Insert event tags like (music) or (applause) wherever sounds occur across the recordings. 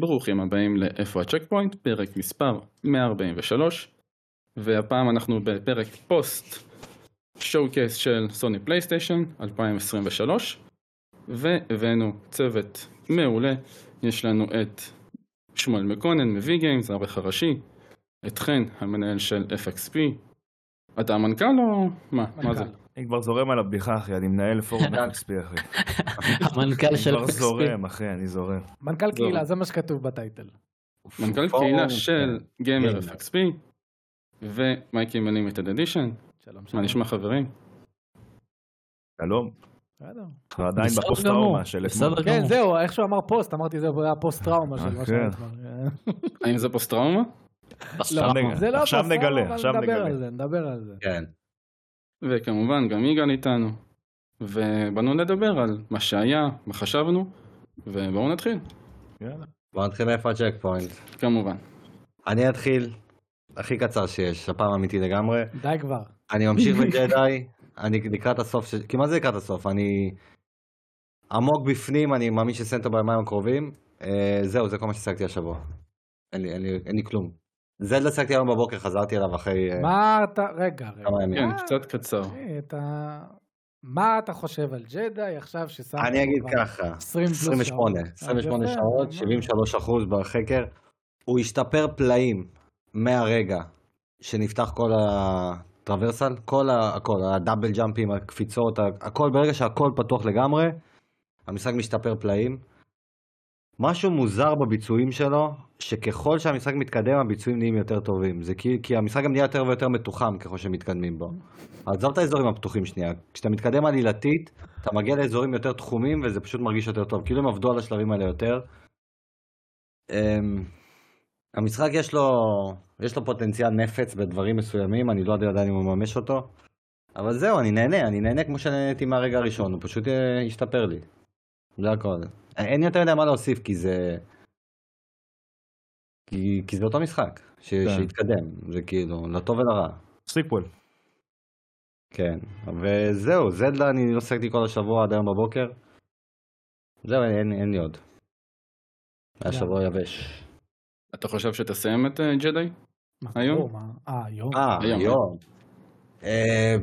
ברוכים הבאים לאיפה הצ'ק פוינט, פרק מספר 143, והפעם אנחנו בפרק פוסט שואו קייס של סוני פלייסטיישן 2023, והבאנו צוות מעולה, יש לנו את שמואל מקונן מווי גיימס, העורך הראשי, את חן, המנהל של FXP, אתה המנכ"ל או מה? מה זה? אני כבר זורם על הבדיחה אחי, אני מנהל (laughs) פורום FXP אחי. המנכ"ל אני לא של כבר FXP. זורם אחי, אני זורם. מנכ"ל זהו. קהילה, זה מה שכתוב בטייטל. מנכ"ל פורום, קהילה של גיימר גיימר. FXP, ומייקי מלימיטד אדישן, שלום, מה שלום. נשמע חברים? שלום. בסדר. אתה עדיין בסדר גמור, בפוסט-טראומה של בסדר אתמול. כן, גמור. זהו, איך שהוא אמר פוסט, אמרתי זהו, היה פוסט טראומה של אה, מה כן. שהיה כבר. אה. האם זה פוסט טראומה? בסדר. נגלה. זה לא עכשיו פוסט טראומה, נגלה, אבל עכשיו נדבר נגלה. על זה, נדבר על זה. כן. וכמובן גם יגאל איתנו. ובאנו לדבר על מה שהיה, מה חשבנו, ובואו נתחיל, יאללה. בוא נתחיל מאיפה הצ'ק פוינט. כמובן. אני אתחיל, הכי קצר שיש, הפעם אמיתי לגמרי. די כבר. אני ממשיך בג'די, אני לקראת הסוף, של- כמעט זה לקראת הסוף, אני עמוק בפנים, אני מאמין שסיים אותו בימיים הקרובים. אה, זהו, זה כל מה שהשגתי השבוע. אין לי, אין לי, אין לי כלום. זלדה השגתי היום בבוקר, חזרתי אליו אחרי כן. אה, מה אתה, רגע, רגע. כמה ימים. כן, קצת קצר. אה, אתה- מה אתה חושב על ג'די עכשיו ששם... אני אגיד כבר ככה, 20 פלוס 28, שעות. 28 אז יפה, שעות, מה? 73 אחוז בחקר. הוא השתפר פלאים מהרגע שנפתח כל הטרוורסל, כל ה- הכל, הדאבל ג'אמפים, הקפיצות, ה- הכל, ברגע שהכל פתוח לגמרי, המשחק משתפר פלאים. משהו מוזר בביצועים שלו, שככל שהמשחק מתקדם הביצועים נהיים יותר טובים. זה כי, כי המשחק גם נהיה יותר ויותר מתוחם ככל שמתקדמים בו. עזוב את האזורים הפתוחים שנייה, כשאתה מתקדם עלילתית, אתה מגיע לאזורים יותר תחומים וזה פשוט מרגיש יותר טוב, כאילו הם עבדו על השלבים האלה יותר. אמ, המשחק יש לו, יש לו פוטנציאל נפץ בדברים מסוימים, אני לא יודע עדיין אם הוא מממש אותו. אבל זהו, אני נהנה, אני נהנה כמו שנהניתי מהרגע הראשון, הוא פשוט אה, השתפר לי. זה הכל. א- אין יותר יודע מה להוסיף, כי זה... כי, כי זה אותו משחק, ש... כן. שהתקדם, זה כאילו, לטוב ולרע. סיקוול. כן, וזהו, זלדה אני לא שיחקתי כל השבוע עד היום בבוקר. זהו, אין, אין, אין לי עוד. כן. גם. היה שבוע יבש. אתה חושב שתסיים את אה, ג'די? מה, היום? ברור, מה? אה, היום? אה, היום. היום. אה,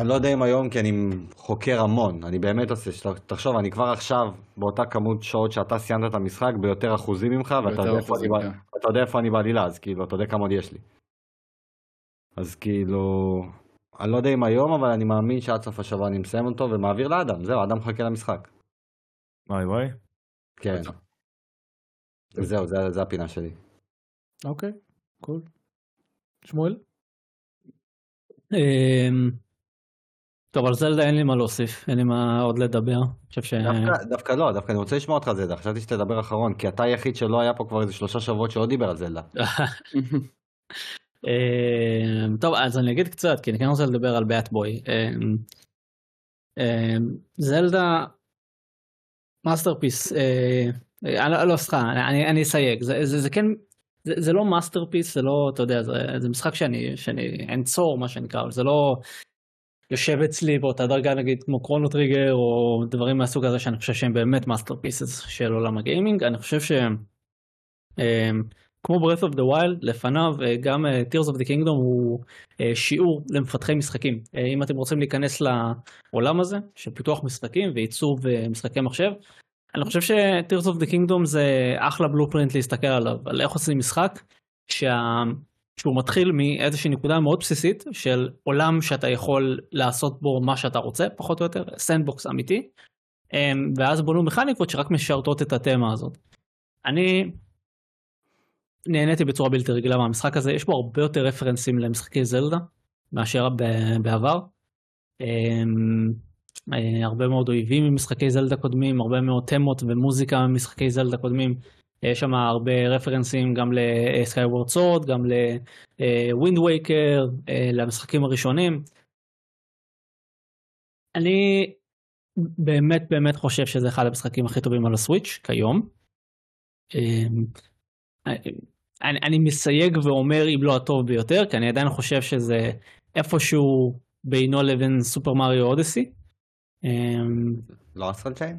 אני לא יודע אם היום, כי אני חוקר המון. אני באמת עושה, שת- תחשוב, אני כבר עכשיו באותה כמות שעות שאתה סיימת את המשחק ביותר אחוזים ממך, ואתה יותר יודע איפה אני אחוזים, בא- כן. אתה יודע איפה אני בעלילה, אז כאילו, אתה יודע כמה עוד יש לי. אז כאילו, אני לא יודע אם היום, אבל אני מאמין שעד סוף השבוע אני מסיים אותו ומעביר לאדם. זהו, אדם מחכה למשחק. וואי וואי. כן. זהו, זה, זה הפינה שלי. אה. אוקיי, קול. שמואל? אמ, טוב, על זלדה אין לי מה להוסיף, אין לי מה עוד לדבר. אני חושב ש... דווקא, דווקא לא, דווקא אני רוצה לשמוע אותך על זלדה, חשבתי שתדבר אחרון, כי אתה היחיד שלא היה פה כבר איזה שלושה שבועות שלא דיבר על זלדה. אמ, טוב, אז אני אגיד קצת, כי אני כן רוצה לדבר על באטבוי. אמ, אמ, זלדה מאסטרפיס, אה, אה, לא, לא, סליחה, אני, אני אסייג, זה, זה, זה כן, זה, זה לא מאסטרפיס, זה לא, אתה יודע, זה, זה משחק שאני, שאני אנצור מה שנקרא, אבל זה לא יושב אצלי באותה דרגה נגיד כמו קרונו טריגר או דברים מהסוג הזה שאני חושב שהם באמת מאסטרפיסס של עולם הגיימינג, אני חושב שהם, אמ, כמו Breath of the Wild לפניו אה, גם אה, Tears of the Kingdom הוא אה, שיעור למפתחי משחקים אה, אם אתם רוצים להיכנס לעולם הזה של פיתוח משחקים ועיצוב אה, משחקי מחשב. אני חושב ש-Tears of the Kingdom זה אחלה בלופרינט להסתכל עליו על איך עושים משחק שה... שהוא מתחיל מאיזושהי נקודה מאוד בסיסית של עולם שאתה יכול לעשות בו מה שאתה רוצה פחות או יותר סנדבוקס אמיתי אה, ואז בונו מכניקות שרק משרתות את התמה הזאת. אני נהניתי בצורה בלתי רגילה מהמשחק הזה יש בו הרבה יותר רפרנסים למשחקי זלדה מאשר ב- בעבר. אמ, אה, הרבה מאוד אויבים ממשחקי זלדה קודמים הרבה מאוד תמות ומוזיקה ממשחקי זלדה קודמים. יש שם הרבה רפרנסים גם לסקייוורד סורד גם אה, לווינד וייקר אה, למשחקים הראשונים. אני באמת באמת חושב שזה אחד המשחקים הכי טובים על הסוויץ' כיום. אמ, אה, אני, אני מסייג ואומר אם לא הטוב ביותר כי אני עדיין חושב שזה איפשהו בינו לבין סופר מריו אודיסי. אמ, לא הסנשיין?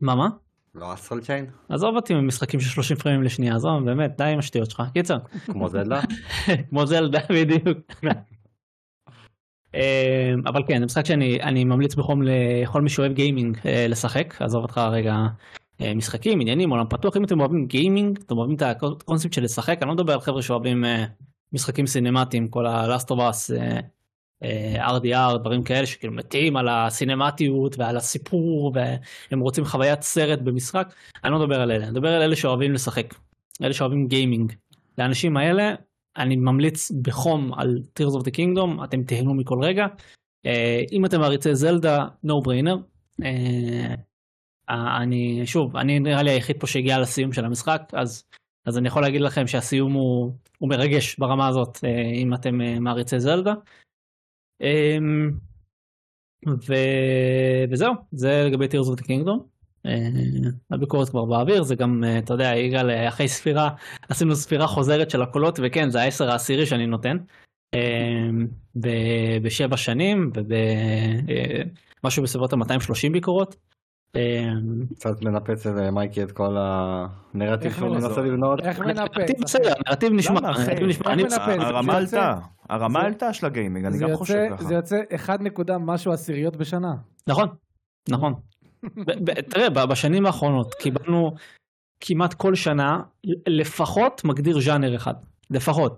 מה מה? לא אסטרל צ'יין? עזוב אותי ממשחקים של 30 פרימים לשנייה, עזוב, באמת, די עם השטויות שלך, קיצר. כמו זדלה? (laughs) כמו זלדה בדיוק. אמ, אבל כן, זה משחק שאני אני ממליץ בחום לכל מי שאוהב גיימינג אה, לשחק, עזוב אותך רגע אה, משחקים, עניינים, עולם פתוח, אם אתם אוהבים גיימינג, אתם אוהבים את הקונספט של לשחק, אני לא מדבר על חבר'ה שאוהבים אה, משחקים סינמטיים, כל ה-Last of Us, אה, אה, RDR, דברים כאלה שכאילו מתים על הסינמטיות ועל הסיפור, והם רוצים חוויית סרט במשחק, אני לא מדבר על אלה, אני מדבר על אלה שאוהבים לשחק, אלה שאוהבים גיימינג. לאנשים האלה אני ממליץ בחום על Tears of the Kingdom, אתם תהנו מכל רגע. אה, אם אתם מעריצי זלדה, no brainer. אה, אה, אני, שוב, אני נראה לי היחיד פה שהגיע לסיום של המשחק, אז, אז אני יכול להגיד לכם שהסיום הוא, הוא מרגש ברמה הזאת, אה, אם אתם אה, מעריצי זלדה. אה, ו, וזהו, זה לגבי Tears of the Kingdom. אה, הביקורת כבר באוויר, זה גם, אה, אתה יודע, יגאל, אה, אחרי ספירה עשינו ספירה חוזרת של הקולות וכן זה העשר העשירי שאני נותן. אמ, ב- בשבע שנים ובמשהו בסביבות ה-230 ביקורות. אוקיי, אמ, (laughs) קצת מנפץ למייקי את כל הנרטיב איך שהוא לעזור? מנסה לבנות. איך הנרטיב מנפץ? בסדר, הנרטיב נשמע, אוקיי. למה, אחי? הנרטיב נשמע, איך אני- מנפץ? זה הרמה יוצא- עלתה, הרמה זה- עלתה של הגיימינג, אני זה גם יוצא- חושב ככה. זה יוצא 1 נקודה משהו עשיריות בשנה. נכון, נכון. ב- ב- תראה, ב- בשנים האחרונות קיבלנו כמעט כל שנה לפחות מגדיר ז'אנר אחד, לפחות.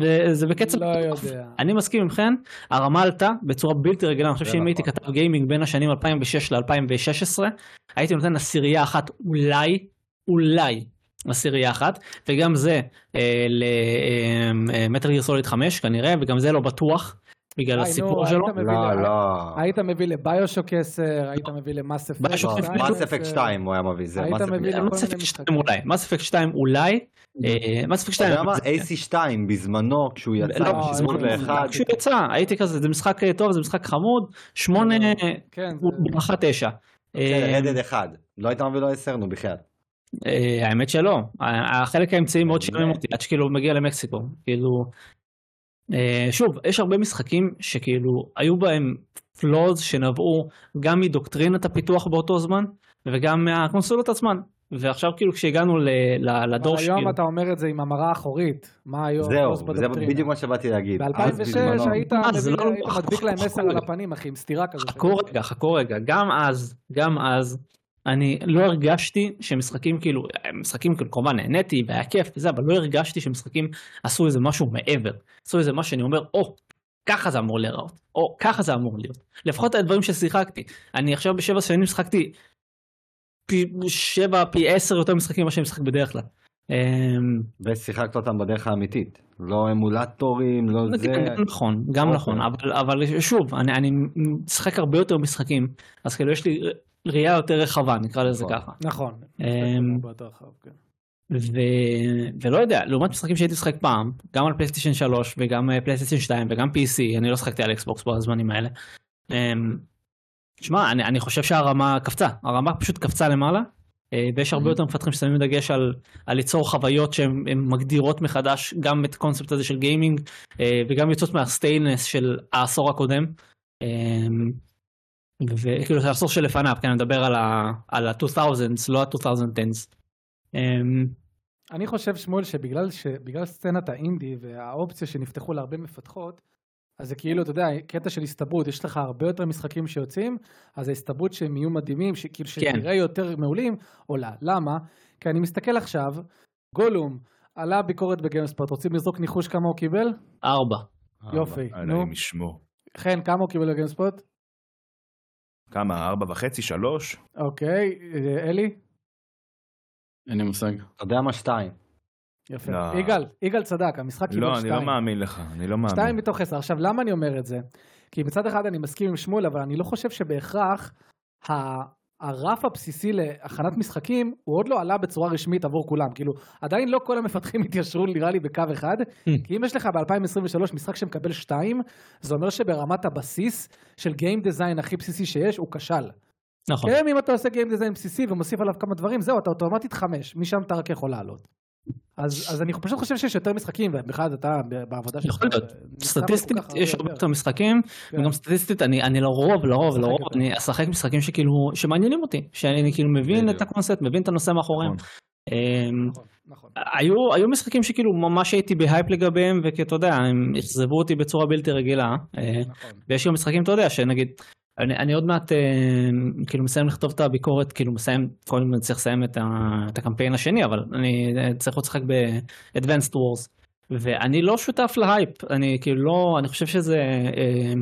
ו- זה בקצב לא מטורף. יודע. אני מסכים עמכם, הרמה עלתה בצורה בלתי רגילה, אני חושב זה שאם נכון. הייתי כתב גיימינג בין השנים 2006 ל-2016, הייתי נותן עשירייה אחת אולי, אולי עשירייה אחת, וגם זה אה, למטר גיר סוליד 5 כנראה, וגם זה לא בטוח, בגלל די, נו, הסיפור היית שלו. מבין לא, לה- לא. היית מביא לביושוק 10, היית מביא למאס אפקט ביושוק לא, 2, מס אפקט 2 הוא היה מביא, זה היית מס אפקט מביא 2. לכל מס מיני אפקט 2 משחקים. לא אולי, מס אפקט 2 אולי, אה, מס אפקט אתה 2. יודע מה? AC2 בזמנו, כשהוא יצא, לא, בזמנו זה- באחד, כשהוא יצא, הייתי כזה, זה משחק אה, טוב, זה משחק חמוד, 8, כן, זה- הוא ברכה אה, 9. רדד 1. כן, לא היית מביא לו 10, נו בחייאת. אה, האמת שלא, ה- החלק האמצעי מאוד באמת? שימם אותי עד שכאילו הוא מגיע למקסיקו, כאילו. אה, שוב, יש הרבה משחקים שכאילו היו בהם פלוז שנבעו גם מדוקטרינת הפיתוח באותו זמן וגם מהקונסולות עצמן. ועכשיו כאילו כשהגענו ל- ל- לדור אבל היום שכאילו, אתה אומר את זה עם המראה האחורית. מה היום? זהו, זה בדיוק מה שבאתי להגיד. אז ב-2006 בזמנו- היית אה, מביא- זה לא- היית מדביק להם חכו 10 על הפנים, אחי, עם סטירה כזו. חכו רגע, חכו רגע, גם אז, גם אז, אני לא הרגשתי שמשחקים כאילו, משחקים כאילו כמובן נהניתי והיה כיף וזה, אבל לא הרגשתי שמשחקים עשו איזה משהו מעבר, עשו איזה מה שאני אומר, או, ככה זה אמור להיראות, או ככה זה אמור להיות. לפחות הדברים ששיחקתי, אני עכשיו בשבע שנים שיחקתי פי שבע, פי עשר יותר משחקים ממה שאני משחק בדרך כלל. אמ, ושיחקת אותם בדרך האמיתית. לא אמולטורים, לא זה. כן, גם נכון, גם אוקיי. נכון, אבל, אבל שוב, אני, אני משחק הרבה יותר משחקים, אז כאילו יש לי ראייה יותר רחבה, נקרא לזה נכון. ככה. נכון. אמ, הרבה יותר רחב, כן. ו... ולא יודע, לעומת משחקים שהייתי משחק פעם, גם על פלייסטיישן 3 וגם אה, פלייסטיישן 2 וגם PC, אני לא שחקתי על אקסבוקס בזמנים האלה. אמ, שמע, אני, אני חושב שהרמה קפצה, הרמה פשוט קפצה למעלה, אה, ויש הרבה יותר מפתחים ששמים דגש על, על ליצור חוויות שהן הן מגדירות מחדש גם את הקונספט הזה של גיימינג, אה, וגם יוצאות מהסטיינס של העשור הקודם. אמ, וכאילו זה העשור שלפניו, כן, אני מדבר על ה- על ה-2000's, לא ה-2010's. אמ, אני חושב, שמואל, שבגלל ש- בגלל סצנת האינדי והאופציה שנפתחו להרבה מפתחות, אז זה כאילו, אתה יודע, קטע של הסתברות, יש לך הרבה יותר משחקים שיוצאים, אז ההסתברות שהם יהיו מדהימים, שכאילו שנראה יותר מעולים, עולה. למה? כי אני מסתכל עכשיו, גולום, עלה ביקורת בגיימספוט, רוצים לזרוק ניחוש כמה הוא קיבל? ארבע. יופי, אה, נו. אלוהים ישמור. חן, כמה הוא קיבל בגיימספוט? כמה? ארבע וחצי? שלוש? אוקיי, אה, אלי? (laughs) אין לי מושג. אתה יודע מה? 2. יפה. לא. יגאל, יגאל צדק, המשחק קיבל לא, אני שתיים. לא מאמין לך, אני לא שתיים מאמין. מתוך עשר. עכשיו, למה אני אומר את זה? כי מצד אחד אני מסכים עם שמואל, אבל אני לא חושב שבהכרח ה... הרף הבסיסי להכנת משחקים הוא עוד לא עלה בצורה רשמית עבור כולם כאילו עדיין לא כל המפתחים (laughs) התיישרו נראה לי בקו אחד Hmm. כי אם יש לך ב-2023 משחק שמקבל שתיים זה אומר שברמת הבסיס של גיים דיזיין הכי בסיסי שיש הוא כשל. נכון. כן, אם אתה עושה גיים דיזיין בסיסי ומוסיף עליו כמה דברים, זהו, אתה אוטומטית חמש, משם אתה רק יכול לעלות. אז, אז אני פשוט חושב שיש יותר משחקים, ובכלל אתה ב- בעבודה שלך... יכול להיות. אה, נתקע סטטיסטית בכל כך יש הרבה הרבה יותר. יותר משחקים כן. וגם סטטיסטית אני אני לרוב לרוב משחק לרוב יותר. אני אשחק משחקים שכאילו שמעניינים אותי שאני כאילו מבין בדיוק. את הקונספט מבין את הנושא מאחוריהם. נכון. אמ, נכון, נכון. היו היו משחקים שכאילו ממש הייתי בהייפ לגביהם וכאתה יודע הם אכזבו אותי בצורה בלתי רגילה אה, נכון. ויש גם משחקים אתה יודע שנגיד אני, אני עוד מעט אה, כאילו מסיים לכתוב את הביקורת כאילו מסיים קודם אני צריך לסיים את, ה, את הקמפיין השני אבל אני אה, צריך עוד לשחק ב-advanced wars ואני לא שותף להייפ אני כאילו לא אני חושב שזה אה,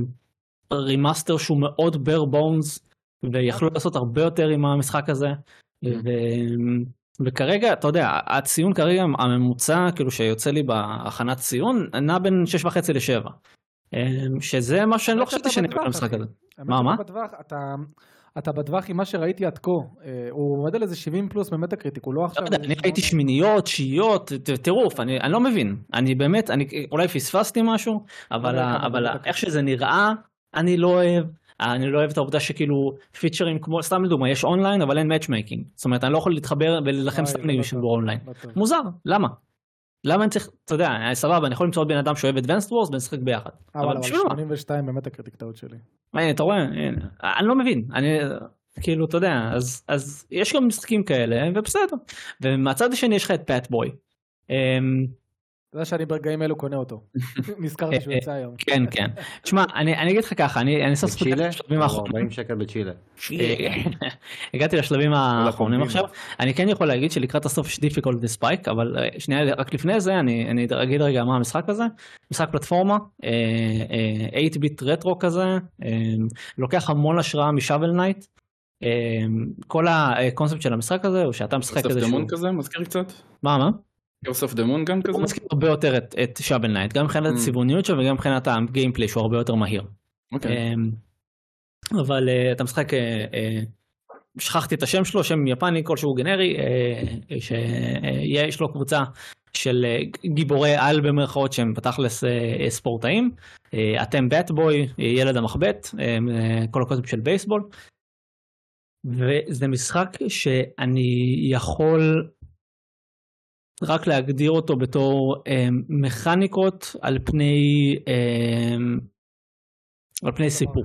רימאסטר שהוא מאוד bare bones ויכלו לעשות הרבה יותר עם המשחק הזה. ו... וכרגע אתה יודע הציון כרגע הממוצע כאילו שיוצא לי בהכנת ציון נע בין 6.5 ל-7. שזה מה שאני לא האמת חשבתי שאתה שאני אקבל בטווח, במשחק אחי. הזה. האמת מה, שאתה מה? בטווח, אתה, אתה בטווח עם מה שראיתי עד כה, אה, הוא עומד על איזה 70 פלוס במטה קריטיק, הוא לא לא עכשיו... יודע, איזה אני ראיתי שמונה. שמיניות, שיעיות, ט- טירוף, אני אני לא מבין. אני באמת, אני אולי פספסתי משהו, אבל לא יודע ה- כמה אבל ה- דקות. איך שזה נראה, אני לא אוהב. אני לא אוהב את העובדה שכאילו פיצ'רים כמו, סתם לדוגמה, יש אונליין אבל אין מאצ'מייקינג. זאת אומרת, אני לא יכול להתחבר ולהילחם וואי, סתם זה לא עם מישהו טוב. באונליין. לא טוב. מוזר, למה? למה אני צריך, אתה יודע, אה, סבבה, אני יכול למצוא עוד בן אדם שאוהב Advanced Wars ונשחק ביחד. אה, וואלה, אבל וואלה, בשביל מה? 82 במטה קריטיק טעות שלי. מה, הנה, אה, אתה רואה? הנה, אני לא מבין. אני כאילו, אתה יודע, אז, אז יש גם משחקים כאלה, ובסדר. ומהצד השני יש לך את פאטבוי. אמ, אתה יודע שאני ברגעים אלו קונה (laughs) אותו. נזכרתי שהוא יצא היום. כן, כן. תשמע, אני אני אגיד לך ככה, אני אני סוף סוף הגעתי בצ'ילה? לשלבים או האחרונים. 40 שקל בצ'ילה. אה, (laughs) הגעתי לשלבים האחרונים הקומבינות. עכשיו. אני כן יכול להגיד שלקראת הסוף יש דיפיקולט וספייק, אבל אה, שנייה, רק לפני זה אני אני אגיד רגע מה המשחק הזה. משחק פלטפורמה, אה, 8-ביט רטרו כזה, אה, לוקח המון השראה משאבל נייט. אה, כל הקונספט של המשחק הזה הוא שאתה משחק סוף איזה דמון כזה מזכיר קצת? מה מה? סוף דמון גם כזה? הוא מזכיר הרבה יותר את- את שאבל נייט, גם מבחינת Mm. הצבעוניות שלו וגם מבחינת הגיימפליי שהוא הרבה יותר מהיר. אוקיי. אמ, אבל אה, אתה משחק, אה, אה, שכחתי את השם שלו, שם יפני כלשהו גנרי, אה, שיש אה, לו קבוצה של אה, גיבורי על במרכאות שהם בתכלס אה, אה, ספורטאים. אה, אתם בטבוי, ילד המחבט, אה, אה, כל הקונספט של בייסבול. וזה משחק שאני יכול רק להגדיר אותו בתור אה, מכניקות על פני, אה, על פני כן, סיפור.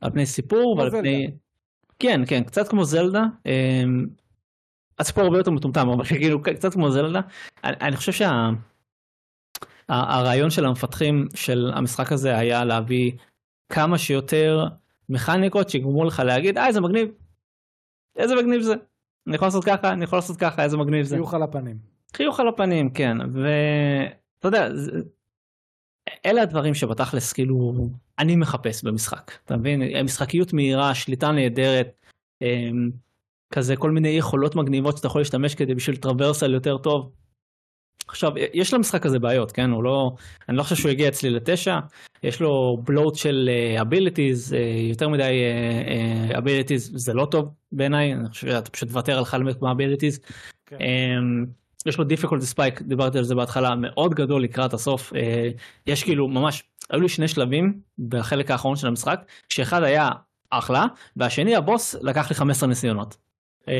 על פני סיפור כמו ועל זלדה. פני... כן, כן, קצת כמו זלדה. אמ, הסיפור הרבה יותר מטומטם, אבל (laughs) כאילו קצת כמו זלדה. אני, אני חושב שה... ה- הרעיון של המפתחים של המשחק הזה היה להביא כמה שיותר מכניקות שיגרמו לך להגיד, אה, איזה מגניב. איזה מגניב זה. אני יכול לעשות ככה, אני יכול לעשות ככה, איזה מגניב זה. חיוך על הפנים. חיוך על הפנים, כן. ואתה יודע, זה... אלה הדברים שבתכלס, כאילו, אני מחפש במשחק. אתה מבין? משחקיות מהירה, שליטה נהדרת, אמ, כזה כל מיני יכולות מגניבות שאתה יכול להשתמש כדי בשביל טרוורסל יותר טוב. עכשיו, יש למשחק הזה בעיות, כן? הוא לא... אני לא חושב שהוא הגיע אצלי לתשע. יש לו בלוט של אביליטיז, יותר מדי אביליטיז זה לא טוב בעיניי, אני חושב שאתה פשוט תוותר על חלק מהאביליטיז. כן. אמ, יש לו difficult spike, דיברתי על זה בהתחלה, מאוד גדול לקראת הסוף. אה, יש כאילו ממש, היו לי שני שלבים בחלק האחרון של המשחק, שאחד היה אחלה, והשני הבוס לקח לי 15 ניסיונות. אה,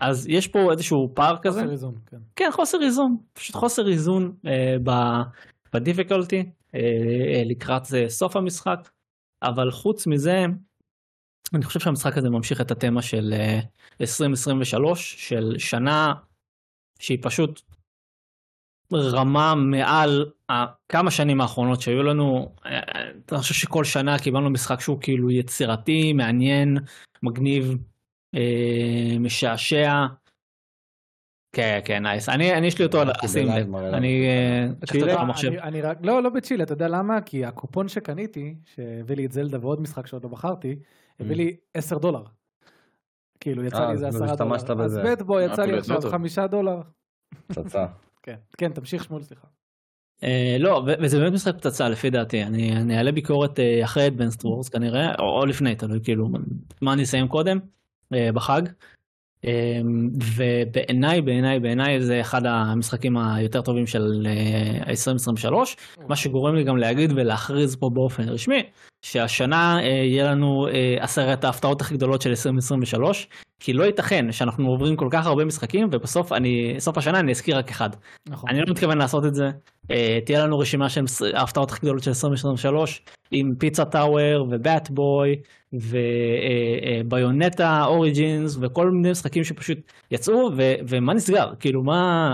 אז יש פה איזשהו פער כזה. חוסר איזון, כן. כן, חוסר איזון, פשוט חוסר איזון אה, בדיפיקולטי אה, אה, לקראת אה, סוף המשחק, אבל חוץ מזה, אני חושב שהמשחק הזה ממשיך את התמה של אה, 2023, של שנה שהיא פשוט רמה מעל כמה שנים האחרונות שהיו לנו, אה, אה, אני חושב שכל שנה קיבלנו משחק שהוא כאילו יצירתי, מעניין, מגניב, אה, משעשע. כן, כן, נייס. אני, אני יש לי אותו על קיבל הסים. עין אה, מראה לנו. אני אה, לקחתי צ'ילה? אותו אה, במחשב. אני- אני רק- לא, לא בצ'ילה, אתה יודע למה? כי הקופון שקניתי, שהביא לי את זלדה ועוד משחק שעוד לא בחרתי, הביא לי 10 דולר. כאילו, יצא Mm. אה, לי אז איזה 10 דולר. השתמשת אז בזה. בטבו יצא לי אפילו עכשיו הזנות. 5 דולר. פצצה. כן, כן, תמשיך שמואל, סליחה. אה, לא, ו- וזה באמת משחק פצצה לפי דעתי. אני אני אעלה ביקורת אה, אחרי אדבנסט וורס כנראה, או או לפני, תלוי כאילו מה אני אסיים קודם, אה, בחג. אה, ובעיניי, בעיניי, בעיניי זה אחד המשחקים היותר טובים של אה, 2023, מה שגורם לי גם להגיד ולהכריז פה באופן רשמי, שהשנה אה, יהיה לנו אה, עשרת ההפתעות הכי גדולות של 2023, כי לא ייתכן שאנחנו עוברים כל כך הרבה משחקים ובסוף אני, סוף השנה אני אזכיר רק אחד. נכון. אני לא מתכוון לעשות את זה. אה, תהיה לנו רשימה של מס- ההפתעות הכי גדולות של 2023 עם פיצה טאוור ובאט בוי וביונטה אוריג'ינס וכל מיני משחקים שפשוט יצאו ו- ומה נסגר כאילו מה.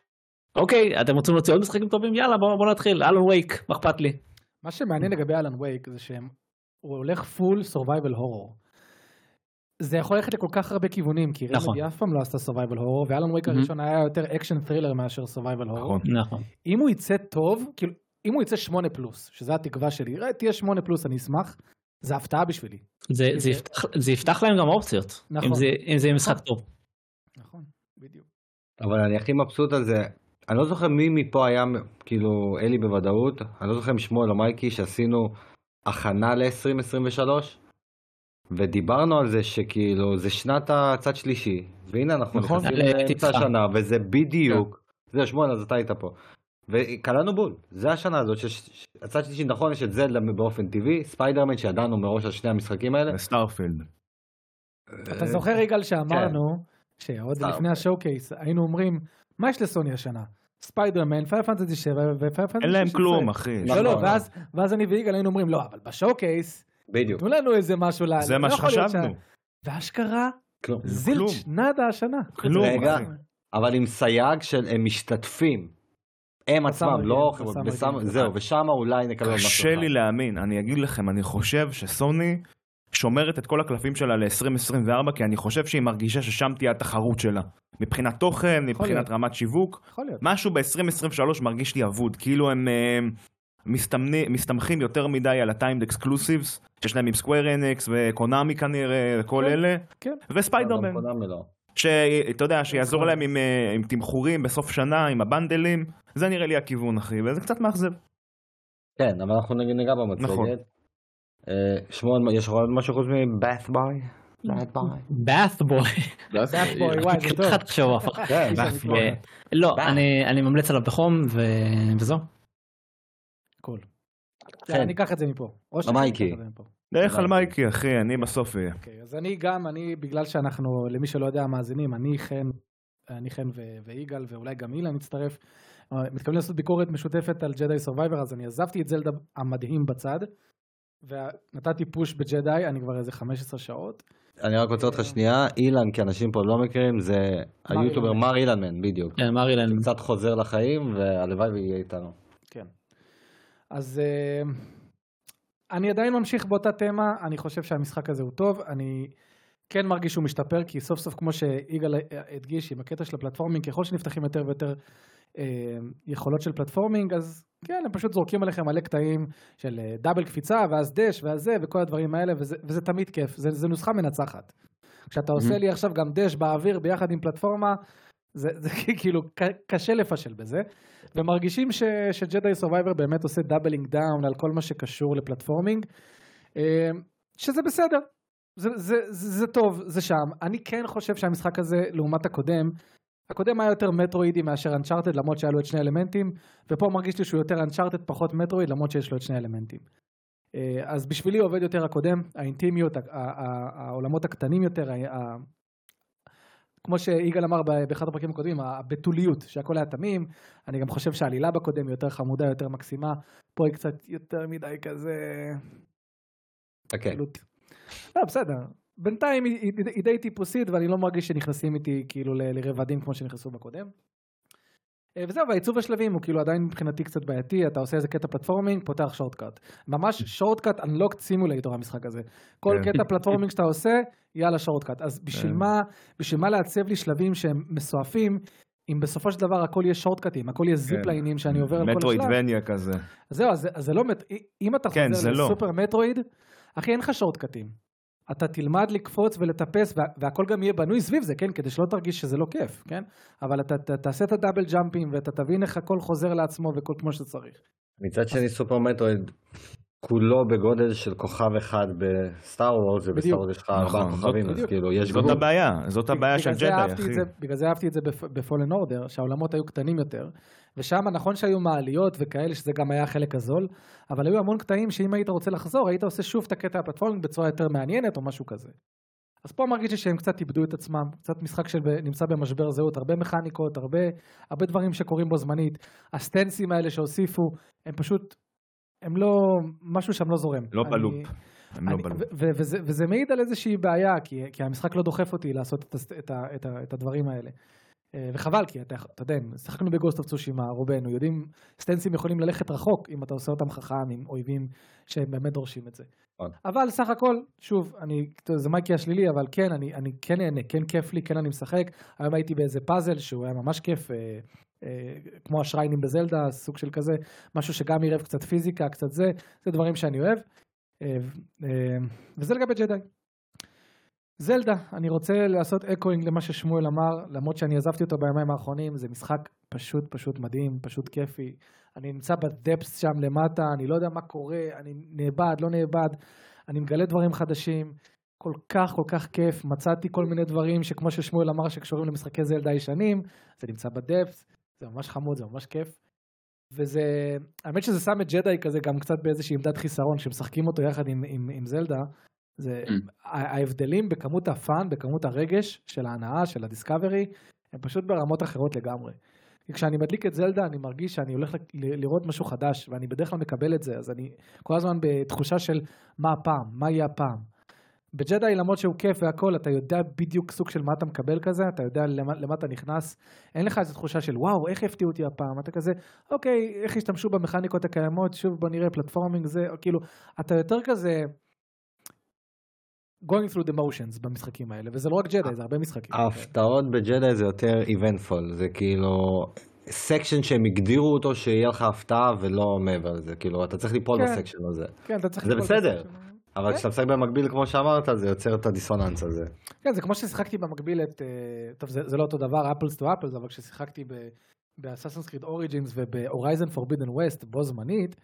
(laughs) אוקיי אתם רוצים להוציא עוד משחקים טובים יאללה בואו בוא נתחיל אלון וייק מה אכפת לי. מה שמעניין לגבי אלן וייק זה שהם- הוא הולך פול סורווייבל הורור. זה יכול ללכת לכל כך הרבה כיוונים, כי נכון. רמדי אף פעם לא עשתה סורווייבל הורור, ואלן וייק Mhm. הראשון היה יותר אקשן ת'רילר מאשר סורווייבל הורור. נכון. נכון. אם הוא יצא טוב, כאילו, אם הוא יצא שמונה פלוס, שזו התקווה שלי, "אה, תהיה שמונה פלוס, אני אשמח, זה הפתעה בשבילי. זה, זה, יפתח, זה יפתח להם גם אופציות נכון. אם זה, אם זה יהיה משחק נכון. טוב. נכון, בדיוק. אבל אני הכי מבסוט על זה. אני לא זוכר מי מפה היה, כאילו, אלי בוודאות, אני לא זוכר אם שמואל או מייקי, שעשינו הכנה ל-2023, ודיברנו על זה שכאילו, זה שנת הצד שלישי, והנה אנחנו נכון. נכנסים אה, לאמצע טיפה. השנה, וזה בדיוק, זה שמואל, אז אתה היית פה. וקלענו בול, זה השנה הזאת, שהצד שלישי, נכון, יש את זלדה באופן טבעי, ספיידרמן שידענו מראש על שני המשחקים האלה. סטארפילד. אתה זוכר, יגאל, כן. שאמרנו, שעוד לפני השואו-קייס, היינו אומרים, מה יש לסוני השנה? ספיידרמן, פייר פנטזי 7 ופייר פנטזי 16. אין להם כלום, אחי. לא, לא, נכון. ואז- ואז אני ויגאל היינו אומרים, לא, אבל בשואו-קייס, בדיוק. תנו לנו איזה משהו, ל- זה לא מה יכול להיות שחשבנו. שה- ואשכרה, כלום. כלום. זילץ' נאדה השנה. כלום, רגע. אחי. אבל עם סייג של הם משתתפים. הם בסם עצמם, רגיל, לא בסם כן. חברות, רגיל. בסם- זהו, ושם אולי נקבל עוד משהו. קשה אחד. לי להאמין, אני אגיד לכם, אני חושב שסוני שומרת את כל הקלפים שלה ל-2024, כי אני חושב שהיא מרגישה ששם תהיה התחרות שלה. מבחינת תוכן, להיות. מבחינת רמת שיווק, יכול להיות. משהו ב-2023 מרגיש לי אבוד, כאילו הם אה, מסתמני- מסתמכים יותר מדי על הטיימד אקסקלוסיבס, שיש להם עם סקוויר אנקס וקונאמי כנראה, וכל כן, אלה, כן. וספיידרמן, אבל קונאמי לא. שאתה יודע, שיעזור להם עם, אה, עם תמחורים בסוף שנה, עם הבנדלים, זה נראה לי הכיוון, אחי, וזה קצת מאכזב. כן, אבל אנחנו נג- ניגע נכון. במצגת. אה, שמואל, יש לך עוד משהו חוץ מבאט ביי? באט ביי. באת' בוי. ואז- Bath Boy, וואי, (laughs) זה טוב. חתיכת שבוע הפך. כן, איש Bath אמיתי. Boy. לא ביי. אני, אני ממליץ עליו בחום ו... וזהו. קול. כן. יאללה, אני אקח את זה מפה. או שאני מייקי. אקח את זה מפה. לך על מייקי, אחי, אני בסוף אה, אהיה. אוקיי, אז אני גם, אני, בגלל שאנחנו, למי שלא יודע, מאזינים, אני חן, אני חן ו- ויגאל, ואולי גם אילן יצטרף, אה, מתכוונים לעשות ביקורת משותפת על ג'די סורווייבר, אז אני עזבתי את זלדה המדהים בצד, ונתתי פוש בג'די, אני כבר איזה 15 שעות. אני רק רוצה אותך שנייה, אילן, כי אנשים פה לא מכירים, זה מר היוטיובר אילן. מר אילנמן, בדיוק. כן, מר אילן. קצת חוזר לחיים, והלוואי ויהיה איתנו. כן. אז אה, אני עדיין ממשיך באותה תמה, אני חושב שהמשחק הזה הוא טוב, אני כן מרגיש שהוא משתפר, כי סוף סוף, כמו שיגאל אה, הדגיש, עם הקטע של הפלטפורמינג, ככל שנפתחים יותר ויותר אה, יכולות של פלטפורמינג, אז כן, הם פשוט זורקים עליכם מלא קטעים של אה, דאבל קפיצה, ואז דש, ואז זה, וכל הדברים האלה, וזה, וזה תמיד כיף, זה, זה נוסחה מנצחת. כשאתה עושה לי עכשיו גם דש באוויר ביחד עם פלטפורמה, זה, זה (laughs) כאילו ק- קשה לפשל בזה. ומרגישים ש, שג'די סורווייבר באמת עושה דאבלינג דאון על כל מה שקשור לפלטפורמינג, אה, שזה בסדר, זה, זה, זה, זה טוב, זה שם. אני כן חושב שהמשחק הזה, לעומת הקודם, הקודם היה יותר מטרואידי מאשר אנצ'ארטד, למרות שהיה לו את שני אלמנטים, ופה מרגיש לי שהוא יותר אנצ'ארטד פחות מטרואיד, למרות שיש לו את שני אלמנטים. אה, אז בשבילי עובד יותר הקודם, האינטימיות, ה- ה- ה- העולמות הקטנים יותר, ה- ה- כמו שיגאל אמר ב- באחד הפרקים הקודמים, הבתוליות, שהכל היה תמים, אני גם חושב שהעלילה בקודם היא יותר חמודה, יותר מקסימה, פה היא קצת יותר מדי כזה... כן. חכה. כאילו... לא, בסדר. בינתיים היא, היא, היא די טיפוסית, ואני לא מרגיש שנכנסים איתי כאילו ל- לרבדים כמו שנכנסו בקודם. אה, וזהו, והעיצוב השלבים הוא כאילו עדיין מבחינתי קצת בעייתי, אתה עושה איזה קטע פלטפורמינג, פותח שורטקאט. ממש שורטקאט unlocked סימולטור המשחק הזה. כל כן. קטע פלטפורמינג שאתה עושה, יאללה שורטקאט. אז בשביל כן. מה, בשביל מה לעצב לי שלבים שהם מסועפים, אם בסופו של דבר הכל יהיה שורטקאטים, הכל יהיה כן. זיפליינים שאני עובר על כל השלב. מטרואידבניה כזה. אז זהו, אז, אז זה לא, מט- אם אתה כן, חוזר זה לא. לסופר מטרואיד, אחי, אין לך שורטקטים. אתה תלמד לקפוץ ולטפס, וה, והכל גם יהיה בנוי סביב זה, כן? כדי שלא תרגיש שזה לא כיף, כן? אבל אתה ת, תעשה את הדאבל ג'אמפים, ואתה תבין איך הכל חוזר לעצמו וכל כמו שצריך. מצד שני, סופר מטרואיד כולו בגודל של כוכב אחד בסטאר וורס, ובסטאר בדיוק. וורס יש לך ארבעה נכון, זאת- כוכבים, אז בדיוק. כאילו, יש זאת גבול. הבעיה, זאת הבעיה של בגלל זה ג'די, אהבתי אחי. את זה- בגלל זה אהבתי את זה בפולן אורדר, שהעולמות היו קטנים יותר, ושם נכון שהיו מעליות וכאלה, שזה גם היה החלק הזול, אבל היו המון קטעים שאם היית רוצה לחזור, היית עושה שוב את הקטע הפלטפורמינג בצורה יותר מעניינת או משהו כזה. אז פה מרגיש לי שהם קצת איבדו את עצמם, קצת משחק שנמצא במשבר זהות, הרבה מכניקות, הרבה, הרבה דברים שקורים בו זמנית, הסטנסים האלה שהוסיפו, הם פשוט, הם לא, משהו שם לא זורם. לא אני- בלופ. הם לא אני- בלופ. ו- ו- וזה- וזה מעיד על איזושהי בעיה, כי, כי המשחק לא דוחף אותי לעשות את, הס- את, ה- את, ה- את הדברים האלה. אה, וחבל, כי אתה, אתה יודע, שיחקנו בגוסט אוף צושימה, רובנו יודעים, סטנסים יכולים ללכת רחוק אם אתה עושה אותם חכם עם אויבים שהם באמת דורשים את זה. נכון. אבל סך הכל, שוב, אני, זה מייקי השלילי, אבל כן, אני, אני כן נהנה, כן כיף לי, כן אני משחק. היום הייתי באיזה פאזל שהוא היה ממש כיף, אה, אה, כמו השריינים בזלדה, סוג של כזה, משהו שגם עירב קצת פיזיקה, קצת זה, זה דברים שאני אוהב. אה, ו- אה, וזה לגבי ג'די. זלדה, אני רוצה לעשות אקואינג למה ששמואל אמר, למרות שאני עזבתי אותו בימיים האחרונים, זה משחק פשוט פשוט מדהים, פשוט כיפי. אני נמצא בדפס שם למטה, אני לא יודע מה קורה, אני נאבד, לא נאבד, אני מגלה דברים חדשים, כל כך כל כך כיף, מצאתי כל מיני דברים שכמו ששמואל אמר שקשורים למשחקי זלדה ישנים, זה נמצא בדפס, זה ממש חמוד, זה ממש כיף. וזה, האמת שזה שם את ג'די כזה גם קצת באיזושהי עמדת חיסרון, כשמשחקים אותו יחד עם, עם, עם זלדה, זה Mm. ה- ההבדלים בכמות הפאן, בכמות הרגש של ההנאה, של הדיסקאברי, הם פשוט ברמות אחרות לגמרי. כי כשאני מדליק את זלדה, אני מרגיש שאני הולך ל- ל- לראות משהו חדש, ואני בדרך כלל מקבל את זה, אז אני כל הזמן בתחושה של מה הפעם, מה יהיה הפעם. בג'די, למרות שהוא כיף והכל, אתה יודע בדיוק סוג של מה אתה מקבל כזה, אתה יודע למה, למה אתה נכנס, אין לך איזו תחושה של וואו, איך הפתיעו אותי הפעם, אתה כזה, אוקיי, איך השתמשו במכניקות הקיימות, שוב בוא נראה פלטפורמינג זה, או כאילו, אתה יותר כזה going through the motions במשחקים האלה, וזה לא רק ג'די, זה הרבה משחקים. ההפתעות בג'די זה יותר eventful, זה כאילו סקשן שהם הגדירו אותו שיהיה לך הפתעה ולא מעבר לזה, כאילו אתה צריך ליפול כן. בסקשן הזה. כן, אתה צריך... זה לכל בסדר. משחק שם. אבל כן. כשאתה משחק במקביל כמו שאמרת זה יוצר את הדיסוננס הזה. כן, זה כמו ששיחקתי במקביל את... אה, טוב, זה, זה לא אותו דבר, אפלס טו אפלס, אבל כששיחקתי באססנס קריד אוריג'ינס ובהורייזן פורבידן ווסט בו זמנית,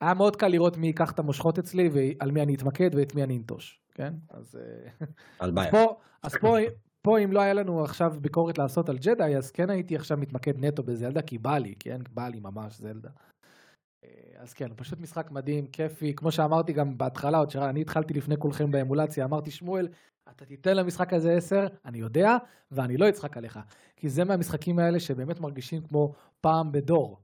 היה מאוד קל לראות מי ייקח את המושכות אצלי ועל מי אני אתמקד ואת מי אני אנטוש, כן? אז... אה, על בעיה. פה, אז פה, פה אם לא היה לנו עכשיו ביקורת לעשות על ג'די, אז כן הייתי עכשיו מתמקד נטו בזלדה, כי בא לי, כן? בא לי ממש זלדה. אה, אז כן, פשוט משחק מדהים, כיפי. כמו שאמרתי גם בהתחלה, עוד שאני התחלתי לפני כולכם באמולציה, אמרתי, שמואל, אתה תיתן למשחק הזה 10, אני יודע, ואני לא אצחק עליך. כי זה מהמשחקים האלה שבאמת מרגישים כמו פעם בדור.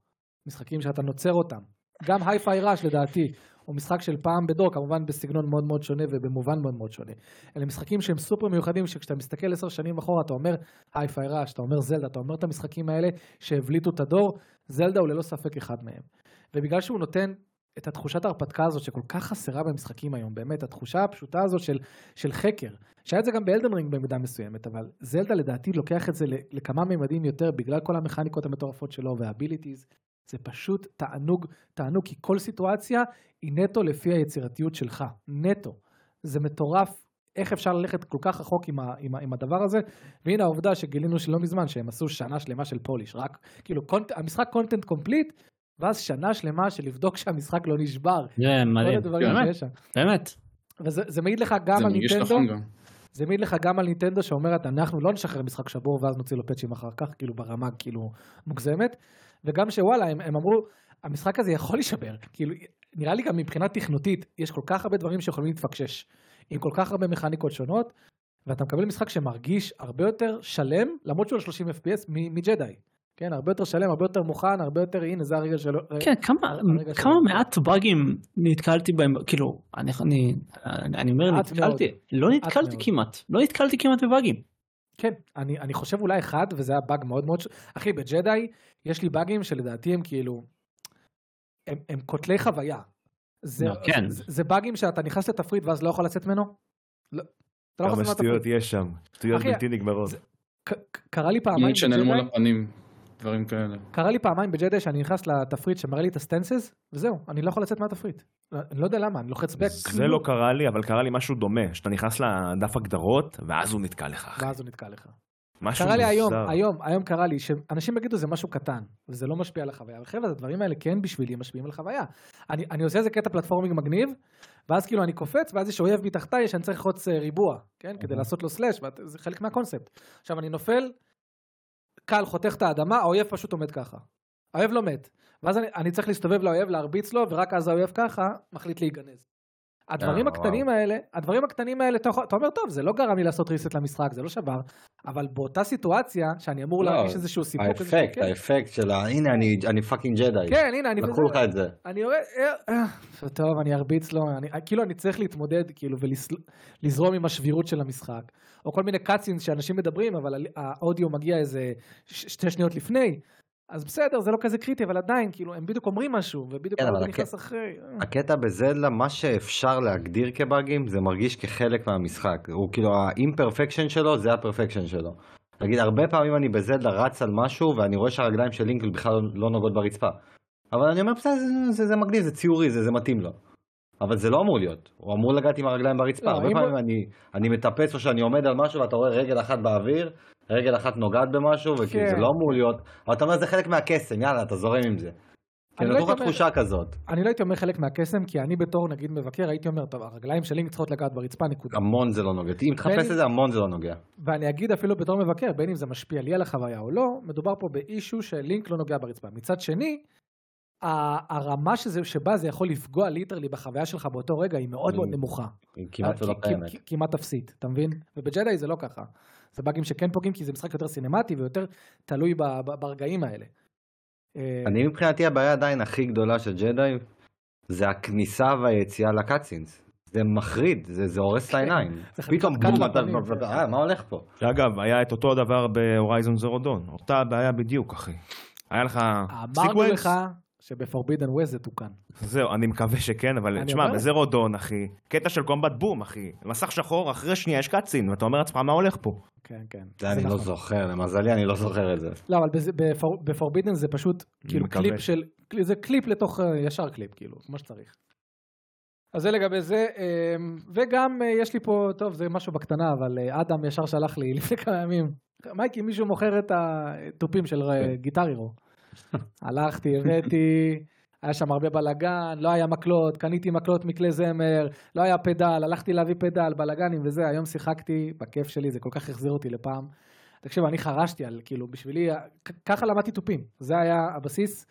משחקים שאתה נוצר אותם. גם הייפיי ראש לדעתי, הוא משחק של פעם בדור, כמובן בסגנון מאוד מאוד שונה ובמובן מאוד מאוד שונה. אלה משחקים שהם סופר מיוחדים, שכשאתה מסתכל עשר שנים אחורה, אתה אומר הייפיי ראש, אתה אומר זלדה, אתה אומר את המשחקים האלה שהבליטו את הדור, זלדה הוא ללא ספק אחד מהם. ובגלל שהוא נותן את התחושת ההרפתקה הזאת שכל כך חסרה במשחקים היום, באמת, התחושה הפשוטה הזאת של, של חקר, שהיה את זה גם באלדן רינג במידה מסוימת, אבל זלדה לדעתי לוקח את זה ל- לכמה ממדים יותר, בגלל כל המכניקות המטורפות שלו והאביליטיז. זה פשוט תענוג, תענוג, כי כל סיטואציה היא נטו לפי היצירתיות שלך, נטו. זה מטורף איך אפשר ללכת כל כך רחוק עם, ה, עם, ה, עם הדבר הזה, והנה העובדה שגילינו שלא מזמן שהם עשו שנה שלמה של פוליש, רק כאילו קונט, המשחק קונטנט קומפליט, ואז שנה שלמה של לבדוק שהמשחק לא נשבר, זה כל מדהים, הדברים באמת, שיש שם. באמת. וזה זה מעיד לך גם כן. זה על מרגיש ניטנדו, נכון גם. זה מעיד לך גם על ניטנדו שאומרת אנחנו לא נשחרר משחק שבור ואז נוציא לו פאצ'ים אחר כך כאילו ברמה כאילו מוגזמת וגם שוואלה הם, הם אמרו המשחק הזה יכול להישבר כאילו נראה לי גם מבחינה תכנותית יש כל כך הרבה דברים שיכולים להתפקשש עם כל כך הרבה מכניקות שונות ואתה מקבל משחק שמרגיש הרבה יותר שלם למרות שהוא על 30 fps מ- מג'די כן הרבה יותר שלם הרבה יותר מוכן הרבה יותר הנה זה הרגע שלו כן, כמה, הרגע כמה שלו. מעט באגים נתקלתי בהם, כאילו, אני, אני, אני אומר מעט נתקלתי, לא נתקלתי מאוד. כמעט, לא נתקלתי כמעט בבאגים. כן, אני, אני חושב אולי אחד, וזה היה באג מאוד מאוד... ש... אחי, בג'די יש לי באגים שלדעתי הם כאילו... הם, הם קוטלי חוויה. זה, לא, כן. זה, זה באגים שאתה נכנס לתפריט ואז לא יכול לצאת ממנו? לא, אתה לא יכול כמה לצאת מהתפריט. שטויות יש שם. שטויות אחי, בלתי נגמרות. ק- ק- קרה לי פעמיים ניט שנעלמו בג'די, לפנים, דברים כאלה. קרה לי פעמיים בג'די שאני נכנס לתפריט שמראה לי את הסטנסס, וזהו, אני לא יכול לצאת מהתפריט. אני לא יודע למה, אני לוחץ בק, זה לא קרה לי, אבל קרה לי משהו דומה. שאתה נכנס לדף הגדרות, ואז הוא נתקע לך, אחי. ואז הוא נתקע לך. משהו קרה לי היום, מוזר. היום, היום קרה לי, שאנשים יגידו זה משהו קטן, וזה לא משפיע על החוויה, אבל חבר'ה, הדברים האלה כן בשבילי משפיעים על חוויה. אני, אני עושה איזה קטע פלטפורמינג מגניב, ואז כאילו אני קופץ, ואז יש אויב מתחתיי שאני צריך לחוץ אה, ריבוע, כן? כדי לעשות לו סלאש, ואת- זה חלק מהקונספט. עכשיו אני נופל, קל חותך את האדמה, האויב פשוט עומד ככה. האויב לא מת. ואז אני, אני צריך להסתובב לאויב, להרביץ לו, ורק אז האויב ככה, מחליט להיגנז. הדברים אה, הקטנים האלה, הדברים הקטנים האלה, אתה יכול- אתה אומר, טוב, זה לא גרם לי לעשות ריסט למשחק, זה לא שבר, אבל באותה סיטואציה, שאני אמור לא, להרגיש איזשהו סיפוק, איזשהו האפקט, כיף. האפקט של ה... הנה, אני- אני פאקינג ג'די. כן, הנה, אני... לקחו לך את זה. אני רואה, אה, אה, טוב, אני ארביץ לו, אני, כאילו אני צריך להתמודד, כאילו, ולזרום עם השבירות של המשחק. או כל מיני קאצינס שאנשים מדברים, אבל ה- האודיו מגיע איזה ש- שתי שניות לפני. אז בסדר, זה לא כזה קריטי, אבל עדיין, כאילו, הם בדיוק אומרים משהו, ובדיוק כן, אבל האודיו הכ- נכנס אחרי. אה. הקטע בזלדה, מה שאפשר להגדיר כבאגים, זה מרגיש כחלק מהמשחק. הוא כאילו, האימפרפקשן שלו, זה הפרפקשן שלו. נגיד, הרבה פעמים אני בזלדה רץ על משהו, ואני רואה שהרגליים של לינק בכלל לא- לא נוגעות ברצפה. אבל אני אומר, בסדר, זה, זה, זה מגניב, זה ציורי, זה, זה מתאים לו. אבל זה לא אמור להיות. הוא אמור לגעת עם הרגליים ברצפה. לא, הרבה אם פעמים הוא- אני, אני מטפס או שאני עומד על משהו, ואתה רואה רגל אחת באוויר, רגל אחת נוגעת במשהו, וכאילו, כן. זה לא אמור להיות. אבל אתה אומר, זה חלק מהקסם, יאללה, אתה זורם עם זה. אני כן, לא נתנו לך הייתי אומר- תחושה כזאת. אני לא הייתי אומר חלק מהקסם, כי אני בתור, נגיד, מבקר, הייתי אומר, טוב, הרגליים של לינק צריכות לגעת ברצפה, נקודה. המון זה לא נוגע. אם תחפש ואני- את זה, המון זה לא נוגע. ואני אגיד אפילו בתור מבקר, בין אם זה משפיע לי על החוויה או לא, מדובר פה באישו שלינק לא נוגע ברצפה. מצד שני, ה- הרמה שזה, שבה זה יכול לפגוע ליטרלי בחוויה שלך באותו רגע היא מאוד מאוד Mm. נמוכה. אה, היא כמעט ולא כ- כ- קיימת. כ- כמעט אפסית, אתה מבין? ובג'די זה לא ככה. זה באגים שכן פוגעים כי זה משחק יותר סינמטי ויותר תלוי ב- ב- ברגעים האלה. אה, אני מבחינתי הבעיה עדיין הכי גדולה של ג'די, זה הכניסה והיציאה לקאצינס. זה מחריד, זה זה הורס את כן. העיניים. זה חתיכת פתאום קאט בום, אתה... לפנים, כן. אה, מה הולך פה? שאגב, היה את אותו הדבר בהורייזון זרו דון. אותה הבעיה בדיוק, אחי. היה לך אמרנו sequence? לך שבפורבידן ווסט זה תוקן. זהו, אני מקווה שכן, אבל אני תשמע, אומר. בזרו דון, אחי, קטע של קומבט בום, אחי. מסך שחור, אחרי שנייה יש קאצין, ואתה אומר לעצמך, מה הולך פה? כן, כן. זה אני לא נכון. זוכר, למזלי אני לא זוכר את זה. לא, אבל בזה- בפור- בפורבידן זה פשוט כאילו מקווה. קליפ של, קלי- זה קליפ לתוך אה, ישר קליפ, כאילו, כמו שצריך. אז זה לגבי זה, אה, וגם אה, יש לי פה, טוב, זה משהו בקטנה, אבל אה, אדם ישר שלח לי (laughs) לפני כמה ימים, מייקי, מישהו מוכר את התופים של אה, גיטר הירו. הלכתי, הבאתי, היה שם הרבה בלאגן, לא היה מקלות, קניתי מקלות מכלי זמר, לא היה פדל, הלכתי להביא פדל, בלאגנים וזה, היום שיחקתי, בכיף שלי, זה כל כך החזיר אותי לפעם. תקשיב, אני חרשתי על, כאילו, בשבילי, כ- ככה למדתי תופים, זה היה הבסיס.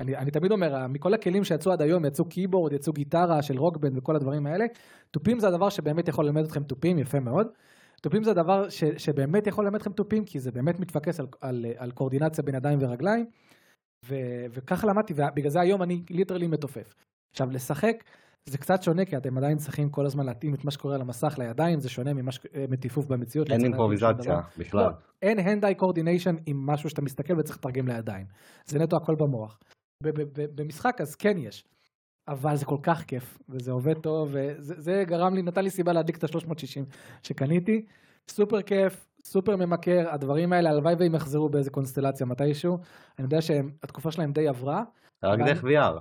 אני, אני תמיד אומר, ה- מכל הכלים שיצאו עד היום, יצאו קeyboard, יצאו גיטרה של רוקבנד וכל הדברים האלה, תופים זה הדבר שבאמת יכול ללמד אתכם תופים, יפה מאוד. תופים זה הדבר ש, שבאמת יכול ללמד אתכם תופים, כי זה באמת מתפקס על, על, על קואורדינציה בין ידיים ורגליים, ו, וככה למדתי, ובגלל זה היום אני ליטרלי מתופף. עכשיו, לשחק זה קצת שונה, כי אתם עדיין צריכים כל הזמן להתאים את מה שקורה על המסך לידיים, זה שונה ממה ש... אה, מטיפוף במציאות. אין לצורך העניין, שום אימפרוביזציה דבר. בכלל. לא, אין hand-eye coordination עם משהו שאתה מסתכל וצריך לתרגם לידיים. זה נטו הכל במוח. ב- ב- ב- במשחק אז כן יש. אבל זה כל כך כיף, וזה עובד טוב, וזה זה גרם לי, נתן לי סיבה להדליק את ה-360 שקניתי. סופר כיף, סופר ממכר, הדברים האלה, הלוואי והם יחזרו באיזה קונסטלציה מתישהו. אני יודע שהתקופה שלהם די עברה. רק אבל- דרך VR.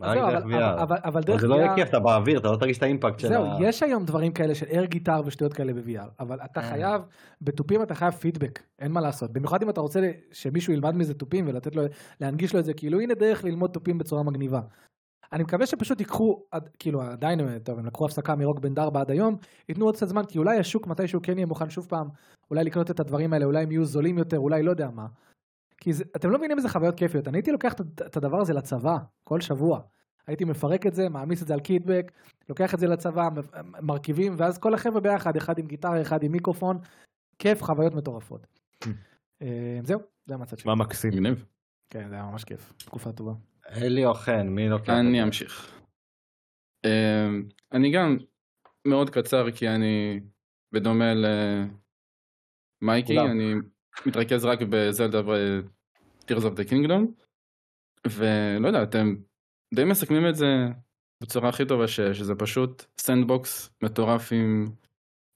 אז רק זהו, דרך אבל, אבל, VR. אבל, אבל אבל דרך זה לא יהיה VR כיף, אתה באוויר, אתה לא תרגיש את האימפקט של ה... זהו, יש היום דברים כאלה של אר גיטר ושטויות כאלה ב-VR, אבל אתה אה. חייב, בתופים אתה חייב פידבק, אין מה לעשות. במיוחד אם אתה רוצה שמישהו ילמד מזה תופים ולתת לו, להנגיש לו את זה, כאילו הנה דרך ללמוד תופים בצורה מגניבה. אני מקווה שפשוט ייקחו, עד- כאילו עדיין, טוב, הם לקחו הפסקה מרוק בן דרבה עד היום, ייתנו עוד קצת זמן, כי אולי השוק מתישהו כן יהיה מוכן שוב פעם, אולי לקנות את הדברים האלה, אולי הם יהיו זולים יותר, אולי לא יודע מה. כי זה, אתם לא מבינים איזה חוויות כיפיות. אני הייתי לוקח את, את הדבר הזה לצבא, כל שבוע. הייתי מפרק את זה, מעמיס את זה על קיטבק, לוקח את זה לצבא, מ- מרכיבים, ואז כל החבר'ה ביחד, אחד עם גיטרה, אחד עם מיקרופון, כיף, חוויות מטורפות. אה, זהו, זה המצב שלי. מה מקסים? מגניב. כן, זה היה ממש כיף, תקופה טובה. אלי או חן, מי לא לוקח? אני אמשיך. אמ, אני גם מאוד קצר כי אני בדומה למייקי כולם. אני מתרכז רק בזלדה ו-Tears of the Kingdom ולא יודע אתם די מסכמים את זה בצורה הכי טובה ש- שזה פשוט סנדבוקס מטורף עם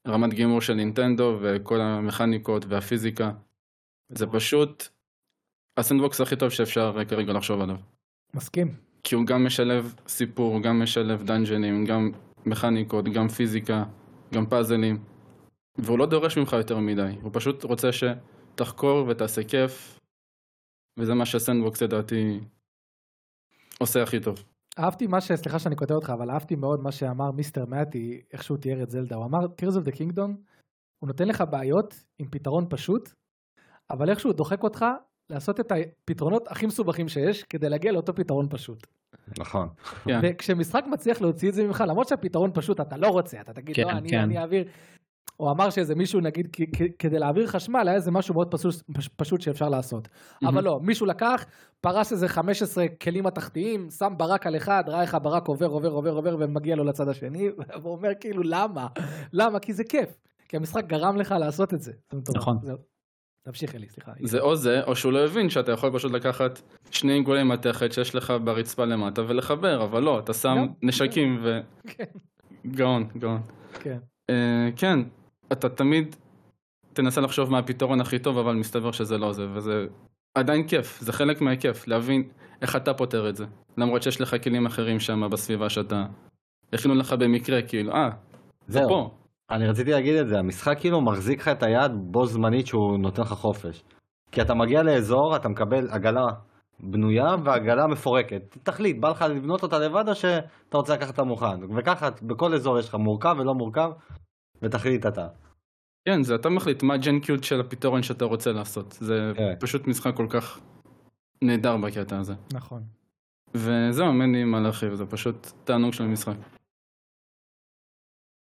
רמת גימור של נינטנדו וכל המכניקות והפיזיקה זה פשוט הסנדבוקס הכי טוב שאפשר כרגע לחשוב עליו. מסכים. כי הוא גם משלב סיפור, גם משלב דאנג'נים, גם מכניקות, גם פיזיקה, גם פאזלים. והוא לא דורש ממך יותר מדי, הוא פשוט רוצה שתחקור ותעשה כיף, וזה מה שהסנדבוקס לדעתי עושה הכי טוב. אהבתי מה ש... סליחה שאני קוטע אותך, אבל אהבתי מאוד מה שאמר מיסטר מתי, איך שהוא תיאר את זלדה. הוא אמר, Tears of the Kingdom, הוא נותן לך בעיות עם פתרון פשוט, אבל איכשהו דוחק אותך לעשות את הפתרונות הכי מסובכים שיש, כדי להגיע לאותו פתרון פשוט. נכון. כן. וכשמשחק מצליח להוציא את זה ממך, למרות שהפתרון פשוט, אתה לא רוצה, אתה תגיד, כן, לא, אני- כן. אני אעביר. הוא אמר שאיזה מישהו, נגיד, כ- כ- כדי להעביר חשמל, היה איזה משהו מאוד פשוט- פש- פשוט שאפשר לעשות. אבל לא, מישהו לקח, פרס איזה 15 כלים מתחתיים, שם ברק על אחד, ראה איך הברק עובר, עובר, עובר, עובר, ומגיע לו לצד השני, (laughs) והוא אומר כאילו, למה? למה? כי זה כיף. כי המשחק גרם לך לעשות את זה. זה מטורף. נכון. זהו. תמשיך אלי, סליחה. זה או זה, או שהוא לא הבין שאתה יכול פשוט לקחת שני עיגולי מתכת שיש לך ברצפה למטה ולחבר, אבל לא, אתה שם לא, נשקים ו... (laughs) כן. גאון, גאון. כן. אה, כן, אתה תמיד תנסה לחשוב מה הפתרון הכי טוב, אבל מסתבר שזה לא זה, וזה עדיין כיף, זה חלק מהכיף, להבין איך אתה פותר את זה. למרות שיש לך כלים אחרים שם בסביבה שאתה... הכינו לך במקרה, כאילו, אה, זה זהו. פה. אני רציתי להגיד את זה, המשחק כאילו מחזיק לך את היד בו זמנית שהוא נותן לך חופש. כי אתה מגיע לאזור, אתה מקבל עגלה בנויה ועגלה מפורקת. תחליט, בא לך לבנות אותה לבד או שאתה רוצה לקחת אותה מוכן. וככה, בכל אזור יש לך מורכב ולא מורכב, ותחליט אתה. כן, זה אתה מחליט מה הג'נקיות של הפתרון שאתה רוצה לעשות. זה כן. פשוט משחק כל כך נהדר בקטע הזה. נכון. וזהו, אין לי מה להרחיב, זה פשוט תענוג של משחק.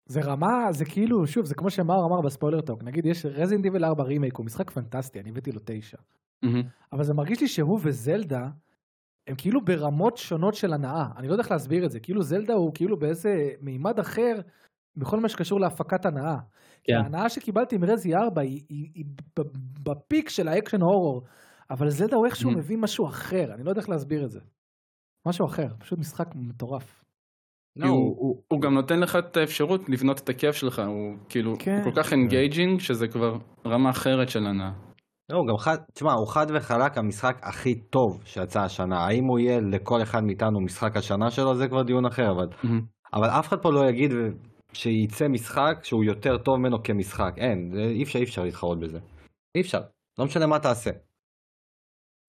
זה רמה, זה כאילו, שוב, זה כמו שמאור אמר בספוילר טוק, נגיד יש רזינד איבל 4 רימייק, הוא משחק פנטסטי, אני הבאתי לו 9. מהמם. אבל זה מרגיש לי שהוא וזלדה, הם כאילו ברמות שונות של הנאה. אני לא יודע איך להסביר את זה, כאילו זלדה הוא כאילו באיזה מימד אחר בכל מה שקשור להפקת הנאה. כי כן. ההנאה שקיבלתי מרזי 4 היא, היא, היא ב- בפיק של האקשן הורור, אבל זלדה הוא איכשהו Mm-hmm. Mhm. מביא משהו אחר, אני לא יודע איך להסביר את זה. משהו אחר, פשוט משחק מטורף. כי הוא- הוא גם נותן לך את האפשרות לבנות את הכיף שלך, הוא כאילו כן. הוא כל כך אינגייג'ינג, שזה כבר רמה אחרת של הנאה. לא, הוא גם חד, תשמע, הוא חד וחלק המשחק הכי טוב שיצא השנה. האם הוא יהיה לכל אחד מאיתנו משחק השנה שלו, זה כבר דיון אחר, אבל... מהמם. אבל אף אחד פה לא יגיד שייצא משחק שהוא יותר טוב ממנו כמשחק. אין, זה- אי אפשר, אי אפשר להתחרות בזה. אי אפשר, לא משנה מה תעשה.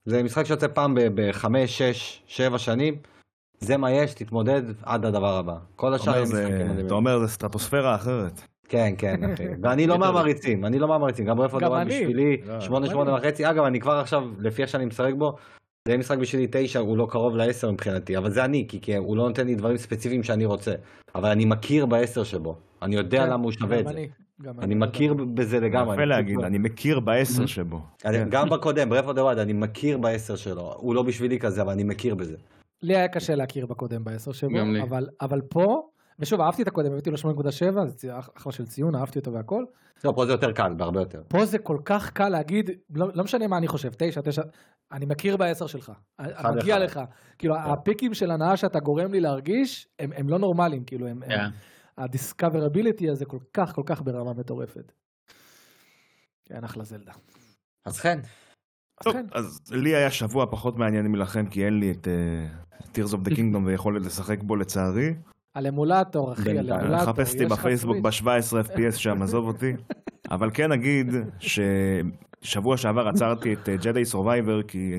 זה משחק שיוצא פעם בחמש, שש, שבע שנים, זה מה יש, תתמודד עד הדבר הבא. כל אתה אומר, השאר זה- משחקים מדהימים. אתה אומר זה סטרטוספירה אחרת. כן, כן, אחי. ואני לא יותר. מהמעריצים, אני לא מהמעריצים. גם רפואה גם דורון אני. בשבילי, לא, שמונה, גם שמונה אני. וחצי. אגב, אני כבר עכשיו, לפי איך שאני משחק בו, זה יהיה משחק בשבילי תשע, הוא לא קרוב לעשר מבחינתי, אבל זה אני, כי כי הוא לא נותן לי דברים ספציפיים שאני רוצה. אבל אני מכיר בעשר שבו. אני יודע כן, למה הוא שווה את גם זה. אני, גם לא אני אותו מכיר דבר. בזה לגמרי. יפה אני להגיד, פשוט- לא- אני מכיר בעשר Mhm. שבו. אני- כן. (laughs) גם בקודם, ברפואה דורון, אני מכיר בעשר שלו. הוא לא בשבילי כזה, אבל אני מכיר בזה. לי היה קשה להכיר בקודם בעשר שבו, גם לי. אבל, אבל פה, ושוב אהבתי את הקודם, הבאתי לו 8.7, זה צי- אח- אחלה של ציון, אהבתי אותו והכל. לא, פה זה יותר קל, בהרבה יותר. פה זה כל כך קל להגיד, לא, לא משנה מה אני חושב, תשע, תשע, אני מכיר בעשר שלך, אחד מגיע אחד. לך. כאילו הפיקים של הנאה שאתה גורם לי להרגיש, הם, הם לא נורמליים, כאילו, הם, כן. הם, ה-discoverability הזה כל כך כל כך ברמה מטורפת. כן, אחלה זלדה. אז כן. אז טוב, כן, אז לי היה שבוע פחות מעניין מלכם, כי אין לי את אה, Tears of the Kingdom ויכולת לשחק בו לצערי. על אמולטור, אחי, על בינתיים. אמולטור. לחפש אותי יש לך בפייסבוק סוויץ'. ב-17 FPS שם, עזוב אותי. אבל כן אגיד ששבוע שעבר עצרתי את ג'די סורווייבר, כי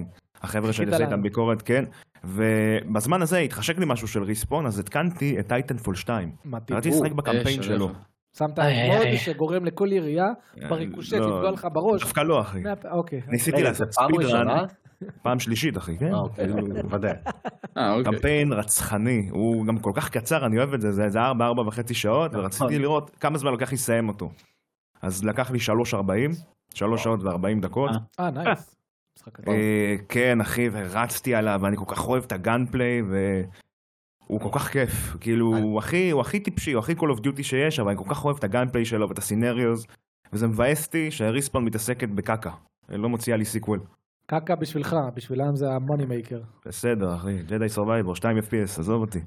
החבר'ה שלי חיכית עשו לנו. איתם ביקורת, כן. ובזמן הזה התחשק לי משהו של ריספון, אז התקנתי את טייטנפול 2. מדהים. רציתי לשחק בקמפיין אש שלו. עליך. שמת איי, איי, מוד איי. שגורם לכל ירייה בריקושט לא, לפגוע לך בראש. (laughs) דווקא לא, אחי. מהפ- אוקיי. ניסיתי רגע, זה לעשות פעם ספיד ראשונה? רן, פעם שלישית, אחי. כן. אה, אוקיי, (laughs) ודאי. אה, אוקיי. קמפיין רצחני, הוא גם כל כך קצר, אני אוהב את זה, זה זה ארבע, ארבע וחצי שעות, נכון. ורציתי לראות כמה זמן לוקח לי לסיים אותו. אז לקח לי שלוש ארבעים, שלוש שעות וארבעים דקות. אה. אה, נייס. משחק כזה. אה, כן, אחי, ורצתי עליו, ואני כל כך אוהב את הגאנפליי, והוא כל כך כיף. כאילו, אה. הוא הכי, הוא הכי טיפשי, הוא הכי Call of Duty שיש, אבל אני כל כך אוהב את הגאנפליי שלו ואת הסינריוז, וזה מבאס אותי שהריספון מתעסקת בקקה. היא לא מוציאה לי סיקוול. קקה בשבילך, בשבילם זה המאני מייקר. בסדר, אחי, ג'די סורווייבר, 2 FPS, עזוב אותי.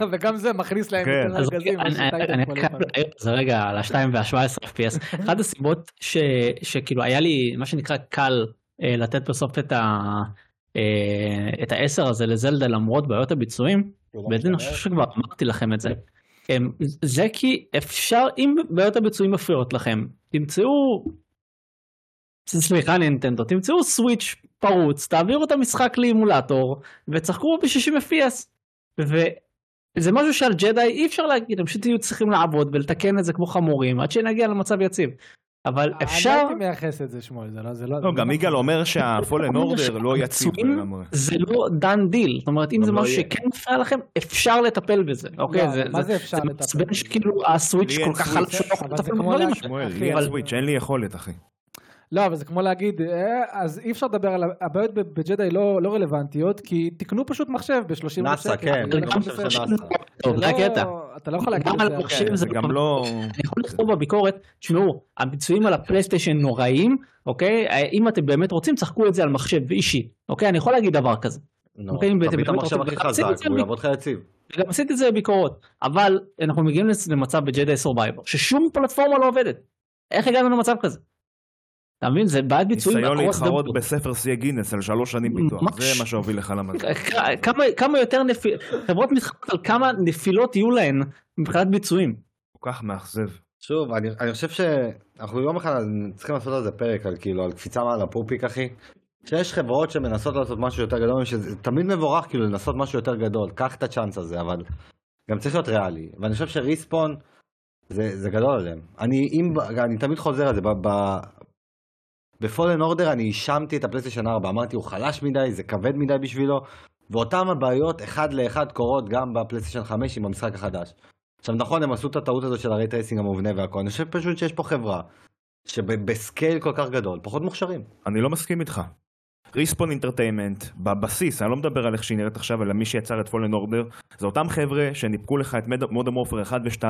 (laughs) וגם זה מכניס להם כן. יותר אז ארגזים. אני- יש לי אני- טייטל אני כבר חייב לפניי. להעיר על זה רגע על ה-2 וה-17 FPS. אחת הסיבות ש- שכאילו היה לי מה שנקרא קל אה, לתת בסוף את ה... אה, את העשר הזה לזלדה למרות בעיות הביצועים, לא ואת אני חושב שכבר אמרתי לכם את זה. אמ, זה כי אפשר, אם בעיות הביצועים מפריעות לכם, תמצאו, סליחה נינטנדו, תמצאו סוויץ' פרוץ, תעבירו את המשחק לאימולטור ותשחקו ב-60 FPS. וזה משהו שעל ג'די אי אפשר להגיד, הם פשוט יהיו צריכים לעבוד ולתקן את זה כמו חמורים עד שנגיע למצב יציב. אבל אה, אפשר, אני אוקיי. הייתי מייחס את זה שמואל, זה לא... זה לא, גם זה יגאל אומר שהפולן אורדר לא יציב פצועים לגמרי. זה לא דן דיל, זאת אומרת אם גם זה לא משהו יהיה. לא, שכן מפריע לכם, אפשר לטפל בזה, אוקיי? זה- לא, מה זה- זה אפשר זה לטפל? מעצבן שכאילו הסוויץ' לי אין כל כך סוויץ', חלק שלא יכול אבל זה לטפל כמו בדברים להגיד- האלה. שמואל, אחי, לי אבל- הסוויץ', אין לי יכולת, אחי. לא, אבל זה כמו להגיד, אה, אז אי אפשר לדבר על ה- הבעיות ב- בג'די לא לא רלוונטיות, כי תקנו פשוט מחשב ב-30 נאסא, שקל. כן. זה גם אני גם חושב בסדר. שזה נאסא. טוב, זה לא- הקטע. אתה לא יכול להגיד גם את על זה. המחשב זה זה נכון. גם לא... אני יכול לכתוב בביקורת, תשמעו, הביצועים על הפלייסטיישן נוראים, אוקיי? אה, אם אתם באמת רוצים, צחקו את זה על מחשב אישי, אוקיי? אני יכול להגיד דבר כזה. נו, אוקיי, אם תביא באמת את המחשב רוצים הכי להציג את חזק, זה, הוא אני- יעבוד לך יציב. וגם עשיתי את זה בביקורות, אבל אנחנו מגיעים לס- למצב בג'די סורבייבר, ששום פלטפורמה לא עובדת. איך הגענו למצב כזה? אתה מבין? זה בעיית ביצועים ניסיון across the להתחרות board. בספר שיא גינס על שלוש שנים פיתוח, ממש. זה מה שהוביל לך (laughs) למצב. כ- כמה, כמה יותר נפילות, חברות מתחרות על כמה נפילות יהיו להן מבחינת ביצועים. כל כך מאכזב. שוב, אני, אני חושב שאנחנו יום אחד צריכים לעשות על זה פרק, על כאילו, על קפיצה מעל הפופיק, אחי. שיש חברות שמנסות לעשות משהו יותר גדול, שזה תמיד מבורך כאילו לנסות משהו יותר גדול, קח את הצ'אנס הזה, אבל גם צריך להיות ריאלי. ואני חושב שריספון, זה, זה גדול עליהם. אני, אם, אני תמיד חוזר על זה, ב... ב בפולן אורדר אני האשמתי את הפלייסטיישן 4, אמרתי הוא חלש מדי, זה כבד מדי בשבילו, ואותן הבעיות אחד לאחד קורות גם בפלייסטיישן 5 עם המשחק החדש. עכשיו נכון, הם עשו את הטעות הזו של הרייטייסינג המובנה והכל, אני חושב פשוט שיש פה חברה שבסקייל כל כך גדול, פחות מוכשרים. אני לא מסכים איתך. ריספון אינטרטיימנט, בבסיס, אני לא מדבר על איך שהיא נראית עכשיו, אלא מי שיצר את פולן אורדר, זה אותם חבר'ה שניפקו לך את מודם וורפר 1 ו-2,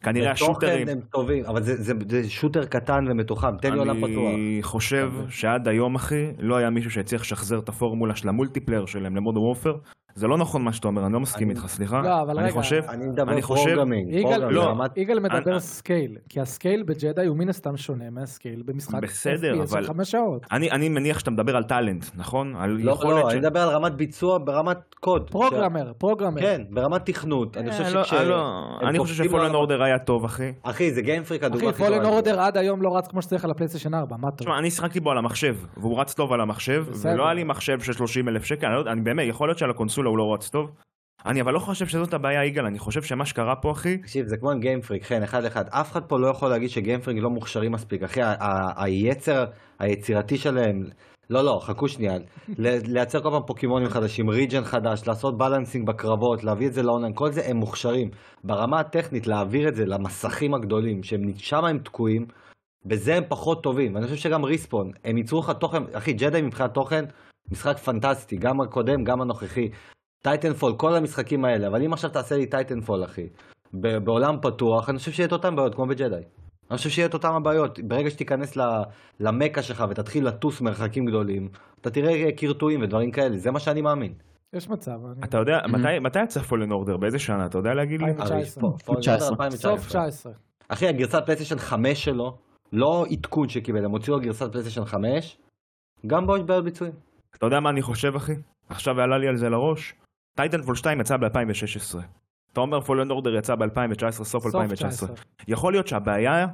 כנראה השוטרים. בתוכן הם טובים, אבל זה, זה, זה שוטר קטן ומתוחם, תן לי עולם פתוח. אני חושב שעד היום, אחי, לא היה מישהו שהצליח לשחזר את הפורמולה של המולטיפלייר שלהם למודם וורפר. זה לא נכון מה שאתה אומר, אני לא מסכים אני- איתך, סליחה. לא, אבל אני רגע, חושב, אני מדבר אני חושב- פרוגרמינג, יגאל, פרוגרמינג, לא. רמת- יגאל מדבר אה, אני- סקייל, כי הסקייל בג'די הוא מן הסתם שונה מהסקייל במשחק בסדר, FPS של אבל- חמש שעות. אני, אני מניח שאתה מדבר על טאלנט, נכון? על לא, יכולת לא, של- אני מדבר על רמת ביצוע ברמת קוד. פרוגרמר, פרוגרמר. כן, ברמת תכנות. אני חושב אה, לא, שכש... אה, לא. אני חושב קופצים שפולן על- אורדר היה טוב, אחי. אחי, זה גיימפריק הדוגמה אחי, הכי טובה. פולן לזה. אורדר עד היום לא רץ כמו שצריך על הפלייסטיישן 4, מה טוב. תשמע, אני שיחקתי בו על המחשב, והוא רץ טוב על המחשב, בסדר. ולא היה לי מחשב של 30 אלף שקל, אני, לא, אני באמת, יכול להיות שעל הקונסולה הוא לא רץ טוב. אני אבל לא חושב שזאת הבעיה, יגאל, אני חושב שמה שקרה פה, אחי, תקשיב, זה כמו עם גיימפריק, חן, אחד לאחד. אף אחד פה לא יכול להגיד שגיימפריק לא מוכשרים מספיק. אחי, ה- ה- היצר היצירתי שלהם... לא, לא, חכו שנייה. ל- לייצר כל פעם פוקימונים חדשים, ריג'ן חדש, לעשות בלנסינג בקרבות, להביא את זה לאונליין, כל זה הם מוכשרים. ברמה הטכנית, להעביר את זה למסכים הגדולים, ששם הם תקועים, בזה הם פחות טובים. ואני חושב שגם ריספון, הם ייצרו לך תוכן, אחי, ג'די מבחינת תוכן, משחק פנטסטי, גם הקודם, גם הנוכחי. טייטנפול, כל המשחקים האלה, אבל אם עכשיו תעשה לי טייטנפול, אחי, ב- בעולם פתוח, אני חושב שיהיה את אותן בעיות, כמו בג'די. אני חושב שיהיה את אותן הבעיות. ברגע שתיכנס ל- למכה שלך ותתחיל לטוס מרחקים גדולים, אתה תראה קרטועים ודברים כאלה, זה מה שאני מאמין. יש מצב, אני- אתה כאילו- יודע, Mm-hmm. מתי- מתי יצא פולן אורדר? באיזה שנה? אתה יודע להגיד לי? לא, 2019. הרי פה- פה- 19. 2019. סוף 19. אחי, הגרסת פלייסטיישן 5 שלו, לא עדכון שקיבל, הם הוציאו גרסת פלייסטיישן 5, גם בו יש בעיות ביצועים. אתה יודע מה אני חושב, אחי? עכשיו עלה לי על זה לראש. טייטנפול 2 יצא ב-2016. אתה אומר פולן אורדר יצא ב-2019, סוף 2019. יכול להיות שהבעיה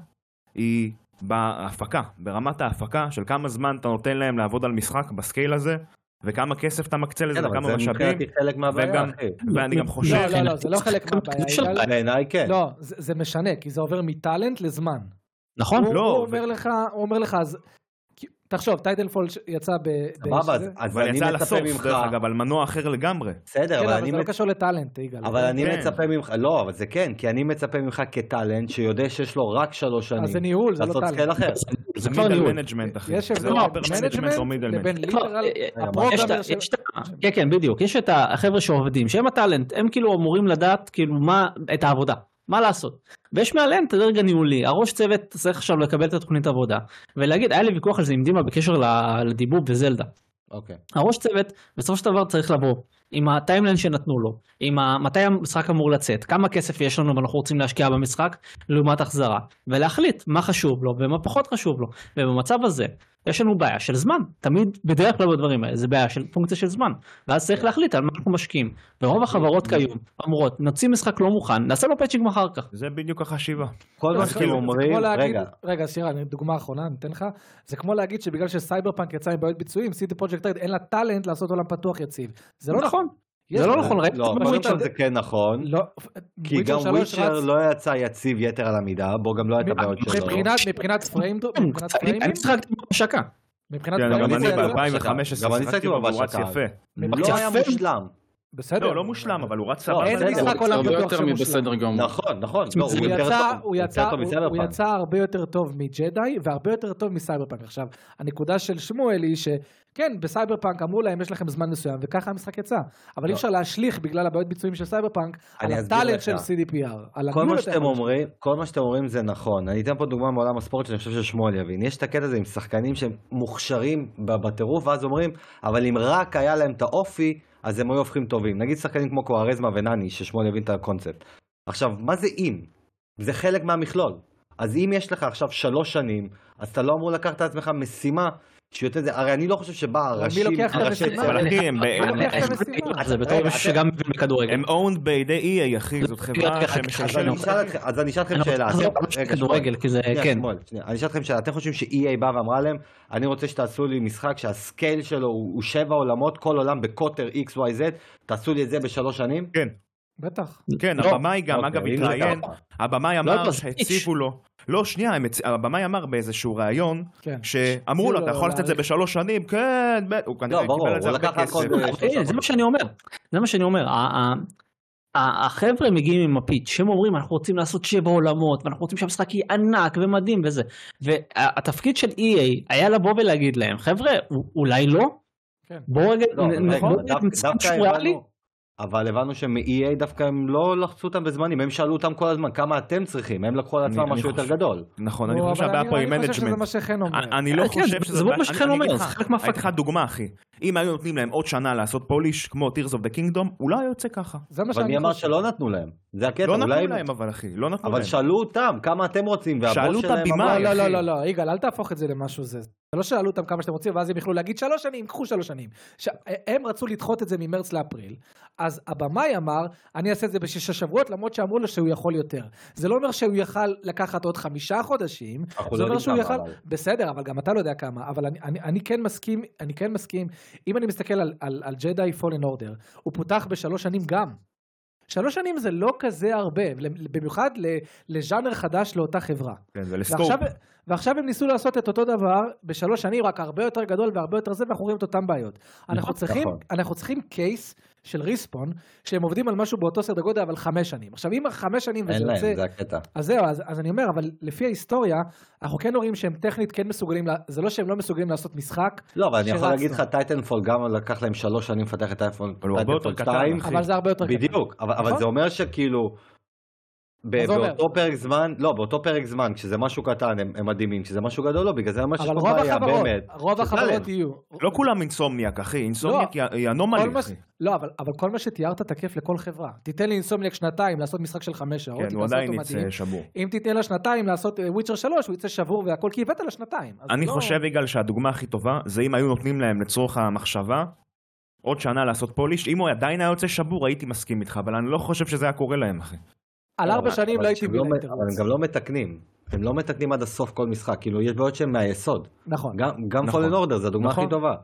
היא בהפקה, ברמת ההפקה של כמה זמן אתה נותן להם לעבוד על משחק בסקייל הזה, וכמה כסף אתה מקצה לזה, כן, אבל וכמה זה משאבים, מבחינתי חלק מהבעיה, וגם- אחי. ואני גם חושב... לא, לא, זה לא חלק מבחינתי, מהבעיה, של- יגאל. בעיניי כן. לא, זה זה משנה, כי זה עובר מטאלנט לזמן. נכון? הוא לא, הוא ו- אומר לך, הוא אומר לך, אז... כי- תחשוב, טייטנפול ש- יצא ב... סבבה, ב- אז- זה- אז אבל אני יצא מצפה לסוף, ממך, דרך אגב, על מנוע אחר לגמרי. בסדר, כן, אבל אבל אני זה לא מצפה... קשור לטאלנט, יגאל. אבל אני כן. מצפה ממך, לא, אבל זה כן, כי אני מצפה ממך כטאלנט שיודע שיש לו רק שלוש שנים. אז זה ניהול, זה לא לעשות טאלנט. סקייל (laughs) אחר. זה זה כבר מידל ניהול. מנג'מנט, אחי. יש זה הבדל לא בין upper management או מנג'מנט middle לבין כבר, ליטרל... אה, רגע, מה? יש את ה- הפרוגרמר יש את ה- כן כן בדיוק יש את החבר'ה שעובדים שהם הטאלנט הם כאילו אמורים לדעת כאילו מה את העבודה מה לעשות ויש מעליהם את הדרג הניהולי הראש צוות צריך עכשיו לקבל את התוכנית עבודה ולהגיד היה לי ויכוח על זה עם דימה בקשר ל- לדיבוב בזלדה אוקיי. הראש צוות בסופו של דבר צריך לבוא עם הטיימליין שנתנו לו, עם ה... מתי המשחק אמור לצאת, כמה כסף יש לנו ואנחנו רוצים להשקיע במשחק לעומת החזרה, ולהחליט מה חשוב לו ומה פחות חשוב לו, ובמצב הזה יש לנו בעיה של זמן, תמיד בדרך כלל בדברים האלה זה בעיה של פונקציה של זמן, ואז צריך להחליט על מה אנחנו משקיעים, ורוב החברות כיום אומרות נוציא משחק לא מוכן, נעשה לו פאצ'ינג אחר כך. זה בדיוק החשיבה. כל מה לא, זה שאתם כמו אומרים, להגיד- רגע, רגע, שירה, אני- דוגמה אחרונה, אני אתן לך. זה כמו להגיד שבגלל שסייבר פאנק יצא עם בעיות ביצועים, סיטי פרויקט אין לה טאלנט לעשות עולם פתוח יציב. זה לא נכון. יש- זה לא נכון, ראיתי לא, את זה וויצ'ר פשוט- זה כן נכון, לא, כי וויצ'ר גם שלוש וויצ'ר רץ- לא יצא יציב יתר על המידה, בו גם לא הייתה בעיות שלו. מבחינת מבחינת פריים דרופ, מבחינת פריימים, אני משחקתי בהשקה. מבחינת לא כן, גם גם פריימים, אני אני ב-2015 גם אני שיחקתי שיחקתי בו והוא בבשקה. רץ יפה. לא היה יפה. מושלם. בסדר, לא, לא מושלם, אבל הוא רץ לא, סבבה. אין בסדר, משחק הוא עולם הרבה בטוח יותר שמושלם. מבסדר גמור. נכון, נכון. לא, הוא יותר יצא, טוב. הוא יצא, יותר טוב הוא- מסייבר הוא פאנק. יצא הרבה יותר טוב מג'די והרבה יותר טוב מסייבר פאנק. עכשיו, הנקודה של שמואל היא שכן, בסייבר פאנק אמרו להם יש לכם זמן מסוים וככה המשחק יצא. אבל אי אפשר להשליך בגלל הבעיות ביצועים של סייבר פאנק על לא. אני אסביר הטאלנט לך. של CDPR. על כל מה הניהול שאתם הטכני. אומרים, כל מה שאתם אומרים זה נכון. אני אתן פה דוגמה מעולם הספורט שאני חושב ששמואל יבין. יש את הקטע הזה עם שחקנים שהם מוכשרים ב- בטירוף, ואז אומרים, אבל אם רק היה להם את האופי, אז הם היו הופכים טובים. נגיד שחקנים כמו קוארזמה ונני, ששמואל יבין את הקונספט. עכשיו, מה זה אם? זה חלק מהמכלול. אז אם יש לך עכשיו שלוש שנים, אז אתה לא אמור לקחת על עצמך משימה שיותר זה, הרי אני לא חושב שבא אבל מי הראשי, לוקח את הראשי המשימה? אבל אחי, הם ב- אני לוקח את המשימה. זה בתור מישהו שגם מבין בכדורגל. הם owned בידי EA, אחי, זאת חברה רגע, אז שמשלשלת. אני אשאל אתכם- אז אני אשאל אתכם אני רוצה שאלה. לחזור אתם- למשחק רגע, שמואל. כדורגל, כי זה, אה, שנייה, כן. שמואל, שנייה. אני אשאל אתכם שאלה, אתם חושבים ש-EA באה ואמרה להם, אני רוצה שתעשו לי משחק שהסקייל שלו הוא הוא שבע עולמות, כל עולם בקוטר XYZ, תעשו לי את זה בשלוש שנים? בטח. כן, לא. הבמאי גם, אוקיי, אגב, אם זה התראיין, ככה. הבמאי לא אמר יודע, שהציבו לו. לא, שנייה, הם הצ- הבמאי אמר באיזשהו ראיון, כן. שאמרו לו, אתה יכול לעשות את זה בשלוש שנים, כן, ב- הוא כנראה ברור, קיבל את זה הוא הרבה לקח הכל כסף. ב- אה, זה מה שאני אומר, זה מה שאני אומר, ה- ה- ה- החבר'ה מגיעים עם הפיץ', הם אומרים אנחנו רוצים לעשות שבע עולמות ואנחנו רוצים שהמשחק יהיה ענק ומדהים וזה, והתפקיד של EA היה לבוא ולהגיד להם חבר'ה א- אולי לא, כן. בואו רגע לא, נ- אבל נ- נכון, רגע, בואו אבל דו- נמצא דווקא משהו ריאלי. הבנו- אבל הבנו שמ-EA דווקא הם לא לחצו אותם בזמנים, הם שאלו אותם כל הזמן כמה אתם צריכים, הם לקחו על אני- עצמם אני משהו יותר חושב- גדול. נכון, אני לא, אבל חושב שהבעיה פה היא אני חושב שזה מנג'מנט. מה שחן אומר. אני לא כן, חושב זה שזה... מאוד אני- מה שחן אני אומר, אגיד זה לך, חלק מהפקטור. אני אתן לך דוגמה, אחי. אם היו נותנים להם עוד שנה לעשות פוליש, כמו Tears of the Kingdom, אולי היה יוצא ככה. זה מה אבל שאני מי אמר חושב. שלא נתנו להם? זה הקטע, לא כן, אולי... נתנו להם, אבל אחי, לא נתנו אבל להם. שאלו אותם כמה אתם רוצים, והבוס שלהם שאלו אמר... את הבמאי, לא, אחי. לא, לא, לא, יגאל, אל תהפוך את זה למשהו זה. זה לא שאלו אותם כמה שאתם רוצים, ואז הם יכלו להגיד שלוש שנים, קחו שלוש שנים. ש... הם רצו לדחות את זה ממרץ לאפריל, אז הבמאי אמר, אני אעשה את זה בשישה שבועות, למרות שאמרו לו שהוא יכול יותר. זה לא אומר שהוא יכל לקחת עוד חמישה חודשים, אנחנו זה לא אומר יודעים שהוא כמה, יכל... אבל. בסדר, אבל גם אתה לא יודע כמה, אבל אני, אני, אני כן מסכים, אני כן מסכים, אם אני מסתכל על, על, על ג'די פולן אורדר, הוא פותח בשלוש שנים גם. שלוש שנים זה לא כזה הרבה, במיוחד ל- לז'אנר חדש לאותה חברה. כן, זה לסקופ. ועכשיו, ועכשיו הם ניסו לעשות את אותו דבר בשלוש שנים, רק הרבה יותר גדול והרבה יותר זה, ואנחנו רואים את אותן בעיות. אנחנו צריכים, נכון. אנחנו צריכים קייס של ריספון, שהם עובדים על משהו באותו סדר גודל, אבל חמש שנים. עכשיו, אם חמש שנים וזה אין יוצא... להם, זה הקטע. אז זהו, אז, אז אני אומר, אבל לפי ההיסטוריה, אנחנו כן רואים שהם טכנית כן מסוגלים, לה- זה לא שהם לא מסוגלים לעשות משחק, לא, אבל אני יכול שרצנו. להגיד לך, טייטנפול גם לקח להם שלוש שנים לפתח את אייפון, אבל הוא הרבה יותר טייטנפול קטן, 2, אחי. אבל זה הרבה יותר קטן. בדיוק, אבל- אבל נכון. זה אומר שכאילו, ב- אז זה אומר. באותו פרק זמן, לא, באותו פרק זמן, כשזה משהו קטן הם הם מדהימים, כשזה משהו גדול לא, בגלל זה ממש יש אבל פה רוב בעיה, החברות, באמת. רוב זה החברות טאלנט. יהיו. לא כולם אינסומניאק, אחי. אינסומניאק היא- היא לא. כל אנומלי, מה- אחי. לא, אבל, אבל כל מה שתיארת תקף לכל חברה. תיתן לי אינסומניאק שנתיים לעשות משחק של חמש שעות, היא כן, הוא תעשה עדיין אותו מדהים. יצא שבור. אם תיתן לה שנתיים לעשות וויצ'ר 3, הוא יצא שבור והכל, כי הבאת לה שנתיים. אז אני לא- חושב, יגאל, שהדוגמה הכי טובה זה אם היו נותנים להם לצורך המחשבה עוד שנה לעשות פוליש, אם הוא עדיין היה יוצא שבור הייתי מסכים איתך, אבל אני לא חושב שזה היה קורה להם, אחי. על ארבע אבל- שנים אבל לא הייתי כשהם לא מבין מ- אבל הם גם לא מתקנים. הם לא מתקנים עד הסוף כל משחק, כאילו יש בעיות שהן מהיסוד. נכון. גם- גם נכון. פולן אורדר, זו הדוגמה נכון. הכי טובה.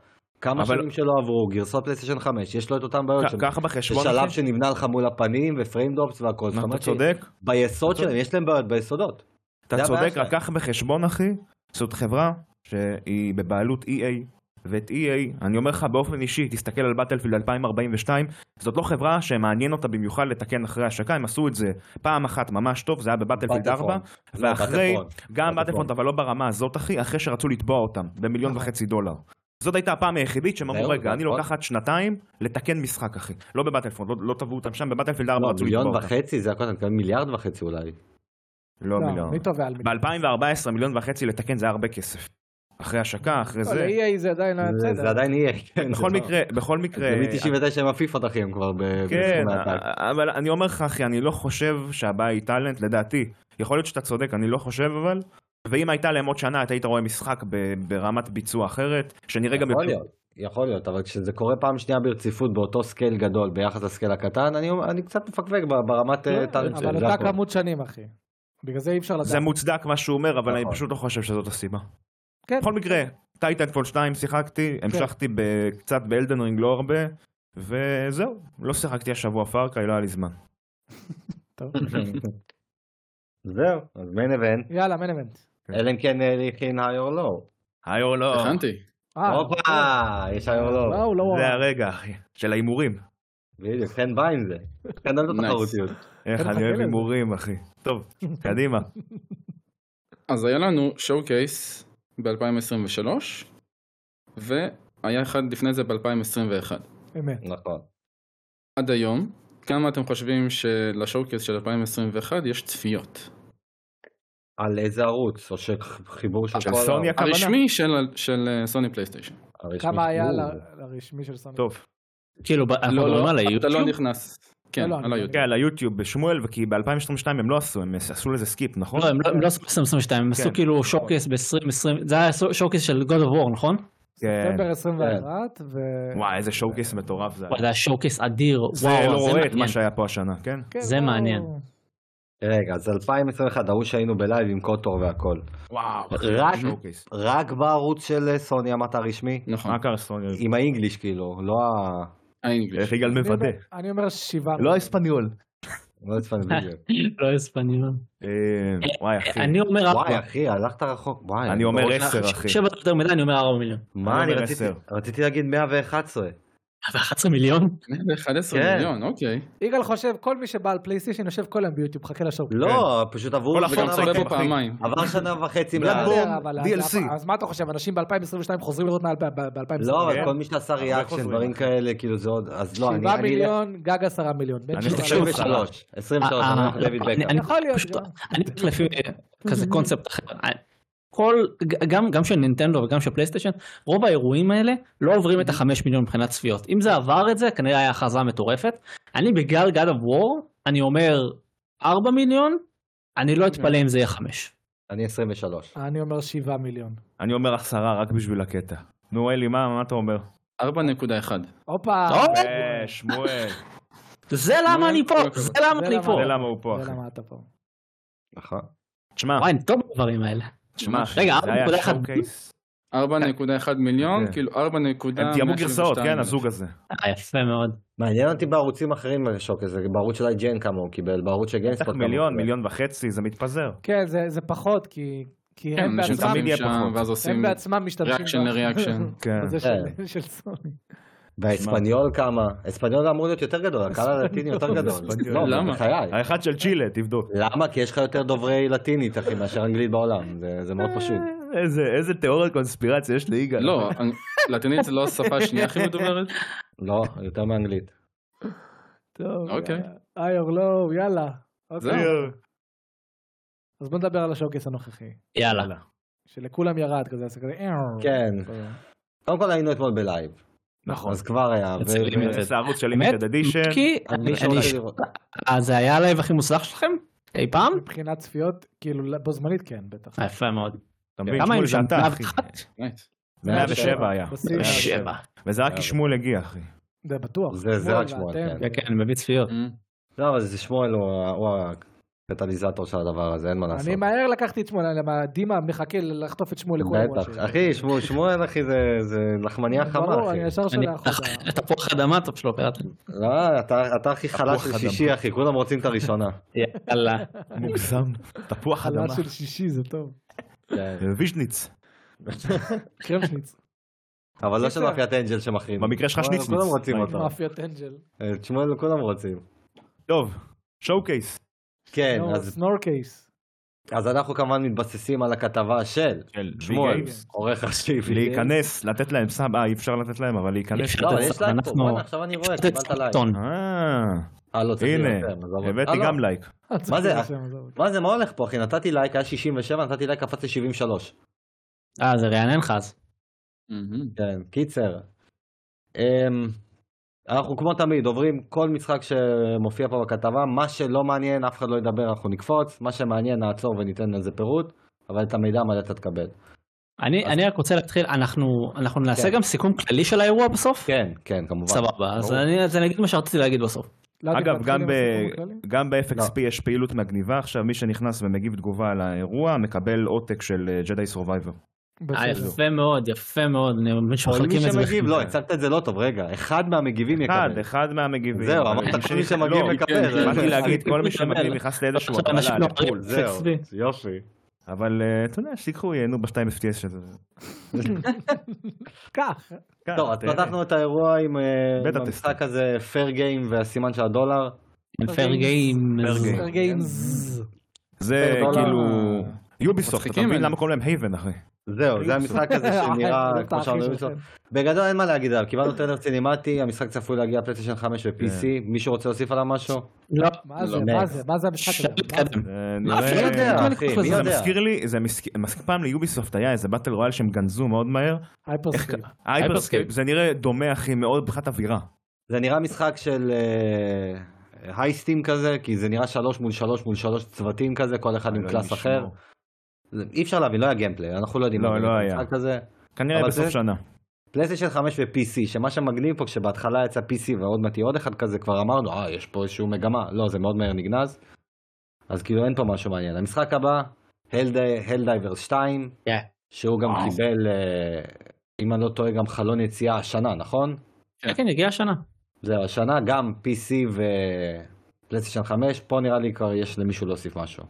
כמה אבל- שנים שלא עברו, גרסות פלייסטיישן 5, יש לו את אותן לא, בעיות. כ- שם. ככה זה בחשבון, שלב אחי. שנבנה לך מול הפנים ופריים דופס והכל. זאת אתה אומרת צודק, שביסוד אתה צודק. שלהם, יש להם בעיות ביסודות. אתה זה הבעיה צודק, שלהם. רק קח בחשבון, אחי, זאת חברה שהיא בבעלות EA, ואת EA, אני אומר לך באופן אישי, תסתכל על באטלפילד 2042, זאת לא חברה שמעניין אותה במיוחד לתקן אחרי השקה, הם עשו את זה פעם אחת ממש טוב, זה היה בבאטלפילד 4, בטלפון. לא, ואחרי, בטלפון. גם בטלפון. באטלפונט, אבל לא ברמה הזאת, אחי, אחרי שרצו לתבוע אותם במיליון נכון. וחצי דולר. זאת הייתה הפעם היחידית שהם אמרו, זהו, רגע, זה אני נכון. לוקחת שנתיים לתקן משחק, אחי. לא בבטלפונט, לא- לא תבעו אותם שם, בבטלפילד 4 לא, רצו לתבוע מיליון אותם. וחצי זה הכל, אתה מתכוון מיליארד וחצי אולי. לא לא, מיליון. מי תובע על מיליון? ב-2014 מיליון וחצי לתקן זה היה הרבה כסף. אחרי השקה, אחרי לא, זה. ל-EA זה עדיין לא היה זה- זה בסדר. עדיין יהיה. כן, בכל זה לא- מקרה, בכל זה מקרה... מ-99 הם עפיפות אחי הם כבר ב... כן, בסכומי עתק. אבל אני אומר לך, אחי, אני לא חושב שהבעיה היא טאלנט, לדעתי. יכול להיות שאתה צודק, אני לא חושב, אבל... ואם הייתה להם עוד שנה, אתה היית רואה משחק ב- ברמת ביצוע אחרת, שנראה גם... יכול יותר- להיות, יכול להיות, אבל כשזה קורה פעם שנייה ברציפות באותו סקייל גדול ביחס לסקייל הקטן, אני אומר- אני קצת מפקפק ב- ברמת אה, טאלנט לא, אבל שלי, זה אותה הכל. כמות שנים, אחי. בגלל זה אי אפשר לדעת. זה מוצדק מה שהוא אומר, אבל אני לא נכון. פשוט לא חושב שזאת הסיבה. כן. כן. בכל מקרה, טייטנפול 2 שיחקתי, המשכתי ב- קצת באלדן רינג, לא הרבה, וזהו, לא שיחקתי השבוע פארקאי, לא היה לי זמן. טוב. זהו, אז מיין אבנט, יאללה, מן אבנט. אלא אם כן אלי הכין היי אור לא. היי או לא, הכנתי. אה, הופה, יש היי אור לא. וואו, לא זה וואו. הרגע אחי, של ההימורים. בדיוק, חן בא עם זה. חן אוהב את Nice. התחרותיות. איך אתה אני מחכה אוהב לזה. הימורים אחי. טוב, קדימה. אז היה לנו שואו קייס ב-2023, והיה אחד לפני זה ב-2021. אמת. נכון. עד היום, כמה אתם חושבים שלשואו קייס של 2021 יש צפיות? על איזה ערוץ, או שחיבור של של כל... סוני הערוץ. הכוונה? הרשמי של, של אה, סוני פלייסטיישן. הרשמי. כמה היה או, ל- לרשמי של סוני? טוב, כאילו, ב- אנחנו לא, מדברים לא, על אתה היוטיוב? לא נכנס. כן, לא, על אני- היוטיוב. כן, על היוטיוב בשמואל, וכי ב-2022 הם לא עשו, הם עשו לזה סקיפ, נכון? לא, הם לא- הם לא עשו ב-2022, הם עשו כן. כאילו שוקייס ב-2020, זה היה שוקייס של God of War, נכון? כן. ספטמבר 21, ו... וואי, איזה שואו-קייס מטורף זה היה. וואי, זה היה שוקייס אדיר, וואו, זה לא רואה זה את מה מעניין. שהיה פה השנה, כן? כן, זה וואו. מעניין. רגע, אז 2021, ההוא שהיינו בלייב עם קוטור והכל. וואו, רק- שואו-קייס. רק בערוץ של אה, סוני אמרת הרשמי? נכון, מה קרה סוני? עם האינגליש כאילו, לא ה... האנגליש. איך יגאל אני אומר- מוודא? אני אומר שבעה. לא אספניול. לא הצפן (laughs) בדיוק. (laughs) לא הספניון. אה, וואי אחי, אני אומר כן. וואי ארבע. אחי, הלכת רחוק. וואי, אני אומר ברור. עשר אחי. שבע זה יותר מדי, אני אומר ארבע מיליון. מה, אני אני אומר רציתי- עשר. רציתי להגיד 111. ו-11 מיליון? (laughs) 11 כן. מיליון, אוקיי. יגאל חושב, כל מי שבא על פלייסטיישן יושב כל היום ביוטיוב, חכה לשוק. לא, פשוט עברו כן. כל וגם אחרונה שנה סוגר וחצי. פה פעמיים. עבר שנה וחצי בלאד מאז. בורן. בסדר, אבל אז- DLC. אז מה אתה חושב, אנשים ב-2022 חוזרים לראות מעל ב-2022? לא, כן. אבל כל מי שעשה הרבה ריאקשן, חוזרים. דברים כאלה, כאילו זה עוד, אז לא, אני... 7 אני- מיליון, גג 10 מיליון. בין אני שבעה חושב- ל- 23, 23, אה, אנחנו דויד אני- בקאם. אני יכול להיות, פשוט- גם. אני הולך לפי אה, (laughs) כזה קונספט אחר. אה, כל, ג- גם, גם של נינטנדו וגם של פלייסטיישן, רוב האירועים האלה לא עוברים Mm-hmm. את החמש מיליון מבחינת צפיות. אם זה עבר את זה, כנראה היה הכרזה מטורפת. אני בגלל God of War, אני אומר ארבע מיליון, אני לא אתפלא Mm-hmm. אם זה יהיה חמש. אני 23. אני אומר 7 מיליון. אני אומר עשרה רק בשביל הקטע. נו אלי, מה מה אתה אומר? 4.1. הופה. טוב. אה, שמואל, זה למה אני פה, זה למה אני פה. זה למה הוא פה זה אחי. למה אתה פה. נכון. תשמע, וואי, אני טוב בדברים האלה. תשמע אחי, רגע, זה היה 4.1. שואו-קייס. 4.1 מיליון, כן. כאילו 4.172. הם תיאמו גרסאות, כן, הזוג הזה. אה, יפה מאוד. מעניין אותי בערוצים אחרים על השוק הזה, בערוץ של IGN כמה הוא קיבל, בערוץ של בטח גיינספורט כמה הוא מיליון, קיבל. מיליון וחצי, זה מתפזר. כן, זה- זה פחות, כי כי כן, הם אנשים בעצמם... תמיד צמים יהיה שם, פחות. ואז עושים הם בעצמם משתמשים... ריאקשן ב- (laughs) לריאקשן. כן. בזה של- של סוני. והאספניול כמה, אספניול אמור להיות יותר גדול, הקהל הלטיני יותר גדול. אספניול. לא, למה? בחיי. האחד של צ'ילה, תבדוק. למה? כי יש לך יותר דוברי לטינית, אחי, מאשר אנגלית בעולם. זה- זה מאוד פשוט. איזה, איזה תיאוריה קונספירציה יש ליגאל. לא, אני- לטינית זה לא השפה השנייה הכי מדוברת? לא, יותר מאנגלית. טוב, אוקיי. איי אור לא, יאללה. אוקיי. זהו. אה, אז בוא נדבר על השוקס הנוכחי. יאללה. שלכולם ירד כזה, זה כזה... "אהו". כן. כזה. קודם כל היינו אתמול בלייב. נכון. אז כבר היה. ו- יצא לי ו- מזה. זה הערוץ של באמת? לימיטד אדישן. כי אני אני- שרציתי אני- לראות. אה, זה היה הלייב הכי מוצלח שלכם? אי פעם? מבחינת צפיות, כאילו בו זמנית כן, בטח. אה, יפה מאוד. אתה מבין, כמה שמואל היו שם? זה אתה, אחי. 101? Nice. 107 היה. בשיא. מאה ושבע. שבע. וזה אה, רק כי שמואל הגיע, אחי. זה בטוח. זה- זה רק שמואל, ואתם. כן. כן, כן, מביא צפיות. לא, אבל זה שמואל הוא ה- הוא הקטליזטור של הדבר הזה, אין מה לעשות. אני מהר לקחתי את שמואל, למה דימה מחכה לחטוף את שמואל לכל אירוע בטח. אחי, שמואל- שמואל, אחי, זה- זה לחמניה חמה, ברור, אחי. אני ישר אני שולח אותה. תפוח אדמה, טוב שלא פירטתי. לא, אתה- אתה הכי חלש תפוח לשישי, אדמה. אחי, כולם רוצים את (laughs) הראשונה. יאללה. אה. מוגזם. תפוח חלל אדמה. אה, של שישי זה טוב. כן. ויז'ניץ. (laughs) קרמשניץ, אבל לא של מאפיית אנג'ל שמחרים. במקרה שלך כולם- שניצניץ. אה, כולם רוצים מה, אותו. מאפיית אנג'ל. את אה, שמואל כולם רוצים. טוב, שואו-קייס. כן, נו, אז- (laughs) סנורקייס. אז אנחנו כמובן מתבססים על הכתבה של של שמואל, גיימס. עורך ראשי. (laughs) להיכנס, לתת להם סאב, אה, אי אפשר לתת להם, אבל להיכנס. לא, לתת יש סאב, לייק פה, אנחנו- בואנה, עכשיו אני רואה, קיבלת לייק. טון. אה, אה, לא, צריך הנה, יותר, עזוב. הבאתי אה, לא. גם לייק. מה זה? מה זה, מה הולך פה, אחי? נתתי לייק, היה 67, נתתי לייק, קפץ ל-73. אה, זה רענן לך אז. מהמם. כן, קיצר. אמ, אנחנו כמו תמיד עוברים כל משחק שמופיע פה בכתבה, מה שלא מעניין אף אחד לא ידבר אנחנו נקפוץ, מה שמעניין נעצור וניתן לזה פירוט, אבל את המידע המלא אתה תקבל. אני- אז- אני רק רוצה להתחיל, אנחנו אנחנו נעשה כן. גם סיכום כללי של האירוע בסוף? כן, כן, כמובן. סבבה, אז ברור. אני- אז אני אגיד מה שרציתי להגיד בסוף. אגב, גם ב- גם ב-FXP יש אה, פעילות מגניבה, עכשיו מי שנכנס ומגיב תגובה על האירוע, מקבל עותק של ג'די סורווייבר. אה, יפה מאוד, יפה מאוד, אני מבין כל מי שמחלקים את זה. שמגיב, לא, הצגת את זה לא טוב, רגע, אחד מהמגיבים אחד, יקבל. אחד מהמגיבים. זהו, אבל אמרת כל שני- מי שמגיב לא, מקבל. באתי להגיד, (laughs) כל מי מקבל. שמגיב נכנס לאיזשהו עכשיו הגבלה אנשים לא לפול, אומרים, זהו, צבי. יופי. אבל אה, אתה יודע, שיקחו, ייהנו בשתיים FTS שזה. כך. כן, טוב, אז אה, תהנה. פתחנו את האירוע עם אה, בטא עם המשחק הזה, פייר גיים והסימן של הדולר. פייר גיים. Fair game. גיימס. זה דולר. כאילו... יוביסופט, אתה מצחיקים מבין אלה. למה קוראים להם הייבן, אחי? זהו, אוקיי. זה (laughs) המשחק הזה (laughs) שנראה כמו שאמרנו. בגדול אין מה להגיד עליו, קיבלנו טרנר צינימטי, המשחק צפוי להגיע פלייסטיישן 5 ו-PC, כן. מישהו רוצה להוסיף עליו משהו? אה, לא, מה זה, לא, מה next. זה, מה זה המשחק אפשר לא. הזה? להתקדם. זה מה, נראה- מי אפשר לא יודע, אה, אחי, זה מי כן, זה יודע? מזכיר לי, זה מזכיר- מזכיר פעם ליוביסופט היה איזה באטל רויאל שהם גנזו מאוד מהר, הייפרסקיפ. הייפרסקייפ, זה נראה דומה אחי, מאוד מבחינת אווירה. זה נראה משחק של אה, הייסטים כזה, כי זה נראה שלוש מול שלוש מול שלוש צוותים כזה, כל אחד עם אלוהים קלאס ישמור. אחר. זה- אי אפשר להבין, לא היה גיימפליי, אנחנו לא יודעים. לא, מה זה לא היה. המשחק הזה. כנראה אבל בסוף זה- אה? שנה. פלייסטיישן 5 ו-PC, שמה שמגניב פה, כשבהתחלה יצא PC ועוד מעט יהיה עוד אחד כזה, כבר אמרנו, אה, יש פה איזשהו מגמה. לא, זה מאוד מהר נגנז. אז כאילו אין פה משהו מעניין. המשחק הבא, הלדייברס 2, כן. שהוא גם וואו. קיבל, אה, אם אני לא טועה, גם חלון יציאה השנה, נכון? כן, כן, הגיעה השנה. זהו, השנה גם PC ופלייסטיישן 5, פה נראה לי כבר יש למישהו להוסיף משהו.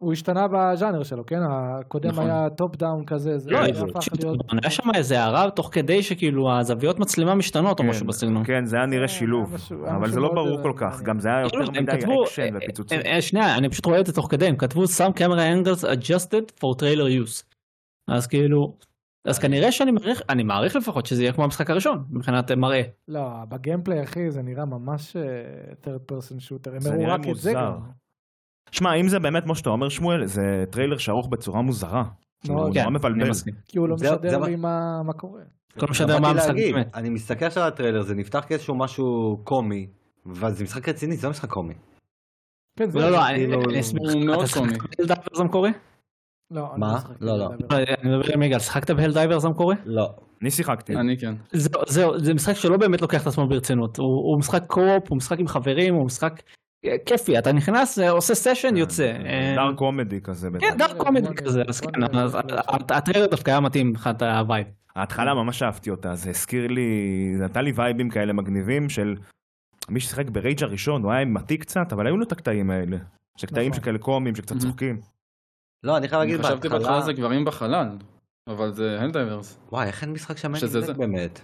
הוא השתנה בז'אנר שלו, כן? הקודם נכון. היה טופ דאון כזה, זה לא, זה אבל הפך פשוט, להיות... היה שם איזה הערה תוך כדי שכאילו הזוויות מצלמה משתנות או כן, משהו בסגנון. כן, זה היה נראה היה שילוב, משהו- היה אבל משהו זה לא מאוד אה, ברור כל מעניין. כך, גם זה היה כאילו, יותר הם מדי כתבו, אקשן אה, ופיצוצים. אה, אה, שנייה, אני פשוט רואה את זה תוך כדי, הם כתבו some camera angles adjusted for trailer use. אז כאילו, אז כנראה שאני מעריך, אני מעריך לפחות שזה יהיה כמו המשחק הראשון, מבחינת אה, מראה. לא, בגיימפליי, אחי, זה נראה ממש אה, third person shooter. הם זה הראו נראה רק את זה מוזר. גם. אה. שמע, אם זה באמת כמו שאתה אומר, שמואל, זה טריילר שערוך בצורה מוזרה. מאוד, הוא כן, נורא מבלבל. אני מסכים. כי הוא לא זה- זה משדר מה- לי מה מה קורה. כל מה שאתה יודע מה באתי המשחק להגיד, באמת. אני מסתכל עכשיו על הטריילר, זה נפתח כאיזשהו משהו קומי, אבל זה משחק רציני, זה לא משחק קומי. כן, זה... לא, לא, אני כאילו, אני אשמח. הוא מאוד אתה שיחקת קומי. בהלדייבר המקורי? לא, אני מה? משחק. לא, לא. לא, אני מדבר עם יגאל, שיחקת בהלדייבר המקורי? לא. אני שיחקתי. אני כן. זהו, זהו, זה משחק שלא באמת לוקח את עצמו ברצינות. הוא, הוא משחק קו-אופ, הוא משחק עם חברים, הוא משחק אה, כיפי. אתה נכנס, אה, עושה סשן, יוצא. אה, דארק קומדי כזה. בטח. כן, דארק קומדי בוא כזה. נראה, אז בוא כן, נראה, אז בוא נראה. הט- הטריילר דווקא היה מתאים מבחינת הווייב. ההתחלה ממש אהבתי אותה, זה הזכיר לי, זה נתן לי וייבים כאלה מגניבים של מי ששיחק ברייג' הראשון, הוא היה אימתי קצת, אבל היו לו את הקטעים האלה. שקטעים נכון. שכאלה קומיים, שקצת Mhm. צוחקים. לא, אני חייב אני להגיד חשבתי בהתחלה בהתחלה, זה גברים בחלל, אבל זה הלדייברס. וואי, איך אין משחק שם שזה מניאק זה. באמת.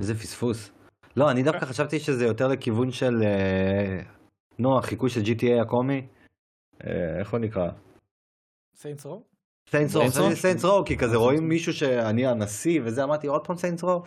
איזה פספוס. לא, אני דווקא חשבתי שזה יותר לכיוון של, אה, נו, החיקוי של GTA הקומי. אה, איך הוא נקרא? סיינס (laughs) רו? סיינס Saints Row? רו, סיינס רו, כי כזה רואים מישהו שאני הנשיא וזה, אמרתי עוד פעם סיינס רו.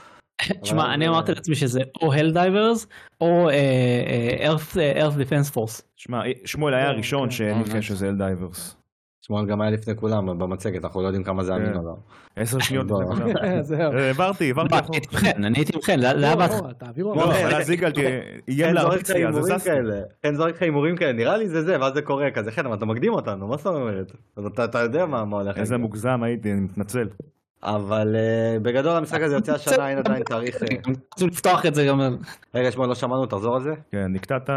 תשמע, אני זה- אמרתי לעצמי שזה או הלדייברס, או אה, ארף דיפנס פורס. שמע, שמואל היה כן, הראשון כן. אה, שהניחה nice. שזה אל דייברס. שמואל גם היה לפני כולם במצגת, אנחנו לא יודעים כמה זה אמין כן. או לא. עשר (laughs) שניות. בוא. זה כבר- זהו. אה, העברתי, העברתי. אני הייתי עם חן, אני הייתי עם חן, זה היה לא, בהתחלה. לא, תעבירו לא, עליו. אבל אז יגאל תהיה- כן, איים לא, חן זורק להרביץ לך לי, אז הימורים הזזתי. כאלה, חן זורק לך הימורים כאלה, נראה לי זה זה, ואז זה קורה כזה, חן, אבל אתה מקדים אותנו, מה זאת אומרת? אז אתה- אתה יודע מה מה הולך. איזה לקרות. מוגזם הייתי, אני מתנצל. אבל אה, בגדול המשחק הזה יוצא השנה, אין עדיין תאריך. (laughs) אה, רצו לפתוח את זה גם. רגע, שמואל, לא שמענו, תחזור על זה. כן, נקטעת.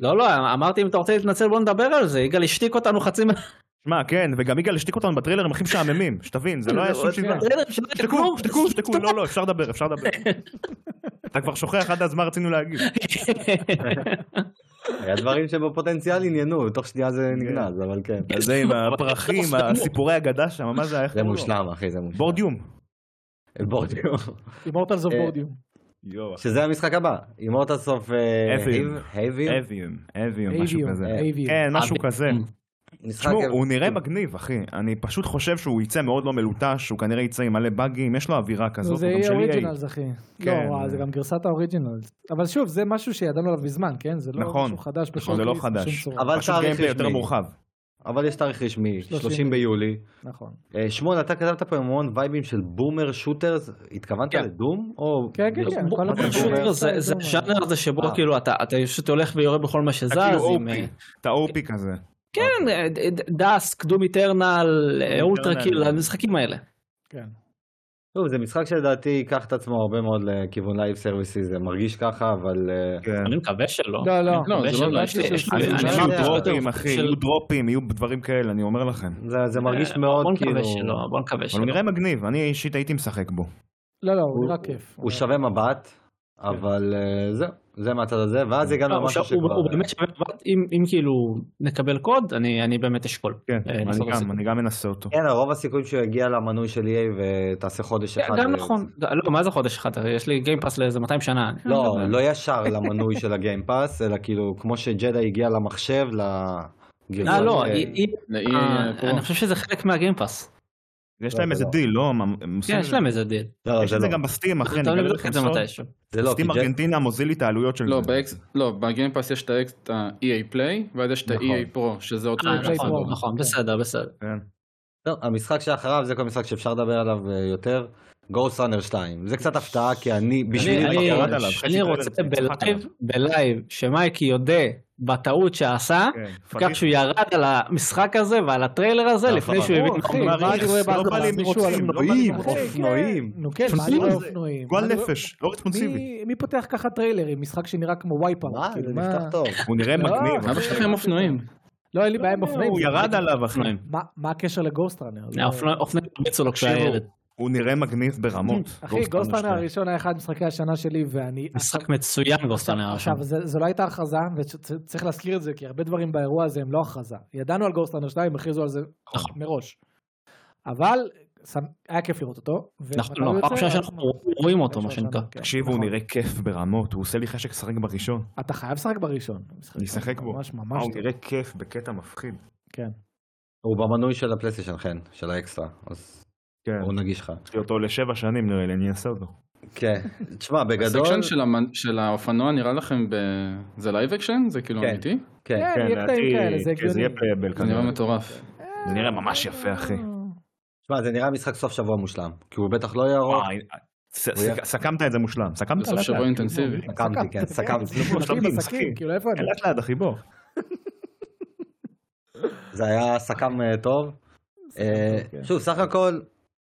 לא, לא, אמרתי אם אתה רוצה להתנצל בוא נדבר על זה. יגאל השתיק אותנו חצי מה... שמע, כן, וגם יגאל השתיק אותנו בטריילרים הכי משעממים, שתבין, זה לא היה שום שיבה. שתקו, שתקו, שתקו, לא, לא, אפשר לדבר, אפשר (laughs) לדבר. אתה כבר שוכח עד אז מה רצינו (laughs) להגיד. היה דברים שבפוטנציאל עניינו, תוך שנייה זה נגנז, אבל כן. זה עם (laughs) הפרחים, הסיפורי אגדה שם, מה זה היה? איך זה קוראים לו? מושלם, אחי, זה מושלם. בורדיום. בורדיום. אימורטלס אוף אה, בורדיום. שזה המשחק הבא, עם עוד הסוף אה, אביום. הייבים. אביום, אביום, משהו אייביום. כזה. אייביום. כן, משהו כזה. משחק- תשמעו, הוא נראה מגניב, אחי. אני פשוט חושב שהוא יצא מאוד לא מלוטש, הוא כנראה יצא עם מלא באגים, יש לו אווירה נו, כזאת, זה הוא גם יהיה של E EA. אוריג'ינלס אחי. לא, כן. וואו, זה גם גרסת האוריג'ינלס. אבל שוב, זה משהו שידענו עליו מזמן, כן? זה לא נכון. משהו חדש נכון, זה לא בשורטליסט, בשום חדש. צורה. אבל פשוט תאריך גיימפליי יותר רשמי. מורחב. אבל יש תאריך רשמי, 30 30 ביולי. נכון. אה, שמואל, אתה כתבת פה עם המון וייבים של בומר שוטרס, התכוונת כן. לדום? או... כן, כן, כן. כל אתה הזמן בומר? שומר, זה זה בומר. הז'אנר הזה שבו אה. כאילו אתה אתה פשוט הולך ויורה בכל מה שזז. אתה כאילו עם, אה, OP, אתה OP כזה. כן, אה, ד- ד- דאסק, דום איטרנל, אה, Doom אולטרה Eternal. קיל, המשחקים האלה. כן. שוב, זה משחק שלדעתי ייקח את עצמו הרבה מאוד לכיוון לייב סרוויסי, זה מרגיש ככה, אבל אה, כן. אני מקווה שלא. לא, לא. אני מקווה לא, זה שלא, לא יש לי- משהו יש של- לי- אני- אני- אני- יש לי יודע. יהיו הרבה יותר דרופים, אחי, של- יהיו דרופים, יהיו דברים כאלה, אני אומר לכם. זה- זה מרגיש אה, מאוד בוא כאילו... נקווה שלא, בוא לא, נקווה אבל הוא שלא. נראה מגניב, אני אישית הייתי משחק בו. לא, לא, הוא הוא- נראה כיף. הוא שווה מבט, אבל אה, זהו, זה מהצד הזה, ואז הגענו לא, הוא למשהו ש- הוא שכבר... הוא באמת שווה מבט, אם- אם כאילו נקבל קוד, אני אני באמת אשקול. כן, אה, אני לנסות גם, לעשות. אני גם אנסה אותו. כן, רוב הסיכויים שהוא יגיע למנוי של EA ותעשה חודש אחד. גם אה, נכון, לא, מה זה חודש אחד? הרי יש לי גיימפאס לאיזה 200 שנה. אני- לא, לא ישר למנוי של הגיימפאס, אלא כאילו כמו שג'דה הגיע למחשב, לגרסה. אה, לא, ש- היא- היא- לאי אה, הפרו. אני חושב שזה חלק מהגיימפאס. יש לא, להם זה איזה לא. דיל, לא? הם- הם עושים כן, יש איזה- להם איזה דיל. לא, יש זה את זה לא. גם בסטים, אחי, טוב, אני נבדוק את זה מתישהו. זה לא, כי סטים ג'דה- ארגנטינה מוזיל לי את העלויות של לא, זה. באקס- לא, בגיימפאס יש את האקס- את ה-EA Play, ואז יש את נכון. ה-EA Pro, שזה אותו... אה, גיימפאס. נכון, נכון, בסדר, בסדר. כן. טוב, לא, המשחק שאחריו זה כל משחק שאפשר לדבר עליו אה, יותר, גוסט ראנר 2. זה קצת הפתעה, כי אני, בשבילי אני- זה אני- קרה. קראת עליו, חצי אני טריילר, רוצה צחקת בלייב, עליו. בלייב, שמייקי יודה בטעות שעשה, כן, כך שהוא ירד על המשחק הזה ועל הטריילר הזה נכון. לפני שהוא הבין ברור, מה אחי, הוא מה אומר. אני רואה לא בהתחלה? בא לי מישהו על מרוצים, לא בא לי אופנועים. מרוצים. אחי, כן. אופנועים. נו כן, מה אני פשוט רואה זה. אופנועים? גועל מה אני רואה- נפש, לא רצפונסיבי. מי- מי פותח ככה טריילרים? משחק שנראה כמו וייפאוט. מה, כאילו, אה, זה מה- נפתח טוב. הוא נראה לא, מגניב. אחי. למה יש לכם אופנועים? לא, אין לי בעיה עם אופנועים. הוא זה- ירד עליו, אחי. אופנועים. מה- מה הקשר לגוסט ראנר? זה- האופנוע- האופנועים הרביצו לו כשהוא היה תקשיבו, ילד. הוא נראה מגניב ברמות. לא אחי, גוסט ראנר שתיים. הראשון היה אחד משחקי השנה שלי, ואני... משחק מצוין גוסטון היה שם. עכשיו, זה- זו לא הייתה הכרזה, וצריך להזכיר את זה, כי הרבה דברים באירוע הזה הם לא הכרזה. ידענו על גוסט ראנר 2, הם הכריזו על זה נכון. מראש. אבל שמ- היה כיף לראות אותו. ומתי נכון, הוא לא, פעם יוצא? ראשונה שאנחנו רואים אותו, מה שנקרא. כן, תקשיבו, הוא נכון. נראה כיף ברמות, הוא עושה לי חשק לשחק בראשון. אתה חייב לשחק בראשון. אני אשחק בו. ממש אה, ממש. הוא נראה כיף בקטע מפחיד. כן. הוא במנוי של הפלייסטיישן, כן, של האקסטרה, אז כן. הוא נגיש לך. יש לי אותו לשבע שנים נראה לי, אני אעשה אותו. כן, תשמע, בגדול, הסקשן של המנ- של האופנוע נראה לכם ב... זה לייב אקשן? זה כאילו כן. אמיתי? כן, כן, יהיה קטעים כאלה, זה כן, זה יהיה הגיוני. פלייבל זה נראה כנראה. מטורף. זה נראה ממש יפה, אחי. אה, תשמע, זה נראה משחק סוף שבוע מושלם, כי הוא בטח לא יהיה ארוך. וואי, ס- הוא יהיה- ס- סכמת את זה מושלם. סכמת בסוף לאט שבוע לאט. אינטנסיבי. סכמתי, כן, סכמתי. משחקים משחקים, עסקים, משחקים. כאילו איפה כן, אני? לאט לאט, אחי, בוא. זה היה סכם אה, טוב. אה, כן. שוב, סך הכל,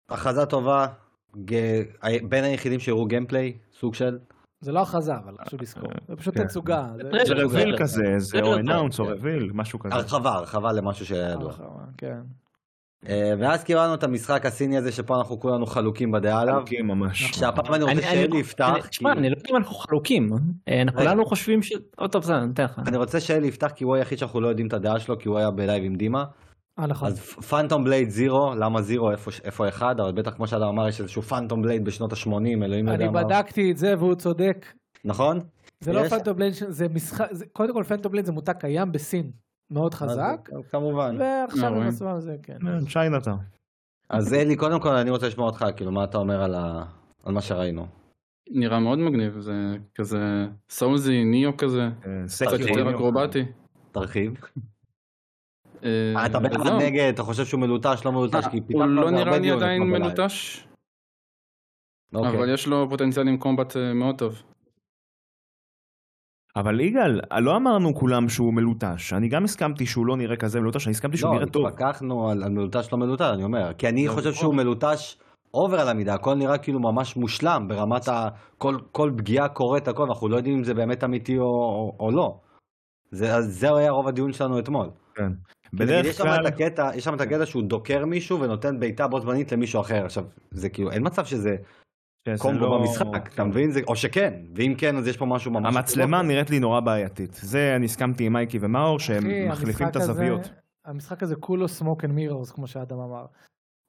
הכרזה טובה, ג- ה- בין היחידים שהראו גיימפליי, סוג של, זה לא הכרזה, אבל חשוב לזכור. זה פשוט כן. תצוגה. זה- טריילר. זה רוויל כזה, זה או טריילר טוב, אנאונס או כן. רוויל, משהו כזה. הרחבה, הרחבה למשהו שהיה ידוע. כן. אה, ואז קיבלנו את המשחק הסיני הזה שפה אנחנו כולנו חלוקים בדעה עליו. חלוקים ממש. שהפעם אני רוצה אני- אני- שאלי יפתח, אני- תשמע, כי- אני לא יודע אם אנחנו חלוקים. אה, אנחנו רגע. כולנו חושבים ש... או, טוב, בסדר, אני אתן לך. אני רוצה שאלי יפתח כי הוא היחיד שאנחנו לא יודעים את הדעה שלו כי הוא היה בלייב עם דימה. אה, נכון. אז פאנטום בלייד זירו, למה זירו, איפה- איפה אחד, אבל בטח כמו שאדם אמר יש איזשהו פאנטום בלייד בשנות ה-80, אלוהים יודע אני מה. בדקתי את זה והוא צודק. נכון? זה לא יש- פנטום בליין, זה משחק, זה- קודם כל פנטום בליין זה מותג קיים בסין, מאוד חזק, אז- כמובן. ועכשיו אה, הם רואים. עשו על זה, כן. צ'יינה טאון. אז אלי, קודם כל אני רוצה לשמוע אותך, כאילו, מה אתה אומר על ה- על מה שראינו. נראה מאוד מגניב, זה כזה סאולזי, ניו כזה, אה, קצת יותר אקרובטי. תרחיב. אה, אה, אתה בעד, זהו. נגד, אתה חושב שהוא מלוטש, לא מלוטש, כי הוא פיתחנו לא על זה הרבה נראה לי דיון עדיין אתמול בלילה. מלוטש, אוקיי. אבל יש לו פוטנציאל עם קומבט אה, מאוד טוב. אבל יגאל, לא אמרנו כולם שהוא מלוטש. אני גם הסכמתי שהוא לא נראה כזה מלוטש, אני הסכמתי שהוא לא, נראה טוב. התווכחנו על, על מלוטש לא מלוטש, אני אומר. כי אני לא, חושב נכון. שהוא מלוטש אובר על המידה, הכל נראה כאילו ממש מושלם ברמת ה... כל, כל פגיעה קורית, הכל, ואנחנו לא יודעים אם זה באמת אמיתי או, או, או לא. זה, אז זה היה רוב הדיון שלנו אתמול. נגיד, בדרך יש שם כלל... את הקטע, יש שם את הקטע שהוא דוקר מישהו ונותן בעיטה בו זמנית למישהו אחר. עכשיו, זה כאילו, אין מצב שזה כן, זה קומבו לא- (laughs) במשחק, אתה כן. מבין? זה, או שכן, ואם כן, אז יש פה משהו ממש... המצלמה לא נראית לי נורא בעייתית. זה, אני הסכמתי עם מייקי ומאור, שהם אחי, מחליפים את המשחק הזה- הזוויות. המשחק הזה כולו סמוק אנד מירורס, כמו שאדם אמר.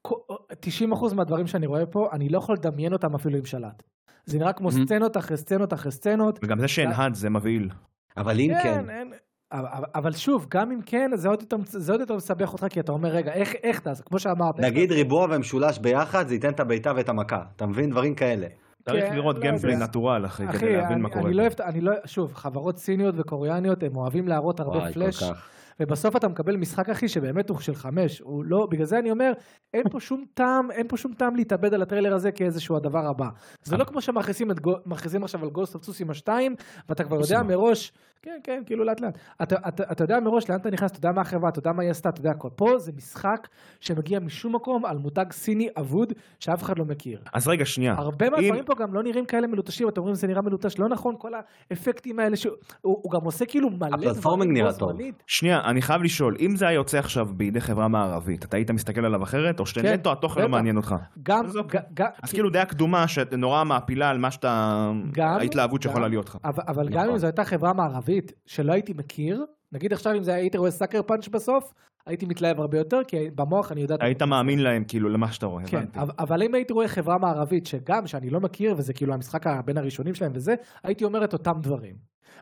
כו- 90% מהדברים שאני רואה פה, אני לא יכול לדמיין אותם אפילו עם שלט. זה נראה כמו Mhm. סצנות אחרי סצנות אחרי סצנות. וגם זה שאין האד זה מבהיל. אבל אם כן, אין- אבל- אבל- אבל שוב, גם אם כן, זה עוד יותר- זה עוד יותר מסבך אותך, כי אתה אומר, רגע, איך- איך תעשה, כמו שאמרת, איך נגיד ריבוע ומשולש ביחד, זה ייתן את הבעיטה ואת המכה. אתה מבין? דברים כאלה. צריך כן, לראות לא גיימפליי יודע. נטורל, אחי, אחי, כדי להבין אני, לא- מה קורה. אני לא אפתע, אני לא, שוב, חברות סיניות וקוריאניות, הם אוהבים להראות הרבה וואי, כל פלאש, כך. ובסוף אתה מקבל משחק אחי שבאמת הוא של חמש, הוא לא, בגלל זה אני אומר, אין פה שום טעם, אין פה שום טעם להתאבד על הטריילר הזה כאיזשהו הדבר הבא. זה לא כמו שמכריזים את גו- מכריזים עכשיו על גוסט אוף סוסימה 2, ואתה כבר יודע מראש, כן, כן, כאילו לאט לאט. אתה, אתה, אתה יודע מראש לאן אתה נכנס, אתה יודע מה החברה, אתה יודע מה היא עשתה, אתה יודע הכל. פה זה משחק שמגיע משום מקום על מותג סיני אבוד שאף אחד לא מכיר. אז רגע, שנייה. הרבה אם- מהדברים פה גם לא נראים כאלה מלוטשים, אתם אומרים זה נראה מלוטש, לא נכון, כל האפקטים האלה, שהוא הוא הוא גם עושה כאילו מלא דברים. הפלטפורמינג בו נראה טוב. זמנית. שנייה, אני חייב לשאול, אם זה היה יוצא עכשיו בידי חברה מערבית, אתה היית מסתכל עליו אחרת, או כן, שנטו התוכן לא בטח. מעניין אותך? גם, אז אוקיי. גם- גם, אז כאילו דעה קדומה שנורא מעפילה על מה שאתה... גם- ההתלהבות גם- שיכולה להיות לך. אבל, אבל גם נכון. אם זו הייתה חברה מערבית שלא הייתי מכיר, נגיד עכשיו אם זה היה- הייתי רואה סאקר פאנץ' בסוף, הייתי מתלהב הרבה יותר, כי במוח אני יודע... את היית מאמין להם, כאילו, למה שאתה רואה, כן, הבנתי. אבל- אבל אם הייתי רואה חברה מערבית שגם, שאני לא מכיר, וזה כאילו המשחק בין הראשונים שלהם וזה, הייתי אומר את אותם דברים.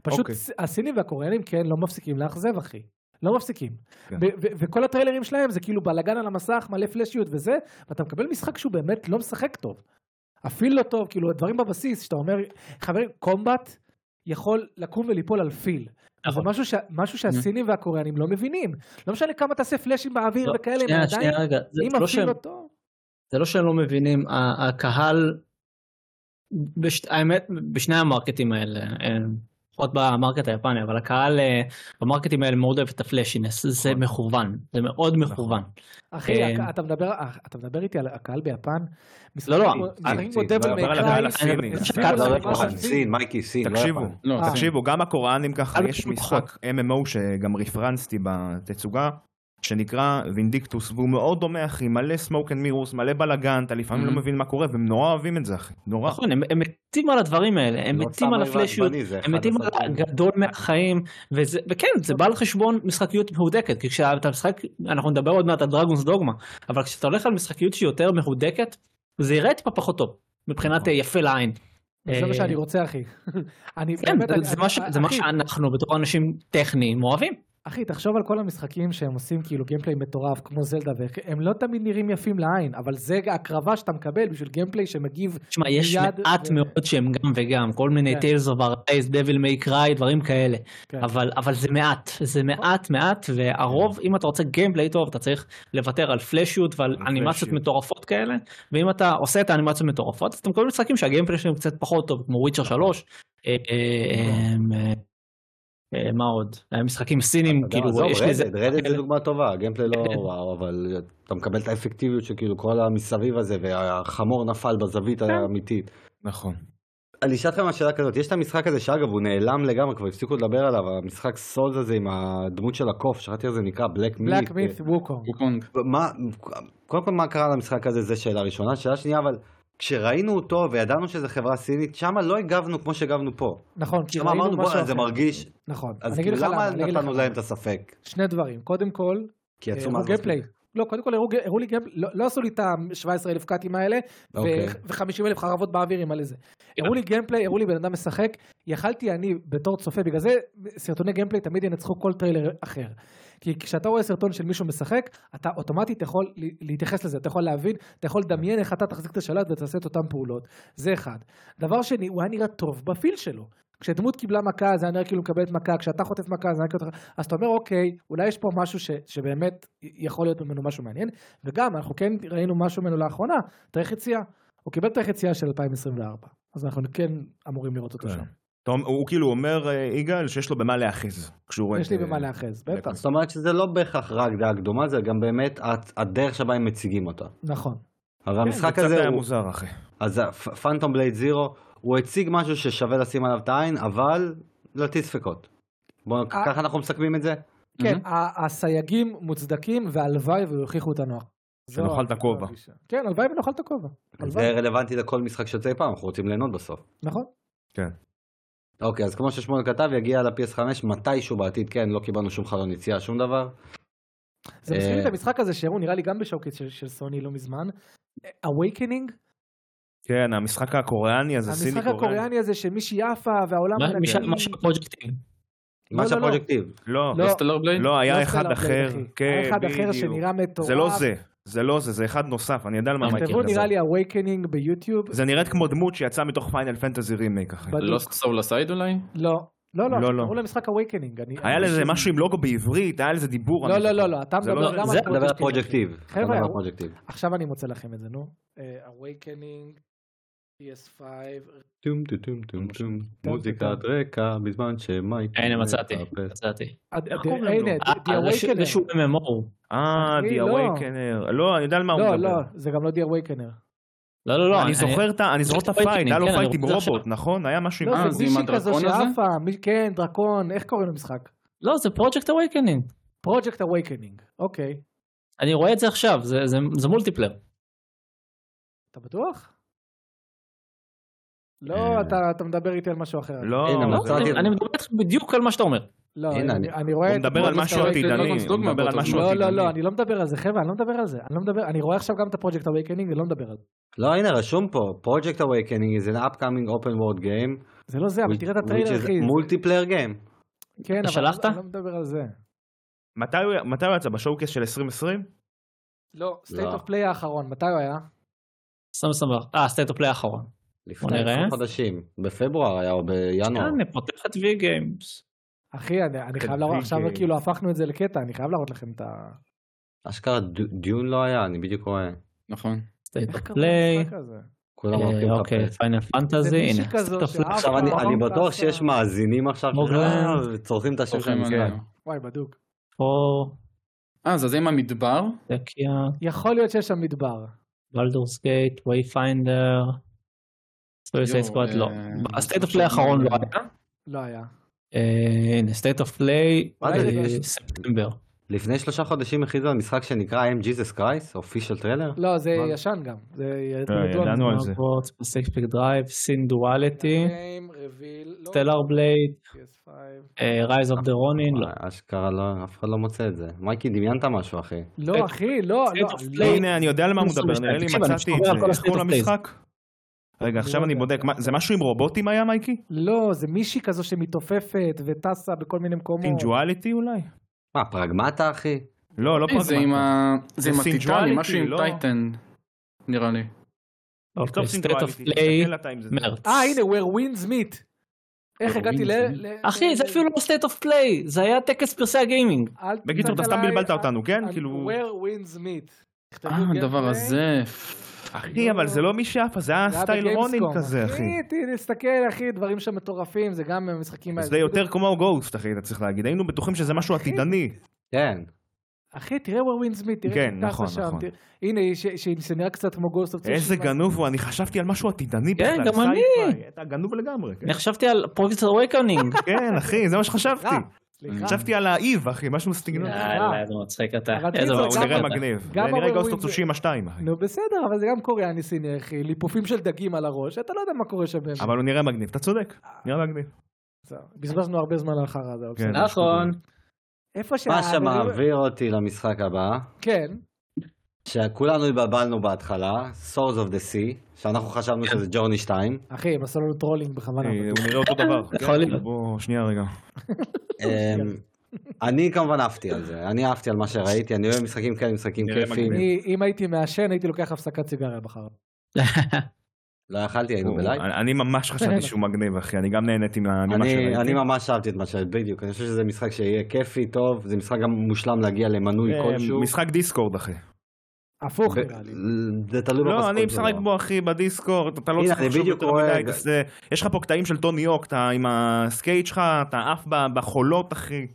פשוט אוקיי. ס- הסינים והקוריאנים, כן, לא מפסיקים לאכזב, אחי. לא מפסיקים. כן. ו- ו- וכל הטריילרים שלהם זה כאילו בלאגן על המסך, מלא פלאשיות וזה, ואתה מקבל משחק שהוא באמת לא משחק טוב. אפילו לא טוב, כאילו הדברים בבסיס, שאתה אומר, חברים, קומבט יכול לקום וליפול על פיל. זה נכון. משהו, ש- משהו שהסינים והקוריאנים לא מבינים. לא משנה כמה תעשה פלאשים באוויר לא, וכאלה, הם שנייה, עדיין, שנייה, רגע. זה- אם זה לא הפיל שהם- לא טוב... זה לא שהם לא מבינים, ה- הקהל, בש, האמת, בשני המרקטים האלה, אה, לפחות במרקט היפני, אבל הקהל אה, במרקטים האלה מאוד אוהב את הפלאשינס, זה נכון. מכוון, זה מאוד מכוון. אחי, אה, הק- אתה מדבר, אתה מדבר איתי על הקהל ביפן? לא, לא, משחקים כמו- אה, משחקים כמו אני מדבר דבל על הקהל מקראי, הסיני. משחקים אני- כמו לא אני- דבל אני- מקראי. אני- סין, מייקי, סין. לא תקשיבו, יפן. לא, אה. תקשיבו, גם הקוראנים ככה, על יש הפתוחות. משחק MMO שגם רפרנסתי בתצוגה, שנקרא וינדיקטוס, והוא מאוד דומה, אחי, מלא סמוק אנד מירוס, מלא בלאגן, אתה לפעמים לא Mm-hmm. Mhm. מבין מה קורה, והם נורא אוהבים את זה, אחי, נורא. נכון, הם הם מתים על הדברים האלה, הם לא מתים סתם על אוהב הפלאשיות, עצבני, זה הם מתים אחד על הסרטים. הגדול מהחיים, וזה, וכן, זה בא על חשבון משחקיות מהודקת, כי כשאתה משחק, אנחנו נדבר עוד מעט על דרגונס דוגמה, אבל כשאתה הולך על משחקיות שהיא יותר מהודקת, זה יראה טיפה פחות טוב, מבחינת נכון. אה, יפה לעין. זה אה, מה שאני רוצה, אחי. (laughs) אני כן, באמת, זה- אני- זה מה ש- זה מה אחי, שאנחנו בתור אנשים טכניים אוהבים. אחי, תחשוב על כל המשחקים שהם עושים כאילו גיימפליי מטורף, כמו זלדה, והם לא תמיד נראים יפים לעין, אבל זה ההקרבה שאתה מקבל בשביל גיימפליי שמגיב. תשמע, יש מיד- מעט ו- מאוד שהם גם וגם, כל מיני כן. טיילס אוף ארייז, דביל מיי קריי, דברים כאלה. כן. אבל אבל זה מעט, זה מעט מעט, והרוב, אם אתה רוצה גיימפליי טוב, אתה צריך לוותר על פלאשיות ועל על אנימציות פלאשיות. מטורפות כאלה, ואם אתה עושה את האנימציות מטורפות, אז אתה מקבל משחקים שהגיימפליי שלהם קצת פחות טוב, כמו וויצ'ר 3. אה, אה, אה, אה, מה עוד? משחקים סינים, אתה יודע, כאילו, עזוב, יש רדד, לזה... רדד זה דוגמה טובה, הגיימפליי לא כן. וואו, אבל אתה מקבל את האפקטיביות של כאילו כל המסביב הזה, והחמור נפל בזווית כן. האמיתית. נכון. אני אשאל אתכם שאלה כזאת, יש את המשחק הזה שאגב הוא נעלם לגמרי, כבר הפסיקו לדבר עליו, המשחק סולס הזה עם הדמות של הקוף, שכחתי איך זה נקרא, בלק מיט. בלק מית' ווקונג. ווקונג. מה, קודם כל מה קרה למשחק הזה, זו שאלה ראשונה. שאלה שנייה, אבל כשראינו אותו וידענו שזו חברה סינית, שמה לא הגבנו כמו שהגבנו פה. נכון, כי שמה ראינו אמרנו, בוא'נה, משהו זה אחר." מרגיש, נכון. אז אני אגיד כאילו לך למה אני אגיד לך נתנו למה. אה, להם את הספק? שני דברים. קודם כל, כי יצאו הראו מה גיימפליי. לא, קודם כל הראו, הראו לי גיימפליי, לא, לא עשו לי את ה-17,000 קאטים האלה, אוקיי. ו-50,000 חרבות באוויר עם מלא זה. הראו לי גיימפליי, הראו לי בן אדם משחק, יכלתי אני בתור צופה, בגלל זה סרטוני גיימפליי תמיד ינצחו כל טריילר אחר. כי כשאתה רואה סרטון של מישהו משחק, אתה אוטומטית יכול ל- להתייחס לזה, אתה יכול להבין, אתה יכול לדמיין איך אתה תחזיק את השלט ותעשה את אותן פעולות. זה אחד. דבר שני, הוא היה נראה טוב בפיל שלו. כשדמות קיבלה מכה זה היה נראה כאילו מקבלת מכה, כשאתה חוטף מכה זה היה כאילו... אז אתה אומר אוקיי, אולי יש פה משהו ש, שבאמת יכול להיות ממנו משהו מעניין, וגם אנחנו כן ראינו משהו ממנו לאחרונה, תאריך יציאה. הוא קיבל תאריך יציאה של 2024, אז אנחנו כן אמורים לראות אותו כן. שם. אתה אומר- הוא כאילו אומר, אה, יגאל, שיש לו במה להאחיז. כשהוא רואה יש את, לי אה, במה להאחז, בלק בטח. זאת אומרת שזה לא בהכרח רק דעה קדומה, זה גם באמת הת- הדרך שבה הם מציגים אותה. נכון. אבל כן, המשחק זה קצת הזה, היה הוא- מוזר, אחי. אז פנטום בלייד זירו, הוא הציג משהו ששווה לשים עליו את העין, אבל להטיל ספקות. בואו, אה. ככה אנחנו מסכמים את זה? Mm-hmm. כן, ה- הסייגים מוצדקים, והלוואי ויוכיחו אותנו. זו שנאכל את ה- הכובע. הגישה. כן, הלוואי ונאכל את הכובע. זה הלוואי. רלוונטי לכל משחק שיוצא אי פעם, אנחנו רוצים ליהנות בסוף. נכון. אוקיי, אז כמו ששמואל כתב, יגיע ל-PS5 מתישהו בעתיד, כן, לא קיבלנו שום חלון יציאה, שום דבר. זה אה, מזכיר לי את המשחק הזה שהראו נראה לי גם בשוקט של של סוני לא מזמן. Awakening, כן, המשחק הקוריאני הזה, סיני המשחק קוריאני. הקוריאני הזה שמישהי עפה והעולם... מה- מנגן. משל- מה שהפרוג'קטים. לא, מה לא, לא. שהפרוג'קטיב. לא, לא. סטלר בלייד? לא, לא היה אחד סטלה אחר. בלייד, אחי. כן, היה אחד אחר בדיוק. שנראה מטורף. זה לא זה, זה לא זה, זה אחד נוסף, אני יודע על מה לא אני מכיר. תכתבו מדבר. נראה לי Awakening ביוטיוב. זה נראית כמו דמות שיצאה מתוך פיינל פנטזי רימייק, אחי. בדיוק. לוסט סול אסייד אולי? לא. לא, לא, לא, לא. קראו למשחק אווייקנינג. היה לזה משהו עם לוגו בעברית, היה לזה דיבור. לא, אני לא, זוכר. לא, לא, אתה זה מדבר לא- גם זה על אתה מדבר על פרוג'קטיב. אתה חבר'ה, מדבר על הוא- פרוג'קטיב. עכשיו אני מוצא לכם את זה, נו. אה, אווייקנינג, PS5, טום טום טום טום טום, מוזיקת רקע בזמן שמייק... הנה מצאתי, מצאתי. הד- איך ד- קוראים לו? הנה, אה, The זה ש- זה Awakener. שהוא MMO. אה, אחי, The לא. Awakener. לא, אני יודע על מה הוא לא, מדבר. לא, זה גם לא The Awakener. לא, לא, לא. אני זוכר את ה- אני זוכר את פייטינג, הפייט, היה לו כן, אני פייט עם רוצה עכשיו. רובוט, נכון? היה משהו עם... אה, לא, זה זה עם מישהי כזו הדרקון הזה? שעפה, מי- כן, דרקון, איך קוראים למשחק? לא, זה פרויקט אווייקנינג. פרוג'קט אווייקנינג, אוקיי. אני רואה את זה עכשיו, זה- זה זה מולטיפלר. אתה בטוח? אה. לא, אתה אתה מדבר איתי על משהו אחר. לא, הנה, לא, מצאתי אני- את זה. אני מדבר איתך בדיוק על מה שאתה אומר. לא, הנה, אני- אני רואה... הוא את מדבר על Project משהו Awakening. עתידני, Dragon's הוא Dogma מדבר על באותו משהו זמן. לא, עתידני. לא, לא, אני לא מדבר על זה, חבר'ה, אני לא מדבר על זה. אני לא מדבר, אני רואה עכשיו גם את הפרויקט אווייקנינג ולא מדבר על זה. לא, הנה, רשום פה, Project Awakening is an upcoming open world game, זה לא זה, אבל תראה את which הטריילר, is אחי. multiplayer game. כן, אבל שלחת? אני לא מדבר על זה. מתי הוא- מתי הוא יצא? בשואו-קייס של 2020? לא, לא. סטייט אוף פליי האחרון, מתי הוא היה? 2021. אה, סטייט הפליי האחרון. לפני נראה. עשרה חודשים, בפברואר היה או בינואר. אני פותח את וי גיימס. אחי, אני אני חייב להראות, Big עכשיו Games. כאילו הפכנו את זה לקטע, אני חייב להראות לכם את ה... אשכרה ד- דיון לא היה, אני בדיוק רואה. נכון. סטייט איך קראו הפליי. למשחק הזה? כולם הולכים אוקיי, לחפש. פיינל זה פנטזי. מישהי הנה, כזו סטייט הפליי. שאף עכשיו אני- פעם אני אה, לא בטוח טסה. שיש מאזינים עכשיו מוגלן. אה, וצורכים את אוקיי, השם של צורכים המשחק. עלינו. וואי, בדוק. פה, אה, זה זה עם המדבר? דקיה, יכול להיות שיש שם מדבר. בלדורס גייט, וייפיינדר. סטויסייד סקוואט לא. אה, הסטייט הפליי האחרון לא היה. לא היה. אה, הנה, סטייט אוף פליי, מה זה? לא- ספטמבר. לפני שלושה חודשים הכריזו על משחק שנקרא I'm Jesus Christ, אופישל טריילר. לא, זה מה? ישן גם. זה אה, ידוע. ידענו על זה. פסיפיק דרייב, סין דואליטי, Name, reveal, לא, סטלר בלייד, PS5. רייז אוף דה רונין, לא. אשכרה לא, אף אחד לא מוצא את זה. מייקי, דמיינת משהו, אחי. לא, אחי, לא, State לא, of לא. Play. הנה, אני יודע על מה הוא מדבר, 22. נראה לי תקשיב, אני מצאתי את מדבר על כל זה. איך ה-State קוראים of Plays. למשחק? רגע, עכשיו אני בודק, מה- זה משהו עם רובוטים היה, מייקי? לא, זה מישהי כזו שמתעופפת וטסה בכל מיני מקומות. סינג'ואליטי אולי? מה, פרגמטה, אחי? לא, לא אה, זה עם פרגמטי. ה- זה עם זה הטיטני, Singularity, משהו עם לא? טייטן, נראה לי. אה, טוב, אוקיי, סטייט אוף סינג'ואליטי, פליי, תסתכל אתה אם זה זה. מרץ. אה, הנה, where winds meet. איך Where הגעתי winds ל... meet? ל- אחי, זה ל- אפילו לא סטייט אוף פליי, זה היה טקס פרסי הגיימינג. אל תצעק בקיצור, אתה סתם עליי, בלבלת אה, אותנו, כן? אה, כאילו... where winds meet. תכתבו אה, הדבר gameplay. הזה. אחי, אבל זה לא מי שעפה, זה היה זה היה סטייל רונין בגיימסקום. כזה, אחי. ת- תסתכל, אחי, דברים שם מטורפים, זה גם מהמשחקים האלה. זה יותר כמו גוסט, אחי, אתה צריך להגיד. היינו בטוחים שזה משהו עתידני. כן. אחי, תראה where winds meet, תראה כן, איך היא טסה נכון, שם, נכון. תראה- הנה, ש- ש- שנראה קצת כמו גוסט אוף איזה גנוב הוא, אני חשבתי על משהו עתידני כן, בכלל. גם sci-fi. אתה גנוב לגמרי. כן. אני חשבתי על פרוקסט אווייקנינג. (laughs) כן, אחי, זה מה שחשבתי. סליחה. חשבתי על האיב, אחי, משהו אה, סגנון. יאללה, זה אה, מצחיק אתה. אבל איזה קיצור, הוא מצחיק נראה גם- אתה. מגניב. זה גם נראה ה-Rare גוסט Win- אוף 2, אחי. נו בסדר, אבל זה גם קוריאני סיני, אחי, ליפופים של דגים על הראש, אתה לא יודע מה קורה שם באמת. אבל הוא נראה מגניב, אתה צודק. נראה מגניב. בסדר, בזבזנו הרבה זמן על החרא הזה, אבל כן. בסדר. נכון. איפה שה... מה שמעביר אותי למשחק הבא, כן, שכולנו התבלבלנו בהתחלה, Source of the Sea, שאנחנו חשבנו כן. שזה ג'ורני 2. אחי, הם עשו לנו טרולינג בכוונה. אה, הוא נראה אותו דבר. יכול כן, להיות. בוא, שנייה רגע. אמ, אני כמובן עפתי על זה, אני עפתי על (laughs) מה שראיתי, אני אוהב משחקים כאלה, משחקים נראה כיפיים. מגניב. אני- אם הייתי מעשן, הייתי לוקח הפסקת סיגריה בחרא. לא יכלתי, היינו הוא- בלייב. אני- אני ממש חשבתי שהוא מגניב, אחי. אני לא גם נהניתי מהנימה אני, שראיתי. אני ממש אהבתי את מה ש... בדיוק, אני חושב שזה משחק שיהיה כיפי, טוב, זה משחק גם מושלם להגיע למנוי אה, כלשהו. משחק דיסקורד, אחי. הפוך ו- נראה לי. זה תלוי לא, בפסקול אני שלו. משחק בו אחי בדיסקורד, אתה לא הנה, צריך אני לחשוב בדיוק יותר רואה מדי, את זה. זה- יש לך פה קטעים של טוני יורק, אתה עם הסקייט שלך, אתה עף ב- בחולות אחי.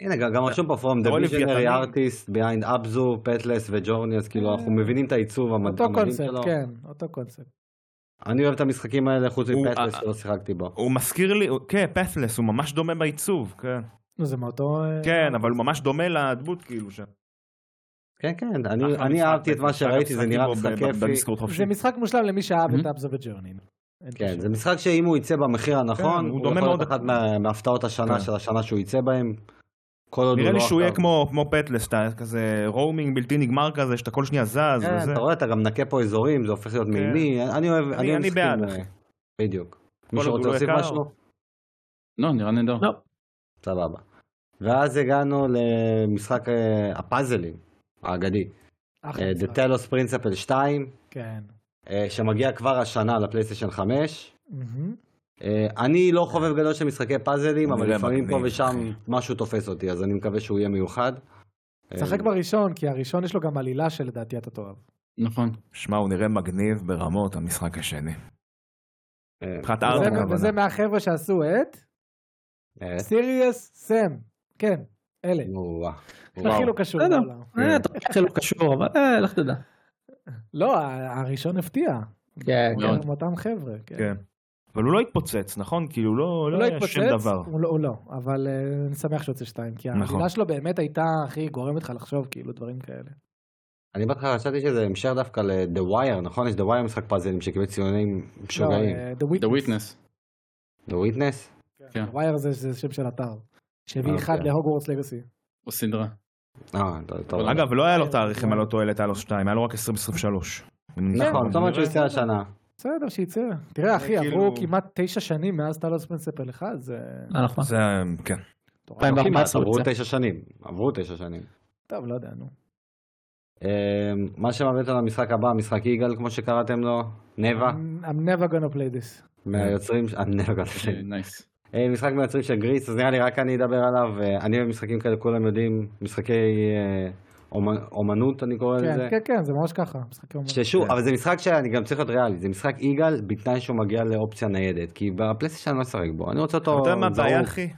הנה, גם גם רשום פה From the רואה visionary לוויתנים. artist behind אבזו, פטלס וג'ורני, אז כאילו אנחנו מבינים את העיצוב המד- אה. אותו המדהים שלו. קונספט, כן, אותו קונספט. אני אוהב את המשחקים האלה חוץ הוא- מפטלס אה, שלא שיחקתי בו. הוא מזכיר לי, הוא- כן, פאפלס, הוא ממש דומה בעיצוב, כן. נו, זה מאותו... אה, כן, אבל הוא ממש דומה לדמות כאילו. ש- כן, כן, אני- אחלה אני משחק, אהבתי את מה משחק שראיתי, זה המשחקים נראה בו משחק ב- כיפי. בדיסקורד חופשי. זה משחק מושלם למי שאהב את Mhm. אבזו וג'רנין. כן, זה משחק שאם הוא יצא במחיר הנכון, כן, הוא הוא דומה יכול להיות מאוד. אחת מה- מהפתעות השנה כן. של השנה שהוא יצא בהם. כל עוד הוא לא... נראה לי שהוא יהיה עכשיו- כמו כמו פטלס, אתה כזה רומינג בלתי נגמר כזה, שאתה כל שנייה זז כן, וזה. כן. אתה רואה, אתה גם מנקה פה אזורים, זה הופך להיות מימי, אני אוהב, אני- אוהב אני משחקים, בעד, אה, אחי. בדיוק. כל עוד מישהו הוא רוצה לא להוסיף יקר. משהו? לא, נראה נהדר. לא. סבבה. ואז הגענו למשחק אה, הפאזלים, האגדי. אחלה אה, The משחק. Talos Principle 2, כן. אה, שמגיע כבר השנה לפלייסטיישן 5, מהמם. אה, אני לא חובב גדול של משחקי פאזלים, הוא אבל נראה לפעמים פה מגניב, ושם משהו תופס אותי, אז אני מקווה שהוא יהיה מיוחד. אה, תשחק בראשון, כי הראשון יש לו גם עלילה שלדעתי אתה תאהב. אה, נכון. שמע, הוא נראה מגניב ברמות המשחק השני. אה, מבחינת וזה- ארט וזה הכוונה. מהחבר'ה שעשו את אה, סיריוס סם. כן, אלה. וואו, וואו. הכי לא קשור בסדר. בעולם. אה, אתה חושב שלא קשור, אבל אה, לך תדע. לא, ה- הראשון הפתיע. כן, מאוד. כן. הם אותם חבר'ה. כן. כן. אבל הוא לא התפוצץ, נכון? כאילו, לא הוא לא היה שם דבר. הוא לא, הוא לא, אבל אה, אני שמח שהוצא שתיים, כי נכון. העלילה שלו באמת הייתה הכי גורמת לך לחשוב כאילו דברים כאלה. אני בהתחלה חשבתי שזה המשך דווקא ל-The Wire, נכון? יש The Wire משחק פאזלים שקיבל ציונים משוגעים. לא, אה, The The Witness. Witness. The Witness? כן. ווייר זה, זה שם של אתר. שהביא אוקיי. אחד להוגוורטס לגאסי. או סדרה. אה, לא, טוב. אגב, לא היה לו תאריך, אם אני לא טועה, לטלוס 2, היה לו רק 2023. נכון, כן, זאת אומרת שהוא יצא השנה. בסדר, שייצא. תראה אחי, כאילו- עברו כמעט תשע שנים מאז טלוס פרינסיפל 1, זה... אה, נכון. זה, כן. מטורף. פעם- כמעט, 2014 עברו הוא יצא. תשע שנים. עברו תשע שנים. טוב, לא יודע, נו. אה, מה שמביא אותנו למשחק הבא, משחק יגאל, כמו שקראתם לו, נבה, I'm I'm never gonna play this. מהיוצרים, אה, נבה, אה, נייס. כן. אה, משחק מהיוצרים של גריס, אז נראה לי רק אני אדבר עליו, אה, אני במשחקים כאלה כולם יודעים, משחקי אה, אומ- אומנות אני קורא לזה. כן, כן, כן, זה ממש ככה. משחקי אומנות. ששוב, כן. אבל זה משחק שאני גם צריך להיות ריאלי, זה משחק יגאל בתנאי שהוא מגיע לאופציה ניידת, כי בפלייסטיישן אני לא אשחק בו, אני רוצה אותו... אתה יודע מה זרוק. הבעיה, אחי?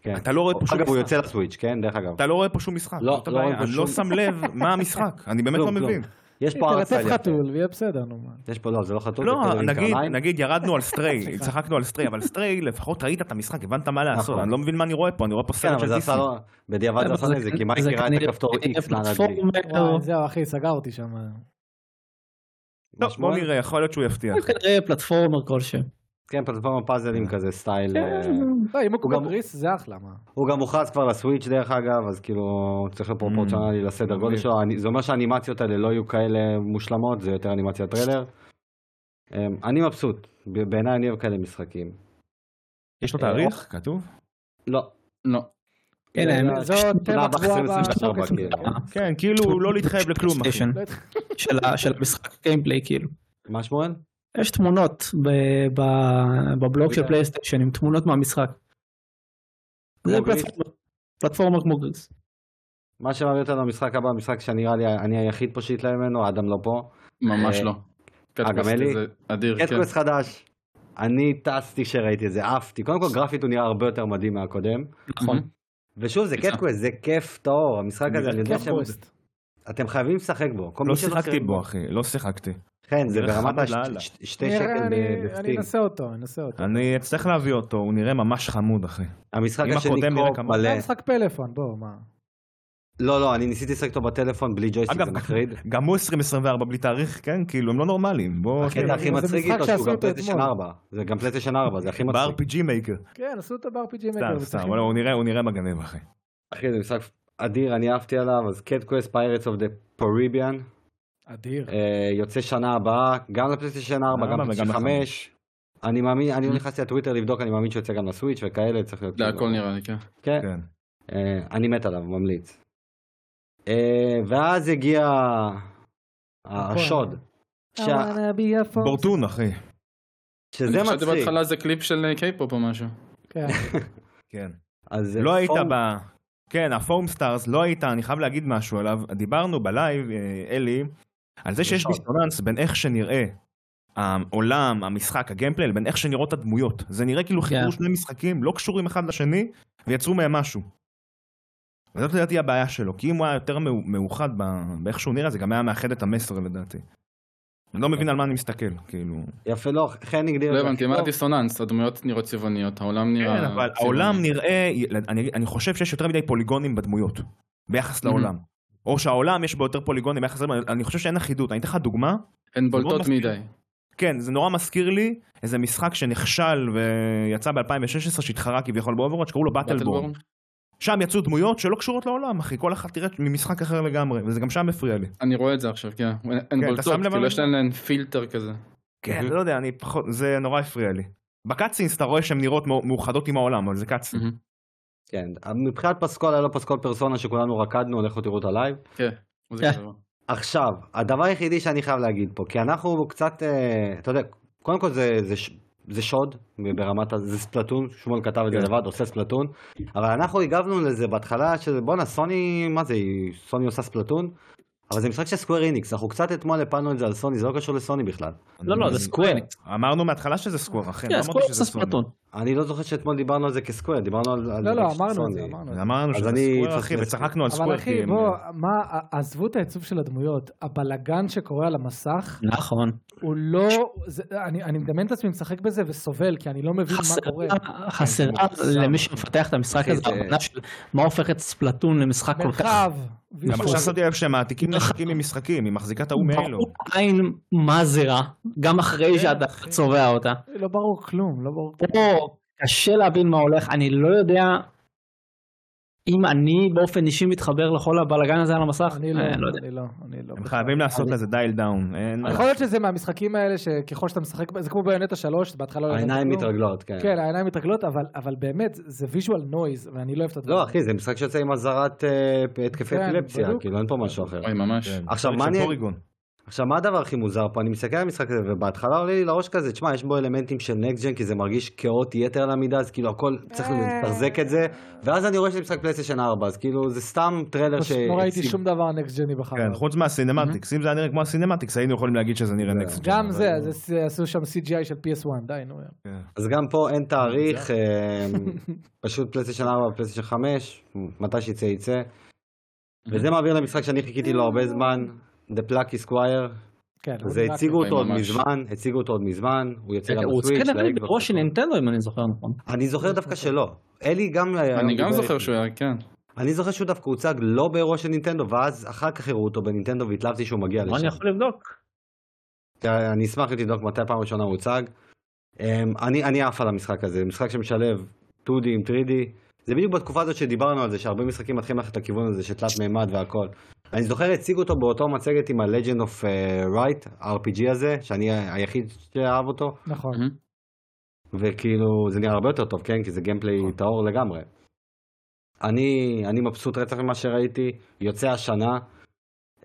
כן. אתה לא רואה פה שום אגב, הוא משחק. יוצא לסוויץ', כן? דרך אגב. אתה לא רואה פה שום משחק. לא, זאת לא רואה הבעיה. פה אני לא שום- שם לב מה המשחק, אני באמת לא כלום, כלום. מבין. יש פה הרצה. תלטף לי, חתול ויהיה בסדר, נו מה. יש פה, לא, זה לא חתול. לא, זה כלב עם נגיד, קרניים. נגיד ירדנו על סטריי, צחקנו על סטריי, אבל סטריי לפחות ראית את המשחק, הבנת מה לעשות, נכון. אני לא מבין מה אני רואה פה, אני רואה פה כן, סרט אבל של זה עשה דיסני. לו... בדיעבד זה עשה לי את זה, כי מה זה קרה את כנראה הכפתור איקס לאנגלי. פלטפורמר. וואי, זהו אחי, סגר אותי שם. טוב, בוא משמעות? נראה, יכול להיות שהוא יפתיע. הוא כנראה פלטפורמר כלשהו. כן, פלטפורמה פאזלים כזה, סטייל. אה, לא, אם הוא הוא כמו גם- אה? גריס, זה אחלה, מה. הוא גם הוכרז כבר לסוויץ' דרך אגב, אז כאילו, צריך להיות פרופורציונלי לסדר גודל מגניב. שלו. אני- זה אומר שהאנימציות האלה לא יהיו כאלה מושלמות, זה יותר אנימציה טריילר. אה, אני מבסוט, ב- בעיניי אני אוהב כאלה משחקים. יש לו אה, תאריך? כתוב? לא. לא. הנה, הם- זו תודה תמה קבועה ב-2024, ב- כאילו. כן, כאילו לא להתחייב לכלום, אחי. PlayStation. אוקיי. של ה- של המשחק גיימפליי כאילו. מה שמואל? יש תמונות ב- ב- בבלוג של כן. פלייסטיישן עם תמונות מהמשחק. זה גריס? פלטפורמה- פלטפורמה כמו גריס. מה שמביא אותנו למשחק הבא, משחק שנראה לי אני היחיד פה שהתלהב ממנו, אדם לא פה. ממש אה, לא. גם קטקוס אלי? זה אדיר, כן. קטקוס חדש. אני טסתי כשראיתי את זה, עפתי. קודם כל גרפית הוא נראה הרבה יותר מדהים מהקודם. נכון. ושוב, זה סליחה. קטקוס, זה כיף טהור. המשחק הזה, אני יודע כיף שאתם פוסט. אתם חייבים לשחק בו. כל לא מי שלא שיחקתי שיחק בו, אחי, לא שיחקתי. כן, זה נראה ברמת חמוד לאללה. השתי נראה, שקל אני- ב- אני בסטים. אנסה אותו, אני אנסה אותו. אני אצטרך להביא אותו, הוא נראה ממש חמוד, אחי. המשחק אם השני הקודם נראה קרוב כמוהו. מלא. זה משחק פלאפון, בוא, מה. לא, לא, אני ניסיתי לשחק אותו בטלפון בלי ג'ויסטיק, אגב, זה מחריד. גם הוא 2024 בלי תאריך, כן? כאילו, הם לא נורמליים. בוא... הקטע הכי אבל זה מצחיק משחק איתו שעשו שהוא גם אותו פלייטשן אתמול. 4. זה גם פלייטשן 4, זה הכי מצחיק. ב-RPG מייקר. כן, עשו אותו ב-RPG סתם, מקר. סתם, אבל הוא נראה- הוא נראה מגניב, אחי. אחי, זה משחק אדיר, אני אהבתי עליו, אז קט קווסט פיירטס אוף דה פריביאן. אדיר. אה, יוצא שנה הבאה, גם לפלייסטיישן 4, גם ארבע לפלייסטיישן אה, וגם 5. אני מאמין, אני לא נכנסתי לטוויטר לבדוק, אני מאמין שיוצא גם לסוויץ' וכאלה, צריך להיות... זה כאילו- הכל נראה לי, כן. כן. כן. אה, אני מת עליו, ממליץ. אה, ואז הגיע השוד, שה- אה, בורטון, אחי. שזה אני חשבתי מצחיק. בהתחלה זה קליפ של אה, קיי-פופ או משהו. כן. כן. אז אה, לא היית פורם- ב... כן, הפורם סטארס, לא היית, אני חייב להגיד משהו עליו. דיברנו בלייב, אה, אלי, על זה שיש נכון. דיסוננס בין איך שנראה העולם, המשחק, הגיימפליי, לבין איך שנראות הדמויות. זה נראה כאילו חיבור כן. שני משחקים לא קשורים אחד לשני, ויצרו מהם משהו. וזאת לדעתי הבעיה שלו, כי אם הוא היה יותר מאו- מאוחד ב- באיך שהוא נראה, זה גם היה מאחד את המסר לדעתי. אני לא כן. מבין על מה אני מסתכל, כאילו. יפה, לא, חן הגדיר לא את זה הבנתי, הכי מה טוב. הדיסוננס? הדמויות נראות צבעוניות, העולם נראה... כן, אה, אבל צבעוני. העולם נראה, אני, אני חושב שיש יותר מדי פוליגונים בדמויות, ביחס לעולם. או שהעולם יש בו יותר פוליגונים ביחס לעולם, אני חושב שאין אחידות. אני אתן לך דוגמה, הן בולטות מפחיד. מדי. כן, זה נורא מזכיר לי איזה משחק שנכשל ויצא ב-2016, שהתחרה כביכול באוברוואץ', שקראו לו באטלבורן. בטלבורן? שם יצאו דמויות שלא קשורות לעולם, אחי, כל אחת נראית ממשחק אחר לגמרי, וזה גם שם הפריע לי. אני רואה את זה עכשיו, כן. הן אתה שם בולטות, לב כאילו מה- יש להן פילטר כזה. כן, Mhm. לא יודע, אני פחות, זה נורא הפריע לי. בקאצינס אתה רואה שהן נראות מאו- מאוחדות עם העולם, אבל זה קאצינס. Mhm. כן, מבחינת פסקול היה לו פסקול פרסונה שכולנו רקדנו, לכו תראו את הלייב. כן. זה כן. כזה. עכשיו, הדבר היחידי שאני חייב להגיד פה, כי אנחנו קצת, אה, אתה יודע, קודם כל זה, זה ש... זה שוד ברמת, ה- זה ספלטון, שמואל כתב את זה כן. לבד, עושה ספלטון, אבל אנחנו הגבנו לזה בהתחלה, שזה בואנה סוני, מה זה, היא- סוני עושה ספלטון, אבל זה משחק של סקוויר איניקס, אנחנו קצת אתמול הפלנו את זה על סוני, זה לא קשור לסוני בכלל. לא, לא, זה סקוויר. כן, אמרנו מההתחלה שזה סקוור, אחי. כן, לא סקוויר אמרתי שזה עושה סוני. ספלטון. אני לא זוכר שאתמול דיברנו על זה כסקוויר, דיברנו על... על לא, לא, אה, סוני. אמרנו את זה, אמרנו את זה. אמרנו אז שזה אני סקוור, צריך אחי, לסקוור. צחקנו על אבל סקוור. כי אחי, הם- בוא, מה, עזבו את העיצוב של הדמויות, הבלגן שקורה על המסך, נכון. הוא לא, זה, אני, אני מדמיין את עצמי משחק בזה וסובל, כי אני לא מבין חסר- מה קורה. חסרה מוגזם. למי שמפתח את המשחק אחי, הזה, זה- ההבנה של מה הופך את ספלטון למשחק כל כך... מרחב, גם ויזואל. עכשיו שמתי לב שהם מעתיקים לא. משחקים ממשחקים, היא מחזיקה את ההוא מאלו. ברור לא עין מה זה רע, גם אחרי שאתה צובע אותה. לא ברור כלום, לא ברור. פה קשה להבין מה הולך, אני לא יודע אם אני באופן אישי מתחבר לכל הבלאגן הזה על המסך, אני לא, אה, לא יודע. אני לא, אני לא. הם חייבים לעשות לזה דייל דאון. אין מה יכול להיות שזה מהמשחקים האלה שככל שאתה משחק, ב- זה כמו ביונטה 3, בהתחלה לא הבנת העיניים כלום. מתרגלות, כן. כן, העיניים מתרגלות, אבל, אבל באמת, זה ויז'ואל נויז, ואני לא אוהב את הדברים. לא, אחי, זה משחק שיוצא עם אזהרת אה, התקפי כן, אפילפסיה, בדיוק. כאילו אין פה משהו אחר. אוי ממש. כן, עכשיו, פרק מה של אני- פוריגון. עכשיו, מה הדבר הכי מוזר פה? אני מסתכל על המשחק הזה, ובהתחלה עולה לי לראש כזה, תשמע, יש בו אלמנטים של נקסט ג'ן, כי זה מרגיש כאוטי יתר על המידה, אז כאילו הכל, צריך לתחזק את זה, ואז אני רואה שזה משחק פלייסטיישן 4, אז כאילו זה סתם טריילר ש... פשוט לא ראיתי שום דבר נקסט ג'ני בחיים. כן, חוץ מהסינמטיקס, אם זה היה נראה כמו הסינמטיקס, היינו יכולים להגיד שזה נראה זה- נקסט. גם זה, אז עש- עשו שם CGI של PS1, די, נו. אז גם פה אין תאריך, אה, פשוט פלייסטיישן 4 ופלייסטיישן 5, מתי שיצא יצא. וזה מעביר למשחק שאני חיכיתי לו הרבה זמן, The Plucky Squire, כן, זה אבל- הציגו אותו עוד ממש. מזמן, הציגו אותו עוד מזמן, הוא יצא גם אה, הוא כן בסוויץ', צריך לדבר לאקסבוקס. בראש של נינטנדו אם אני זוכר נכון. אני זוכר דווקא שלא. אלי גם... היום אני דיבר גם זוכר איתי. שהוא היה, כן. אני זוכר שהוא דווקא הוצג לא באירוע של נינטנדו, ואז אחר כך הראו אותו בנינטנדו והתלהבתי שהוא מגיע אבל אני לשם. יכול לבדוק. תראה, אני אשמח אם תבדוק מתי הפעם הראשונה הוא הוצג. אמ, אני אני עף על המשחק הזה, משחק שמשלב 2D עם 3D. זה בדיוק בתקופה הזאת שדיברנו על זה, שהרבה משחקים מתחילים ללכת לכיוון הזה של תלת מימד והכל. אני זוכר הציגו אותו באותו מצגת עם ה-Legend of אה, Right, RPG הזה, שאני ה- היחיד שאהב אותו. נכון. וכאילו זה נראה הרבה יותר טוב, כן? כי זה גיימפליי נכון. טהור לגמרי. אני, אני מבסוט רצח ממה שראיתי, יוצא השנה.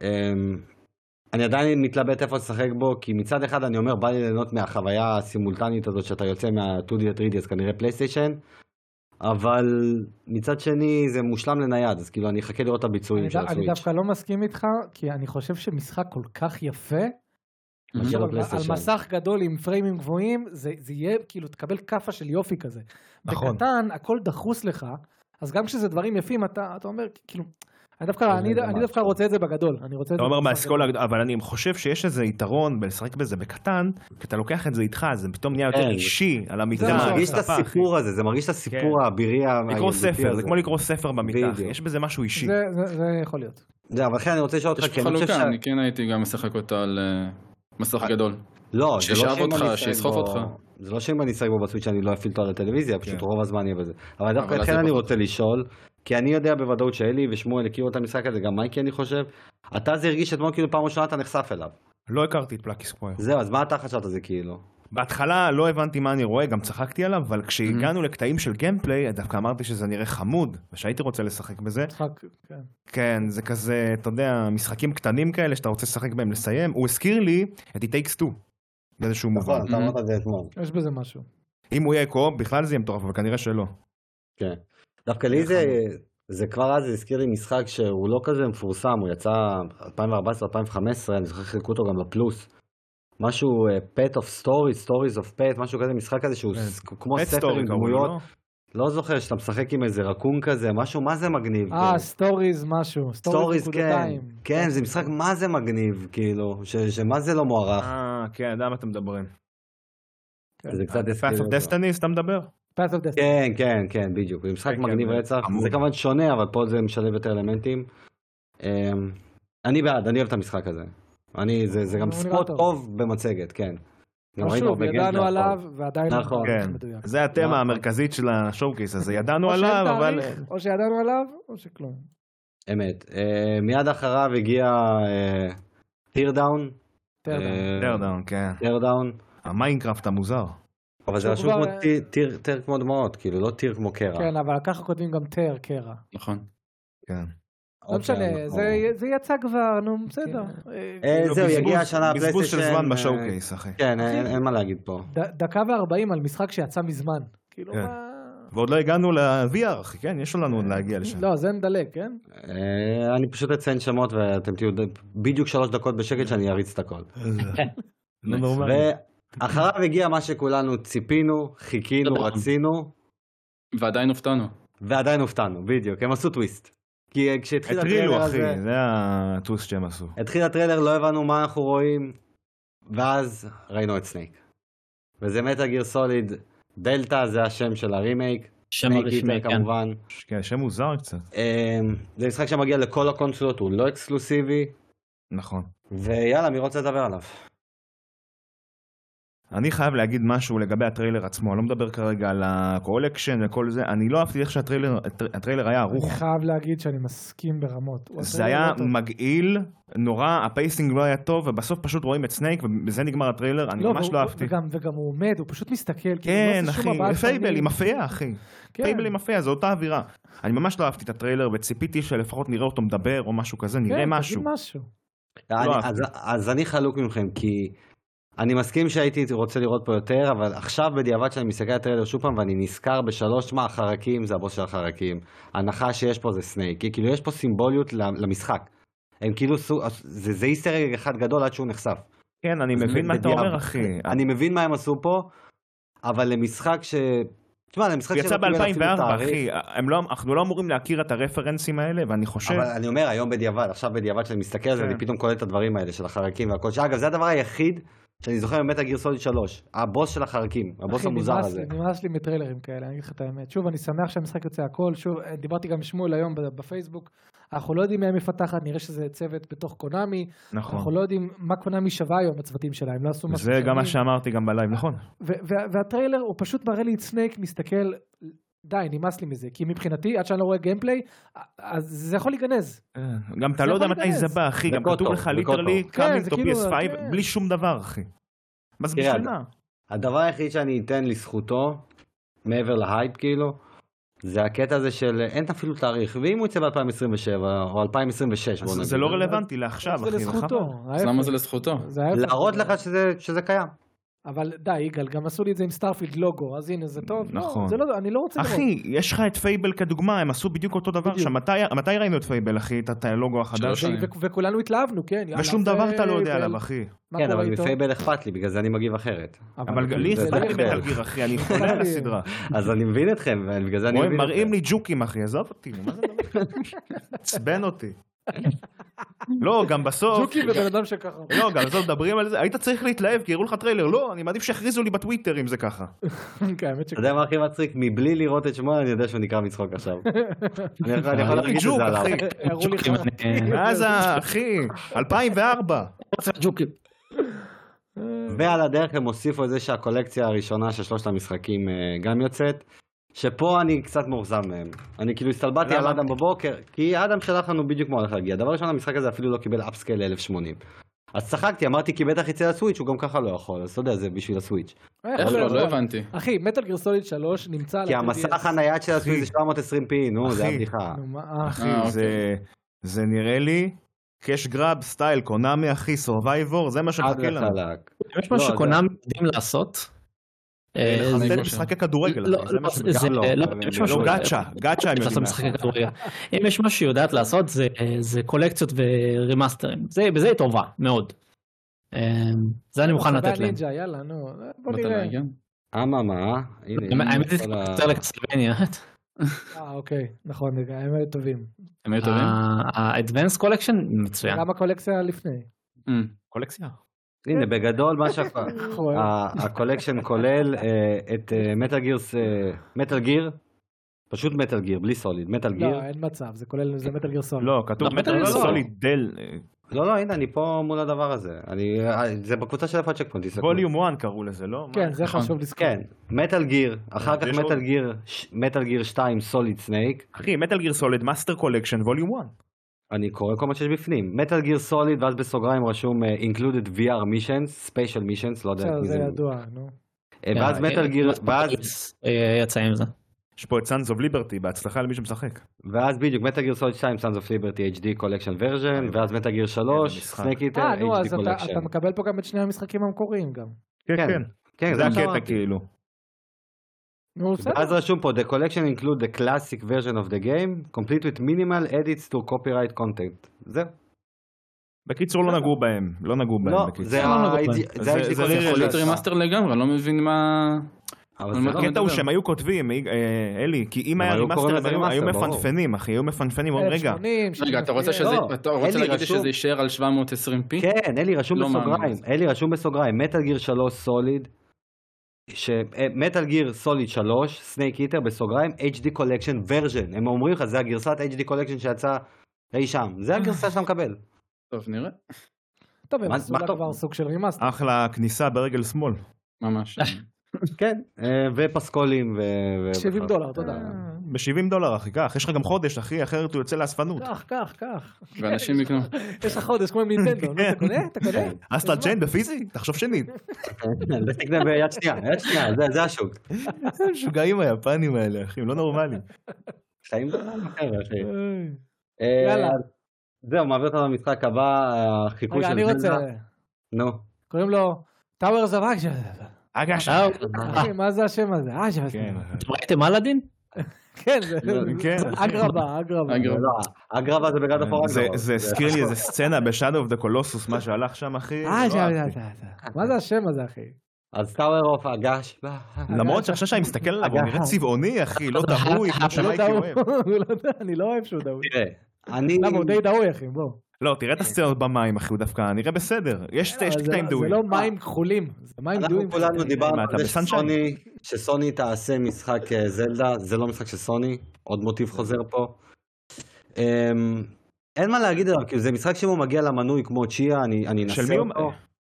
אמ, אני עדיין מתלבט איפה לשחק בו, כי מצד אחד אני אומר, בא לי ליהנות מהחוויה הסימולטנית הזאת שאתה יוצא מה-2D ל-3D, אז כנראה פלייסטיישן, אבל מצד שני זה מושלם לנייד, אז כאילו אני אחכה לראות את אני הביצועים של דו- אני הסוויץ'. דווקא לא מסכים איתך, כי אני חושב שמשחק כל כך יפה, מאשר על- על הפלייסטיישן. מסך גדול עם פריימים גבוהים, זה זה יהיה כאילו תקבל כאפה של יופי כזה. נכון. בקטן הכל דחוס לך, אז גם כשזה דברים יפים אתה אתה אומר כאילו, אני דווקא כן, זה אני- גם אני דווקא משהו. רוצה את זה בגדול, אני רוצה את אתה זה. אומר במשחק מהאסכולה, הגדולה, אבל אני חושב שיש איזה יתרון בלשחק בזה בקטן, כי אתה לוקח את זה איתך, אז זה פתאום נהיה יותר כן. אישי על המיטה. זה מה מרגיש את על הספה, הסיפור הזה, זה מרגיש את כן. הסיפור האבירי אחי. לקרוא הילדותי ספר, זה הזה. כמו לקרוא ספר במיטה, אחי. בדיוק. יש בזה משהו אישי. זה זה- זה יכול להיות. זה, אבל אחי אני רוצה לשאול יש אותך, כי פה אני חושב חלוקה, שה- אני כן הייתי גם משחק אותה על אה, מסך גדול. לא, זה לא שישאב שאם אותך, אני אשחק שיסחוף בו- אותך. זה לא שאם אני אשחק בו בסוויץ' אני לא אפעיל אותו על הטלוויזיה, פשוט כן. רוב הזמן יהיה בזה. אבל דווקא אבל אז לכן זה אני פחות. רוצה לשאול, כי אני יודע בוודאות שאלי ושמואל הכירו את המשחק הזה, גם מייקי אני חושב, אתה זה הרגיש אתמול כאילו פעם ראשונה אתה נחשף אליו. לא הכרתי את פלאקי סקוויר. זהו, אז מה אתה חשבת על זה כאילו? בהתחלה לא הבנתי מה אני רואה, גם צחקתי עליו, אבל Mhm. כשהגענו לקטעים של גיימפליי, דווקא אמרתי שזה נראה חמוד, ושהייתי רוצה לשחק בזה. משחק, כן. כן, זה כזה, אתה יודע, משחקים קטנים כאלה שאתה רוצה לשחק בהם לסיים. הוא הזכיר לי את It Takes Two, באיזשהו מובן. נכון, אתה אמרת את זה אתמול. יש בזה משהו. אם הוא יהיה קו-אופ, בכלל זה יהיה מטורף, אבל כנראה שלא. כן. דווקא לי זה, זה כבר אז הזכיר לי משחק שהוא לא כזה מפורסם, הוא יצא 2014-2015, אני זוכר שחילקו אותו גם לפלוס. משהו אה, Pet of Stories, Stories of Pet, משהו כזה, משחק כזה שהוא כן. ס- כמו Pet ספר Story עם קראו לו, דמויות. לא? לא זוכר שאתה משחק עם איזה רקום כזה, משהו מה זה מגניב. אה, סטוריז משהו. סטוריז, סטוריז כן. נקודתיים. כן, זה משחק מה זה מגניב, כאילו, ש- שמה זה לא מוערך. אה, כן, יודע מה אתם מדברים. אה, זה קצת אה, Path of אותו. Destiny, סתם מדבר? Path of Death. כן, כן, כן, בדיוק. זה משחק כן, מגניב כן, רצח. חמוד. זה כמובן שונה, אבל פה זה משלב יותר אלמנטים. אמ, אני בעד, אני אוהב את המשחק הזה. אני, זה זה גם הוא נראה ספוט טוב. טוב במצגת, כן. גם ראינו שוב, הרבה ידענו גיימפליי עליו, פה. ועדיין... נכון. לא כן. מדויק. זה נכון. אה. התמה המרכזית של השואו-קייס הזה, ידענו או שאין עליו, אבל... תאריך, או שידענו עליו, או שכלום. אמת. אה, מיד אחריו הגיע אה, טיר דאון. תראה, אה, טרדאון, כן. טיר דאון. המיינקראפט המוזר. אבל זה שהוא רשום כמו כבר- אה, טיר- טיר, טיר כמו דמעות, כאילו, לא טיר כמו קרע. כן, אבל ככה כותבים גם תר, קרע. נכון. כן. לא משנה, אוקיי, אנחנו- זה- זה יצא כבר, נו, בסדר. אה, לא, זהו, אוקיי. בזבוז- יגיע השנה בזבוז של הפלייסטיישן, זמן אה, בשואו-קייס, אחי. כן, אין אין מה להגיד פה. ד- דקה וארבעים על משחק שיצא מזמן. כאילו, כן. מה... ועוד לא הגענו ל-VR, אחי, כן? יש לנו עוד להגיע לשם. (laughs) לא, זה נדלג, כן? אה, אני פשוט אציין שמות ואתם תהיו ד- בדיוק שלוש דקות בשקט שאני אריץ את הכל. לא נורמלי. ואחריו הגיע מה שכולנו ציפינו, חיכינו, תודה. רצינו, ועדיין הופתענו. ועדיין הופתענו, בדיוק, הם עשו טוויסט. כי אה, כשהתחיל הטרילו, הטריילר הזה, אחי, זה הטוויסט שהם עשו. התחיל הטריילר, לא הבנו מה אנחנו רואים, ואז ראינו את סנייק. וזה מטה גיר סוליד, דלתא זה השם של הרימייק, שם סנייק הרשמי, איטר כן. כמובן. כן, השם מוזר קצת. אה, זה משחק שמגיע לכל הקונסולות, הוא לא אקסקלוסיבי, נכון. ויאללה, מי רוצה לדבר עליו? אני חייב להגיד משהו לגבי הטריילר עצמו, אני לא מדבר כרגע על הקולקשן וכל זה, אני לא אהבתי איך שהטריילר הטר- הטריילר היה אני ערוך. חייב להגיד שאני מסכים ברמות. הוא זה עשה היה לא טוב. מגעיל, נורא, הפייסינג לא היה טוב, ובסוף פשוט רואים את סנייק, ובזה נגמר הטריילר, אני ממש והוא- לא אהבתי. וגם- וגם הוא עומד, הוא פשוט מסתכל. כאילו, הוא לא כן, עושה שום אחי, הבעת פייבל פנים. היא מפריעה, אחי. כן. פייבל היא מפריעה, זו אותה אווירה. אני ממש לא אהבתי את הטריילר, וציפיתי שלפחות נראה אותו מדבר או משהו כזה, כן, נראה תגיד משהו. משהו. אני, אהבתי. אז, אז אני חלוק מכם, כי אני מסכים שהייתי רוצה לראות פה יותר, אבל עכשיו בדיעבד שאני מסתכל על הטריילר שוב פעם, ואני נזכר בשלוש מה החרקים זה הבוס של החרקים. הנחה שיש פה זה סנייק, כי כאילו יש פה סימבוליות ל- למשחק. הם כאילו, סו- זה, זה איסטר אג אחד גדול עד שהוא נחשף. כן, אני מבין מה אתה בדיעבד. אומר, אחי. אני מבין מה הם עשו פה, אבל למשחק ש... תשמע, למשחק הוא יצא שלא קיבל אפילו ב-2004, תאריך. אחי. הם לא- אנחנו לא אמורים להכיר את הרפרנסים האלה, ואני חושב... אבל אני אומר היום בדיעבד, עכשיו בדיעבד שאני מסתכל על זה, כן. אני פתאום קולט את הדברים האלה של החרקים והכל, שאגב זה הדבר היחיד שאני זוכר ממטה גיר סוליד 3, הבוס של החרקים, הבוס אחי, המוזר נמאס הזה. לי- נמאס לי מטריילרים כאלה, אני אגיד לך את האמת. שוב, אני שמח שהמשחק יוצא הכל. שוב, אה, דיברתי גם עם שמואל היום ב- בפייסבוק. אנחנו לא יודעים מי המפתחת, נראה שזה צוות בתוך קונאמי. נכון. אנחנו לא יודעים מה קונאמי שווה היום הצוותים שלה, הם לא עשו משהו. זה גם מה שאמרתי גם בלייב, נכון. ו- וה- והטריילר הוא פשוט מראה לי את סנייק מסתכל, די, נמאס לי מזה. כי מבחינתי, עד שאני לא רואה גיימפליי, אז זה יכול להיגנז. גם כן. אתה זה לא יודע יכול מתי זה להיכנס. בא, אחי. גם בקוטו, כתוב לך בקוטו. ליטרלי כן, coming זה to כאילו, PS5 כן. בלי שום דבר, אחי. מה זה תראה, בשביל מה? הדבר היחיד שאני אתן לזכותו, מעבר להייפ כאילו, זה הקטע הזה של אין אפילו תאריך, ואם הוא יצא ב-2027 או 2026, אז בוא נגיד. זה לא רלוונטי לעכשיו, זה אחי. נכון. זה לזכותו. חבל. אז ההפך. למה זה לזכותו? אה, זה ההפך. להראות לך שזה- שזה קיים. אבל די, יגאל, גם עשו לי את זה עם סטארפילד לוגו, אז הנה, זה טוב. נכון. לא, זה לא, אני לא רוצה לראות. אחי, יש לך את פייבל כדוגמה, הם עשו בדיוק אותו דבר בדיוק. שם. מתי- מתי ראינו את פייבל, אחי? את את הלוגו החדש? שלוש. ו- ו- וכולנו התלהבנו, כן. יאללה, ושום דבר אתה לא יודע פייבל. עליו, אחי. מה כן, קורה אבל איתו? מפייבל אכפת לי, בגלל זה אני מגיב אחרת. אבל לי זה אכפת לי (laughs) לא- מטל גיר, אחי, אני חולה על (laughs) הסדרה. אז אני מבין אתכם, ובגלל זה אני רואים, מבין אתכם. מראים לי ג'וקים אחי, עזוב אותי, נו, מה זה הדבר הזה? עצבן אותי. לא, גם בסוף, ג'וקי ובן אדם שככה. לא, גם בסוף מדברים על זה, היית צריך להתלהב כי הראו לך טריילר, לא, אני מעדיף שיכריזו לי בטוויטר אם זה ככה. כן, האמת אתה שכן. יודע מה הכי מצחיק? מבלי לראות את שמו אני יודע שהוא נקרע (laughs) מצחוק עכשיו. אני יכול- אני יכול הראו לי להרגיש את ג'וק, זה עליו. אחי. אה, הראו לי ג'וקים, חרא. אני- (laughs) מאז ה- אחי, 2004. ג'וקים. ועל הדרך הם הוסיפו את זה שהקולקציה הראשונה של שלושת המשחקים אה, גם יוצאת. שפה אני קצת מאוכזב מהם. אני כאילו הסתלבטתי על למה? אדם בבוקר, כי אדם שלח לנו בדיוק מה הולך להגיע. דבר ראשון, המשחק הזה אפילו לא קיבל אפסקייל ל-1080. אז צחקתי, אמרתי כי בטח יצא לסוויץ', הוא גם ככה לא יכול, אז אתה יודע, זה בשביל הסוויץ'. אה, איך יכול לא? להיות, לא אבל- הבנתי. אחי, מטל גר סוליד 3 נמצא על כי ה- המסך TBS. הנייד של הסוויץ' זה 720p, נו, זה אחי. הבדיחה. נו, מה, אה, אחי, אה, זה- אוקיי. זה נראה לי קאש גראב סטייל קונאמי אחי, סורווייבור, זה מה חד שמחכה לנו. וחלק. יש משהו לא, שקונאמי יודעים לעשות. אה, לחסל זה- זה משחקי כדורגל, לא, אחי, זה לא, מה ש- זה- גם לא, לא, אבל- יש לא, לא משהו- גאצ'ה, גאצ'ה הם לעשות יודעים לעשות. נכון. משחקי כדורגל. אם יש משהו שהיא יודעת לעשות זה, זה קולקציות ורימאסטרים. זה, בזה היא טובה מאוד. אה, זה אני מוכן מצבי לתת להם. הנינג'ה, יאללה, נו. אה, בוא באת נראה. להגן? אממה, הנה, האמת היא כל ה- שזה לקסטלבניה. אה, אוקיי, נכון, רגע, הם היו טובים. הם אה. היו טובים? ה-advanced collection מצוין. גם הקולקציה לפני. אמ, קולקציה. הנה, בגדול מה (laughs) שאנחנו... אה, ה- הקולקשן כולל אה, את מטאל גירס, מטאל גיר, פשוט מטאל גיר, בלי סוליד, מטאל גיר. לא, אין מצב, זה כולל, זה מטל גר סוליד. לא, כתוב לא, מטאל מטאל גיר סוליד. סוליד דל, אה, לא, לא, הנה, אני פה מול הדבר הזה. אני, אה, זה בקבוצה של איפה צ'קפונט, תסתכלו. ווליום 1 קראו לזה, לא? מה? כן, זה נכון. חשוב לזכור. כן, מטאל גיר, אחר כך אה, יש מטאל עוד? גיר, מטאל גיר 2 סוליד סנייק, אחי, מטאל גיר סוליד, מאסטר קולקשן, ווליום 1. אני קורא כל מה שיש בפנים. מטאל גיר סוליד, ואז בסוגריים רשום אה, included VR missions, special missions, לא יודע בסדר, מי זה זה. ידוע, נו. אה, ואז מטאל גיר, ואז אה, יצא עם זה. יש פה את Sons of Liberty, בהצלחה למי שמשחק. ואז בדיוק, מטה גיר סולד 2, Sons of Liberty HD Collection כן, version, ואז מטה גיר 3, המשחק. סנק איטר, אה, נו, HD אז אתה- אתה Collection. מקבל פה גם את שני המשחקים המקוריים גם. כן, כן. כן, כן, זה זה מה הקטע שאמרתי. כאילו. נו, בסדר. אז רשום פה, The collection include the classic version of the game, complete with minimal edits to copyright content. זהו. בקיצור, לא נגעו בהם, לא נגעו בהם. כן. לא, בקיצור. זה לא ה- נוגע זה בהם. זה- ה-HD זה collection יכול להיות שעשה. רימאסטר לגמרי, אני לא מבין מה... אבל אבל זה מה- לא- כן, הקטע הוא מדבר. שהם היו כותבים, אה, אלי, כי אם הם היה היו קוראים רימאסטר, הם לזה היו- היו remaster, ברור. מפנפנים, אחי, היו מפנפנים, אה, אומרים, רגע, 1080, רגע, אתה רוצה שזה... לא, אתה אין רוצה לי להגיד לי רשום. שזה יישאר על 720p? כן, אלי רשום לא מאמין בסוגריים, לזה. אלי רשום בסוגריים, מטאל גיר 3 סוליד, מטאל גיר סוליד 3, סנייק איטר בסוגריים, HD Collection version, הם אומרים לך, זה הגרסת HD Collection שיצאה אי שם, זה הגרסה שאתה (laughs) מקבל. טוב, נראה. לא, טוב, הם מה- עשו מה לה טוב. כבר סוג של רימאסטר. אחלה כניסה ברגל שמאל. ממש. כן, אה, ופסקולים ו... (laughs) אה, ו- 70 דולר, תודה. ב-70 דולר, אחי, קח, יש לך גם חודש, אחי, אחרת הוא יוצא לא, לאספנות. קח, קח, קח. ואנשים יקנו. יש לך חודש כמו עם נינטנדו, כן. נו, אתה קונה? אתה כן. קונה? אסטרה ג'יין בפיזי? תחשוב שנית. (laughs) זה תקנה ביד שנייה, יד שנייה, זה- זה השוק. איזה משוגעים היפנים האלה, אחי, הם לא נורמליים. חיים בעולם אחר, אחי. אה, יאללה. זהו, מעביר אותנו למשחק הבא, אה, החיקוי רגע, של אני רוצה... זלדה. נו. קוראים לו טאוורס אב אקשן. אגש. אחי, מה זה השם הזה? אה, שם- כן, אתם ראיתם אלאדין? כן, זה... כן. אגרבה, אגרבה. אגרבה. אה, לא, הגרבה זה בגד הפורנגו. זה- זה הזכיר לי איזה סצנה בשאדו אוף דה קולוסוס, מה שהלך שם, אחי. אה, לא שם, אהבתי. שם, שם, שם. מה זה השם הזה, אחי? אז טאוור אוף הגש. למרות שעכשיו שאני מסתכל עליו, הוא נראה צבעוני, אחי, לא דהוי, כמו הוא לא שמייקי דאוי, אוהב. (laughs) הוא לא יודע, אני לא אוהב שהוא דאוי. תראה, אני... למה, הוא די דאוי, אחי, בוא. לא, תראה את הסצנות במים, אחי, הוא דווקא נראה בסדר. יש יש אבל זה קטעים לא- דהוי. זה לא מים כחולים, זה מים דהויים. אנחנו כולנו דיברנו מה, על אתה זה בסנשיין? שסוני, שסוני תעשה משחק אה, זלדה, זה לא משחק של סוני, עוד מוטיב חוזר פה. אמ, אין מה להגיד עליו, כאילו זה משחק שאם הוא מגיע למנוי כמו צ'יה, אני אני של אנסה לא- מי הוא- אותו. אה,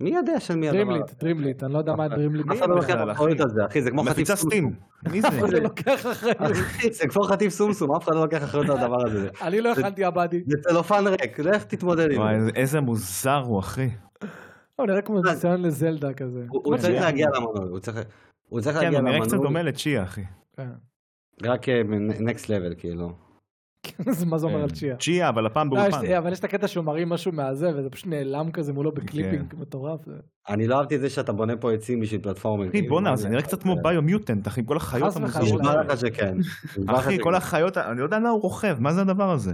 מי יודע של מי הדבר דרימליט, דרימליט, אני לא יודע מה דרימליט. אף אחד לא לוקח בכלל, אחריות על זה, אחי, זה כמו חטיף מפיצה סטים. סומסום. מי זה? (laughs) זה לא- לוקח אחריות. (laughs) אחי, זה כמו חטיף סומסום, אף אחד לא לוקח אחריות על הדבר הזה. אני לא הכנתי עבדי. זה צלופן ריק, לך תתמודד עם וואי, זה. איזה מוזר הוא, אחי. הוא נראה אה, כמו ניסיון לזלדה כזה. הוא הוא צריך להגיע למנוי, הוא צריך- הוא צריך כן, להגיע הוא נראה קצת למנוי, דומה לצ'יה, אחי. כן. (laughs) רק אה, נקסט לבל, כאילו. אז מה זה אומר על צ'יה? כן. צ'יה, אבל הפעם לא, באולפן. יש- אבל יש את הקטע שהוא מרים משהו מהזה וזה פשוט נעלם כזה מולו כן. בקליפינג מטורף. זה- אני לא אהבתי את זה שאתה בונה פה עצים בשביל כאילו, פלטפורמר. אחי, בואנה, זה נראה קצת כמו ביומיוטנט, אחי, עם כל החיות חס וחלילה. המוזרות. נשבע האלה. לך שכן. נשבע לך אחי, שכן. כל החיות, אני לא יודע על מה הוא רוכב, מה זה הדבר הזה?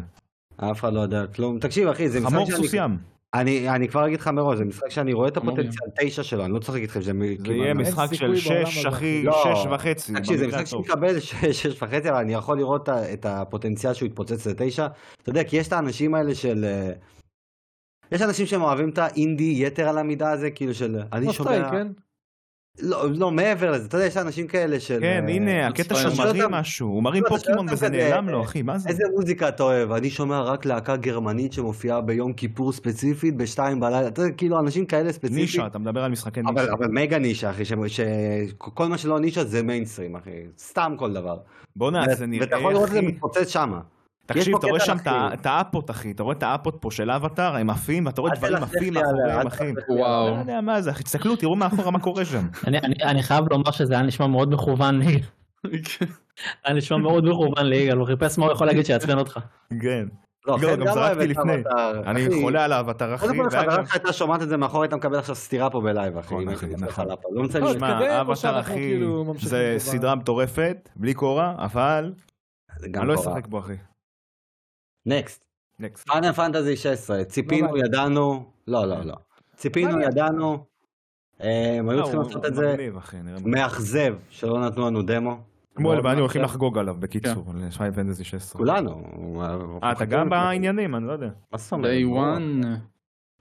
אף אחד לא יודע כלום. תקשיב, אחי, זה משחק חמור שאני- סוס ים. אני- אני כבר אגיד לך מראש, זה משחק שאני רואה את חמור הפוטנציאל תשע שלו, אני לא צוחק איתכם. זה מ- זה כמעט- יהיה אין- משחק של סיכוי בעולם שש, הזה. אחי, לא. שש וחצי. תקשיב, זה במקרה משחק הטוב. שמקבל ש- (laughs) שש וחצי, אבל אני יכול לראות ה- את הפוטנציאל שהוא יתפוצץ לתשע. אתה יודע, כי יש את האנשים האלה של... אה, יש אנשים שהם אוהבים את האינדי יתר על המידה הזה, כאילו של... אני כמו סטריי, שומע... כן? לא, לא, מעבר לזה, אתה יודע, יש אנשים כאלה של... כן, אה, הנה, הקטע אתה שהוא שואל מרים אותם- משהו, הוא מרים לא, אתה שואל פוקימון אותם וזה כזה, נעלם לו, אחי, מה זה? איזה מוזיקה אתה אוהב? אני שומע רק להקה גרמנית שמופיעה ביום כיפור ספציפית בשתיים בלילה. אתה יודע, כאילו אנשים כאלה ספציפית. נישה, אתה מדבר על משחקי אבל, נישה. אבל מגה נישה, אחי, ש... ש... כל מה שלא נישה זה מיינסטרים, אחי. סתם כל דבר. בואנה, ו- זה נראה, ואתה יכול לראות את זה אחי. מתפוצץ שמה. תקשיב, פה אתה רואה קטע שם את ה- אחי. את האפות, אחי, אתה רואה את האפות פה של אבטאר, הם עפים, ואתה רואה אל דברים תלכלך עפים לי עליה, מאחוריהם, אל אחי. תלכלך לי וואו. (laughs) לא יודע מה זה, אחי, תסתכלו, תראו מאחורה מה קורה שם. אני- אני- אני חייב לומר שזה היה נשמע מאוד מכוון ליגאל. היה נשמע מאוד מכוון ליגאל, הוא חיפש מה הוא יכול להגיד שיעצבן אותך. כן. לא, לא, חן גם אוהב זרקתי את לפני. אבטאר, אני אחי. חולה על האבטאר, אחי. קודם כל, והיה חברה גם- שלך הייתה שומעת את זה מאחורי, הייתה מקבל עכשיו סטירה פה בלייב, אחי. נכון, אם אחי, הייתי נכון. חלפה. לא מצליח לא, לשמוע. תתקדם, או שמע, אבטאר, שאנחנו אחי, כאילו ממשיכים זה בבעיה? סדרה מטורפת, בלי קורה, אבל זה גם אני לא קורה. אשחק בו, אחי. נקסט. נקסט. פאנל פנטזי 16, ציפינו, לא ידענו, לא, לא, לא. ציפינו, לא, לא. ידענו, אה, הם היו לא, צריכים הוא- לעשות הוא את זה מגניב, אחי, נראה מגניב. מאכזב, שלא נתנו לנו דמו. כמו כן. אלה, מאוד ואני הולכים מאכזב. לחגוג עליו, בקיצור, לשפיין פנטזי 16. כולנו. אה, אתה גם בעניינים, אני לא יודע. מה זאת אומרת? day one.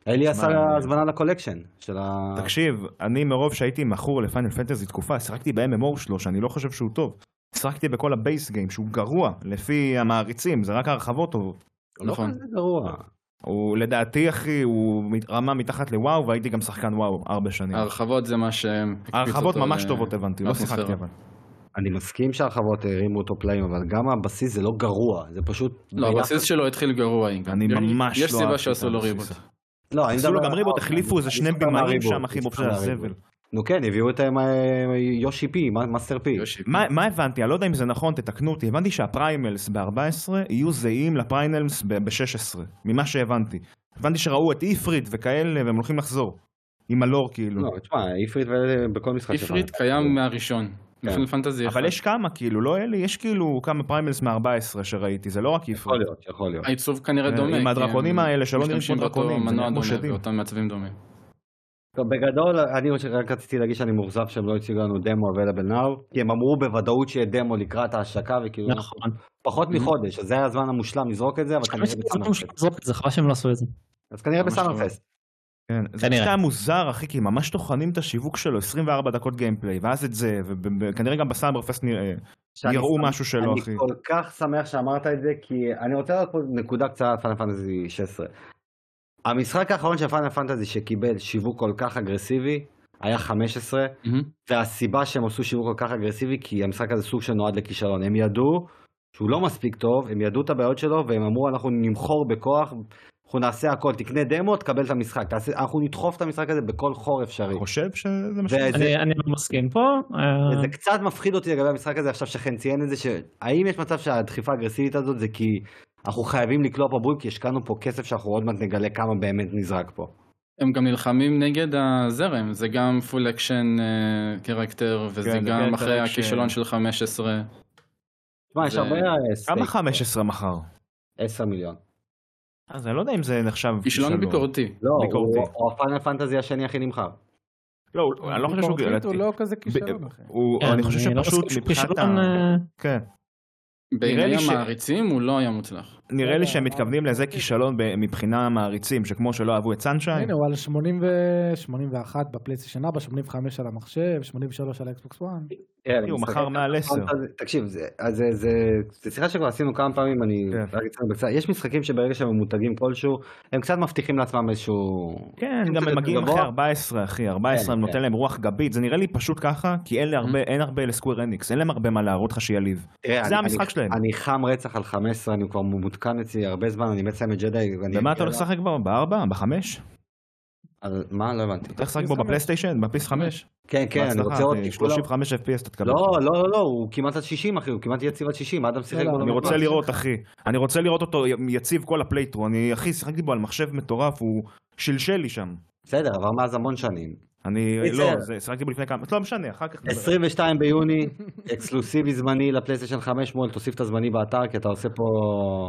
אלי עשה מה, אני- הזמנה לקולקשן של ה... אה. תקשיב, אני מרוב שהייתי מכור לפיינל פנטזי תקופה, שיחקתי ב-MMO שלו, שאני לא חושב שהוא טוב. שיחקתי בכל הבייס גיים, שהוא גרוע, לפי המעריצים, זה רק הרחבות טובות. נכון. לא כזה גרוע. הוא לדעתי, אחי, הוא מת- רמה מתחת לוואו, והייתי גם שחקן וואו ארבע שנים. ההרחבות זה מה שהם... הקפיצו הרחבות אותו ממש ל- טובות הבנתי, לא לאטמוספירה. שיחקתי אבל. אני מסכים שהרחבות הרימו אותו פלאים, אבל גם הבסיס זה לא גרוע, זה פשוט... לא, הבסיס שלו התחיל גרוע. עם- אני יש- ממש לא יש סיבה אהבתי את שעשו לו הבסיס ריבוט. הזה. לא, אני עשו לו מדבר- גם ריבוט, אה, החליפו איזה אני שני מסתכל במאים מהריבוט, שם, אחי, אני מופשי מסתכל מהריבוט. הזבל. נו כן, הביאו את אה, יושי פי, מה- מאסטר פי. יושי. מה, מה הבנתי? אני לא יודע אם זה נכון, תתקנו אותי. הבנתי שהפריימלס ב-14 יהיו זהים לפריימלס ב-16, ממה שהבנתי. הבנתי שראו את איפריט וכאלה, והם הולכים לחזור. עם הלור כאילו. לא, תשמע, איפריט ו- בכל משחק שלך. איפריט קיים מהראשון. מפינל פנטזי אחד. כן. אבל יש כמה כאילו, לא אלה, יש כאילו כמה פריימלס מ-14 שראיתי, זה לא רק איפריט. יכול להיות, יכול להיות. העיצוב כנראה אה, דומה. עם כי הדרקונים הם האלה שלא נראים כמו משתמשים באותו דרקונים, זה מנוע נראה כמו דומה שדים. ואותם מעצבים דומים. טוב, בגדול, אני רק- רק רציתי להגיד שאני מאוכזב שהם לא הציגו לנו דמו available now, כי הם אמרו בוודאות שיהיה דמו לקראת ההשקה, וכאילו, נכון. פחות מחודש, אז זה היה הזמן המושלם לזרוק את זה, אבל חבל כנראה שהם לא בסאנרפסט. יכולים לזרוק את זה, חבל שהם לא עשו את זה. אז כנראה ממש בסאנרפסט. כן, זה כנראה. פשוט היה מוזר, אחי, כי ממש טוחנים את השיווק שלו, 24 דקות גיימפליי, ואז את זה, וכנראה גם בסאמברפסט נראה, שאני אה, יראו שמח- משהו שלו, אחי. אני כל כך שמח שאמרת את זה, כי אני רוצה לעשות פה נקודה קצרה על פאנל פנטזי 16. המשחק האחרון של פאנל פנטזי שקיבל שיווק כל כך אגרסיבי, היה 15, מהמם. והסיבה שהם עשו שיווק כל כך אגרסיבי, כי המשחק הזה סוג שנועד לכישלון. הם ידעו שהוא לא מספיק טוב, הם ידעו את הבעיות שלו, והם אמרו, אנחנו נמכור בכוח, אנחנו נעשה הכל, תקנה דמו, תקבל את המשחק. תעשה, אנחנו נדחוף את המשחק הזה בכל חור אפשרי. אני חושב שזה מה ש... וזה אני אני לא מסכים פה. אה, זה קצת מפחיד אותי לגבי המשחק הזה עכשיו שחן ציין את זה, שהאם יש מצב שהדחיפה האגרסיבית הזאת זה כי אנחנו חייבים לקלוע פה בול כי השקענו פה כסף שאנחנו עוד מעט נגלה כמה באמת נזרק פה. הם גם נלחמים נגד הזרם, זה גם פול אקשן קרקטר, וזה כן, זה גם character אחרי action. הכישלון של 15. תשמע, יש זה- הרבה... אה, כמה סטייק פה. 15 מחר? 10 מיליון. אז אני לא יודע אם זה נחשב כישלון ביקורתי. לא, ביקורתי. הוא- הוא הפאנל פנטזי השני הכי נמכר. לא, הוא- אני לא חושב שהוא ביקורתית הוא גרלתי. לא כזה כישלון, אחי. כן, אני חושב לא שפשוט מסכים שהוא מבחינת ה... כישלון, אה, כן. בעיני לי ש- המעריצים הוא לא היה מוצלח. נראה לי שהם מתכוונים לזה אה, כישלון ב- מבחינה מעריצים, שכמו שלא אהבו את סנשיין, הנה, הוא על 80 ו- 81 בפלייסטיישן 4, 85 על המחשב, 83 על האקסבוקס 1. הוא מכר מעל 10. פנטזי- תקשיב, זה, אז זה, זה, זה שיחה שכבר עשינו כמה פעמים, אני כן. רק אצלנו בקצת, יש משחקים שברגע שהם ממותגים כלשהו, הם קצת מבטיחים לעצמם איזשהו... כן, אם גם זה הם מגיעים גבוה- אחרי 14, אחי, 14 כן, הם נותן כן. Mm. להם רוח גבית, זה נראה לי פשוט ככה, כי אין להרבה- אין הרבה לסקוויר אניקס, אין להם הרבה מה להראות לך שיליב. תראה, זה אני- המשחק אני- שלהם. אני חם רצח על 15, אני כבר מותקן אצלי הרבה זמן, אני מת לסיים את ג'די. אני- במה אתה לא הולך לשחק כבר? בארבע? בחמש? על- מה? לא הבנתי. אתה הולך לשחק פלס בו חמש. בפלייסטיישן? בפליס חמש? כן, כן, אני רוצה אה, עוד... כולם- 35 FPS אתה תקבל. לא, לא, לא, לא, הוא כמעט עד 60 אחי, הוא כמעט יציב עד 60, אדם שיחק לא, בו. אני לא מזמן. רוצה לראות אחי, אני רוצה לראות אותו יציב כל הפלייטרו, אני אחי שיחקתי בו על מחשב מטורף, הוא שלשל לי שם. בסדר, עבר מאז המון שנים. אני, קיצר. לא, זה- שיחקתי בו לפני כמה, לא משנה, אחר כך. נדבר. 22 ביוני, אקסקלוסיבי זמני לפלייסטיישן 500, תוסיף את הזמני באתר, כי אתה עושה פה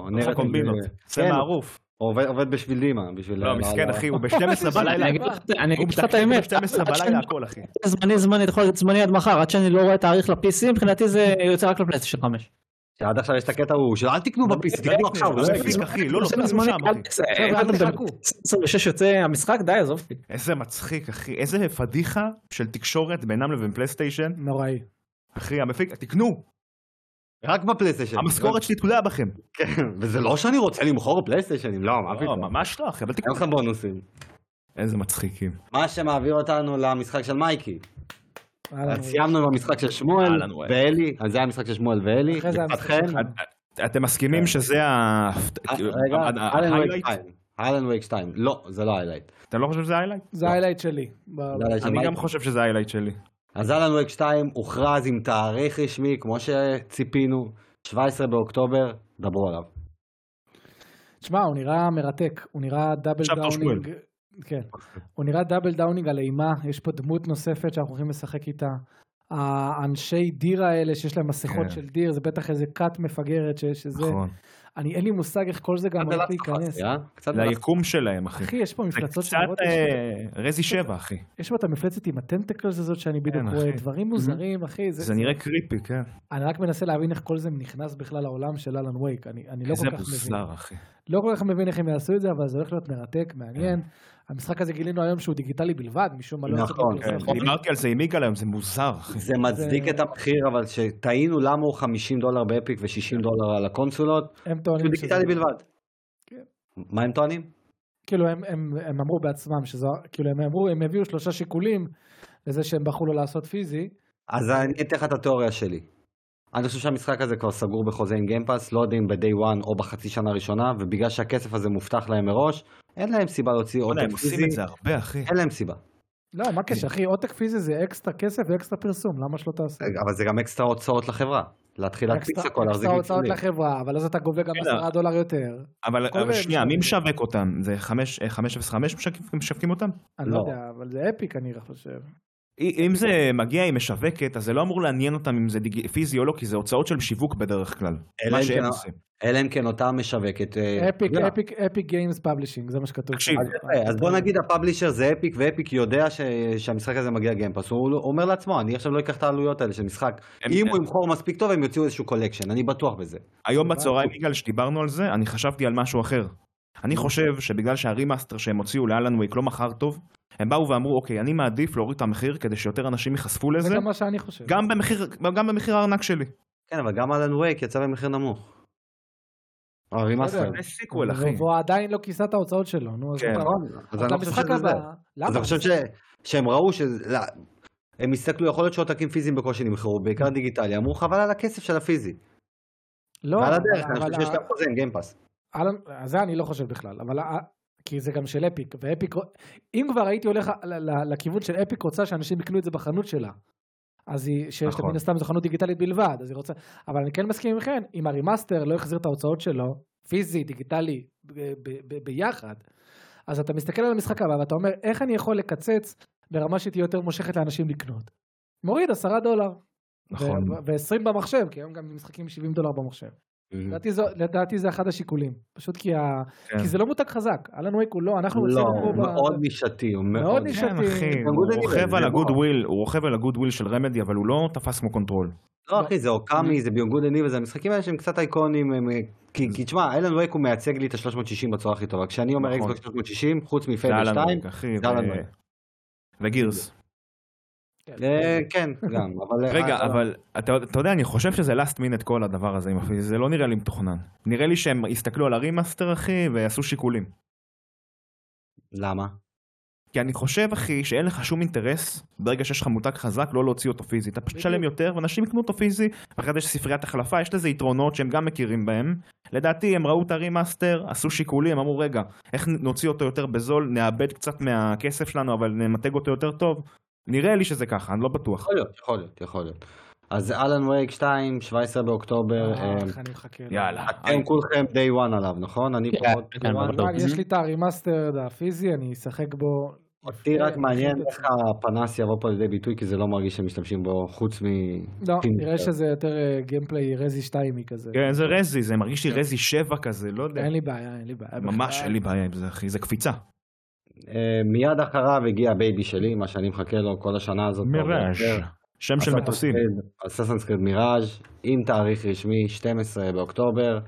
עושה נרטיב. קומבינות, זה כן, מערוף. עובד עובד בשביל דימה, בשביל... אה, לא, מסכן אחי, הוא (laughs) ב-12 בלילה. אני אגיד לך- אני הוא אגיד לך את מתקתק האמת, ב-12 עד בלילה שאני- הכל אחי. זמני זמני, אתה יכול להגיד זמני עד מחר, עד שאני לא רואה תאריך ל-PC, מבחינתי זה יוצא רק לפלייסטיישן 5. שעד עכשיו יש את הקטע ההוא של אל תקנו בפיס, תקנו עכשיו. זה רגע. מפיק, אחי, לא, לא, זה לא, זמני, שם, אחי. זה- חבר'ה, אל אתה מדבר- תחכו. 26 יוצא המשחק, די, עזוב אותי. איזה מצחיק אחי, איזה פדיחה של תקשורת בינם לבין פלייסטיישן. נוראי. אחי המפיק, תקנו, רק בפלייסטיישן. המשכורת שלי תלויה בכם. (laughs) כן, וזה לא שאני רוצה למכור פלייסטיישנים, לא, מה לא, פתאום. ממש לא אחי, אבל תקנו. אין לך בונוסים. איזה מצחיקים. מה שמעביר אותנו למשחק של מייקי. אה, אהלן, אז אה, סיימנו עם המשחק של שמואל אהלן, וואי. ואלי, אז זה היה המשחק של שמואל ואלי. אחרי זה היה המשחק לפתחכם. שלך. אתם מסכימים שזה ה... אה, רגע, אלן וייק 2. אלן וייק 2. לא, זה לא היילייט. אתה לא חושב שזה היילייט? זה ההיילייט שלי. ב- זה highlight של אני מייקי. גם חושב שזה היילייט שלי. אז אלן וייק 2 הוכרז עם תאריך רשמי, כמו שציפינו, 17 באוקטובר, דברו עליו. תשמע, הוא נראה מרתק, הוא נראה דאבל עכשיו תור שמואל. דאונינג. כן. הוא נראה דאבל דאונינג על אימה, יש פה דמות נוספת שאנחנו הולכים לשחק איתה. האנשי דיר האלה שיש להם מסכות כן. של דיר, זה בטח איזה כת מפגרת ש- שזה... נכון. אני אין לי מושג איך כל זה גם הולך להיכנס. אה? קצת זה היקום שלהם, אחי. אחי, יש פה זה מפלצות קצת שנראות... יש- אה, רזי שבע, אחי. יש פה את המפלצת עם הטנטקלס הזאת שאני בדיוק כן, אחי. Mhm. רואה, דברים מוזרים, אחי. זה- זה נראה קריפי, כן. אני רק מנסה להבין איך כל זה נכנס בכלל לעולם של אלן וייק, אני אני לא איזה כל כך מבין. מוסר, אחי. לא כל כך מבין איך הם יעשו את זה, אבל זה הולך להיות מרתק, מעניין. המשחק הזה גילינו היום שהוא דיגיטלי בלבד, משום מה לא... יצא כן. נכון, בפרסום. כן, דיברתי על זה עם יגאל היום, זה מוזר, אחי. זה מצדיק זה- את המחיר, אבל שתהינו למה הוא 50 דולר באפיק כן. ו-60 דולר על הקונסולות, הם טוענים שהוא דיגיטלי בלבד. כן. מה הם טוענים? כאילו הם, הם, הם אמרו בעצמם שזה, כאילו הם אמרו, הם הביאו שלושה שיקולים לזה שהם בחרו לא לעשות פיזי. אז אני אתן לך את התיאוריה שלי. אני חושב שהמשחק הזה כבר סגור בחוזה עם גיימפאס, לא יודע אם ב-day one או בחצי שנה הראשונה, ובגלל שהכסף הזה מובטח להם מראש, אין להם סיבה להוציא עוד בוא'נה, הם אוקיי, פיזי, כן, עושים את זה הרבה, אחי. אין להם סיבה. לא, מה הקשר, אחי, עותק פיזי זה אקסטרה כסף ואקסטרה פרסום, למה שלא תעשה? אבל זה גם אקסטרה הוצאות לחברה. להתחיל להדפיס אקסטרה אה, הכל, להחזיק כן. אקסטרה הוצאות ניצולים. לחברה, אבל אז אתה גובה גם בסדר. 10 דולר יותר. אבל כל אבל אלה שנייה, משווקים. מי משווק אותם? זה אה, 5- 505 משווקים- משווקים אותם? אני לא לא. יודע, אבל זה אפי כנראה, חושב. אי- אם זה מגיע, היא משווקת, אז זה לא אמור לעניין אותם אם זה דיג- פיזי או לא, כי זה הוצאות של שיווק בדרך כלל. אלא מה אם שהם כן- עושים. אלא אם כן אותה משווקת. אה, אפיק, לא. אפיק, אפיק גיימס פאבלישינג, זה מה שכתוב. תקשיב, שם. אז יפה, אז בוא נגיד הפאבלישר זה אפיק, ואפיק יודע ש... שהמשחק הזה מגיע גיימפאס, הוא הוא אומר לעצמו, אני עכשיו לא אקח את העלויות האלה של משחק. הם- כן. אם הוא ימכור מספיק טוב, הם יוציאו איזשהו קולקשן, אני בטוח בזה. היום בצהריים, בגלל שדיברנו על זה, אני חשבתי על משהו אחר. אני חושב שבגלל שהרימאסטר שהם הוציאו לאלן וויק לא מכר טוב, הם באו ואמרו, אוקיי, אני מעדיף להוריד את המחיר כדי שיותר אנשים ייחשפו זה לזה, גם מה שאני חושב. גם במחיר, גם במחיר הארנק שלי. כן, אבל גם אלן וייק יצא במחיר נמוך. אה, רימאסטר. זה סיקוול, אחי. והוא עדיין לא כיסה את ההוצאות שלו, נו, אז כן. מה? נכון, אז אבל אני לא חושב המשחק שזה זה. הבא- למה? אז אני חושב ש- שהם ראו ש... לא, הם הסתכלו, יכול להיות שעותקים פיזיים בקושי נמכרו, בעיקר Mm. דיגיטלי, אמרו חבל על הכסף של הפיזי. לא, ועל הדרך, אני אבל חושב שיש להם חוזה עם גיימפאס. אהלן, זה אני לא חושב בכלל, אבל ה- כי זה גם של אפיק, ואפיק, אם כבר הייתי הולך ל- ל- לכיוון של אפיק רוצה שאנשים יקנו את זה בחנות שלה. אז היא, שיש לה נכון. מן הסתם זו חנות דיגיטלית בלבד, אז היא רוצה, אבל אני כן מסכים עם חן, אם הרימאסטר לא החזיר את ההוצאות שלו, פיזי, דיגיטלי, ב- ב- ב- ביחד, אז אתה מסתכל על המשחק הבא ואתה אומר, איך אני יכול לקצץ ברמה שתהיה יותר מושכת לאנשים לקנות? מוריד עשרה דולר, נכון. ו-20 במחשב, כי היום גם משחקים 70 דולר במחשב. לדעתי, זו, לדעתי זה אחד השיקולים, פשוט כי, ה... Mm. כן. כי זה לא מותג חזק, אלן וייק הוא לא, אנחנו לא, רצינו פה הוא ב- מאוד נישתי, הוא מאוד מאוד נישתי. נישתי. כן, אחי, גם הוא גודל רוכב איבן, על זה הגוד לא. וויל, הוא רוכב על הגוד וויל של רמדי, אבל הוא לא תפס כמו קונטרול. לא אחי, זה אוקאמי, זה ביונגוד אני וזה המשחקים האלה שהם קצת אייקונים, הם, אה, כי כי תשמע, אלן וייק הוא מייצג לי את ה-360 בצורה הכי טובה, כשאני אומר נכון. אקסבוק 360, חוץ זה מפייבל אלן 2, וויק, אחי. כן, זה ו- אלן וייק. וגירס. אה, כן, גם, אבל... רגע, אה, אבל אתה אתה יודע, אני חושב שזה last minute כל הדבר הזה, עם הפיזי, זה לא נראה לי מתוכנן. נראה לי שהם הסתכלו על הרימאסטר, אחי, ויעשו שיקולים. למה? כי אני חושב, אחי, שאין לך שום אינטרס, ברגע שיש לך מותג חזק, לא להוציא אותו פיזי. אתה פשוט תשלם יותר, ואנשים יקנו אותו פיזי, ואחרי זה יש ספריית החלפה, יש לזה יתרונות שהם גם מכירים בהם. לדעתי, הם ראו את הרימאסטר, עשו שיקולים, אמרו, רגע, איך נוציא אותו יותר בזול, נאבד קצת מהכסף שלנו, אבל נמתג אותו יותר טוב. נראה לי שזה ככה, אני לא בטוח. יכול להיות, יכול להיות, יכול להיות. אז אלן וייק 2, 17 באוקטובר, אה, אה, איך אני מחכה. לו. יאללה. אתם כולכם day one עליו, נכון? אני כן, פחות... כן, one. בוודאות. אבל יש לי את הרימאסטרד הפיזי, אני אשחק בו. אותי כן. רק אה, מעניין אה, איך הפנס יבוא פה לידי ביטוי, כי זה לא מרגיש שמשתמשים בו חוץ מ... לא, פינג. נראה שזה יותר אה, גיימפליי רזי 2 כזה. כן, זה רזי, זה מרגיש לי רזי 7 כזה, לא יודע. אין לי בעיה, אין לי בעיה. ממש בכלל. אין לי בעיה עם זה, אחי, זה קפיצה. אה, מיד אחריו הגיע הבייבי שלי, מה שאני מחכה לו כל השנה הזאת. מראז'. שם של מטוסים. אססנס קריד מיראז' עם תאריך רשמי 12 באוקטובר.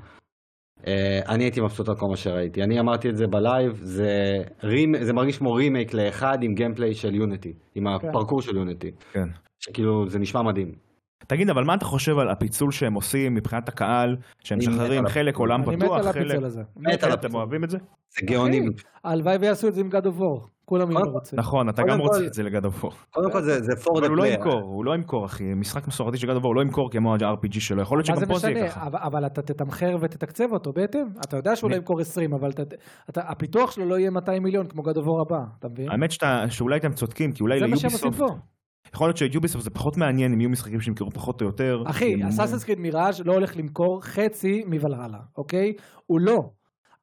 אה, אני הייתי מבסוט על כל מה שראיתי. אני אמרתי את זה בלייב, זה, רימ... זה מרגיש כמו רימייק לאחד עם גיימפליי של יוניטי, עם כן. הפרקור של יוניטי. כן. שכאילו זה נשמע מדהים. תגיד, אבל מה אתה חושב על הפיצול שהם עושים מבחינת הקהל, שהם אני מת משחררים על חלק עולם אני מת פתוח, על חלק... הפיצול הזה. אוקיי, כן. מת על אתם אוהבים את זה? זה גאוני. אוקיי. הלוואי ויעשו את זה עם God of War, כולם יהיו קודם כל, מרוצים. נכון, אתה קודם גם כל- רוצה את זה לגד אופור. קודם כל זה, זה for the אבל הוא לא player. ימכור, הוא לא ימכור, אחי. משחק מסורתי של גד אופור לא ימכור כמו ה-RPG שלו, יכול להיות מה זה שגם פה זה יהיה משנה? ככה. אבל- אבל אתה תתמחר ותתקצב אותו בהתאם. אתה יודע שהוא לא אני- ימכור 20, אבל אתה- אתה- הפיתוח שלו לא יהיה 200 מיליון כמו God of War הבא, אתה מבין? האמת שאתה- שאולי אתם צודקים, כי אולי אה, זה מה שהם עושים ליוביסופט, פה. יכול להיות שיוביסופט זה פחות מעניין אם יהיו משחקים שימכרו פחות או יותר. אחי, הם- אסאסינס קריד מיראז' לא הולך למכור חצי מוולהלה, אוקיי? הוא לא.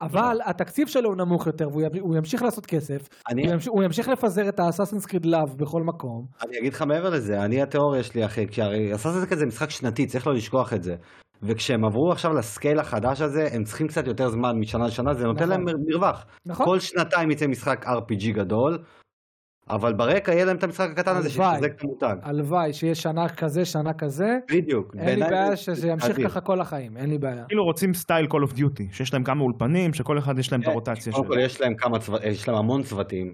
אבל התקציב שלו הוא נמוך יותר, והוא ימ- הוא ימשיך לעשות כסף, אני, כן. הוא ימשיך- הוא ימשיך לפזר את האסאסינס קריד לאב בכל מקום. אני אגיד לך מעבר לזה, אני התיאוריה שלי אחי, כי הרי הסאסס כזה משחק שנתי, צריך לא לשכוח את זה. וכשהם עברו עכשיו לסקייל החדש הזה, הם צריכים קצת יותר זמן משנה לשנה, זה נותן נכון. להם מר- מרווח. נכון? כל שנתיים יצא משחק RPG גדול, אבל ברקע יהיה להם את המשחק הקטן הזה הלוואי. שיחזק את המותג. הלוואי שיהיה שנה כזה, שנה כזה. בדיוק. אין לי בעיניי בעיה זה שזה ימשיך עדיף. ככה כל החיים, אין לי בעיה. כאילו רוצים סטייל Call of Duty, שיש להם כמה אולפנים, שכל אחד יש להם את אה, כן, הרוטציה שלו. קודם אוקיי. כל יש להם כמה צוות, יש להם המון צוותים.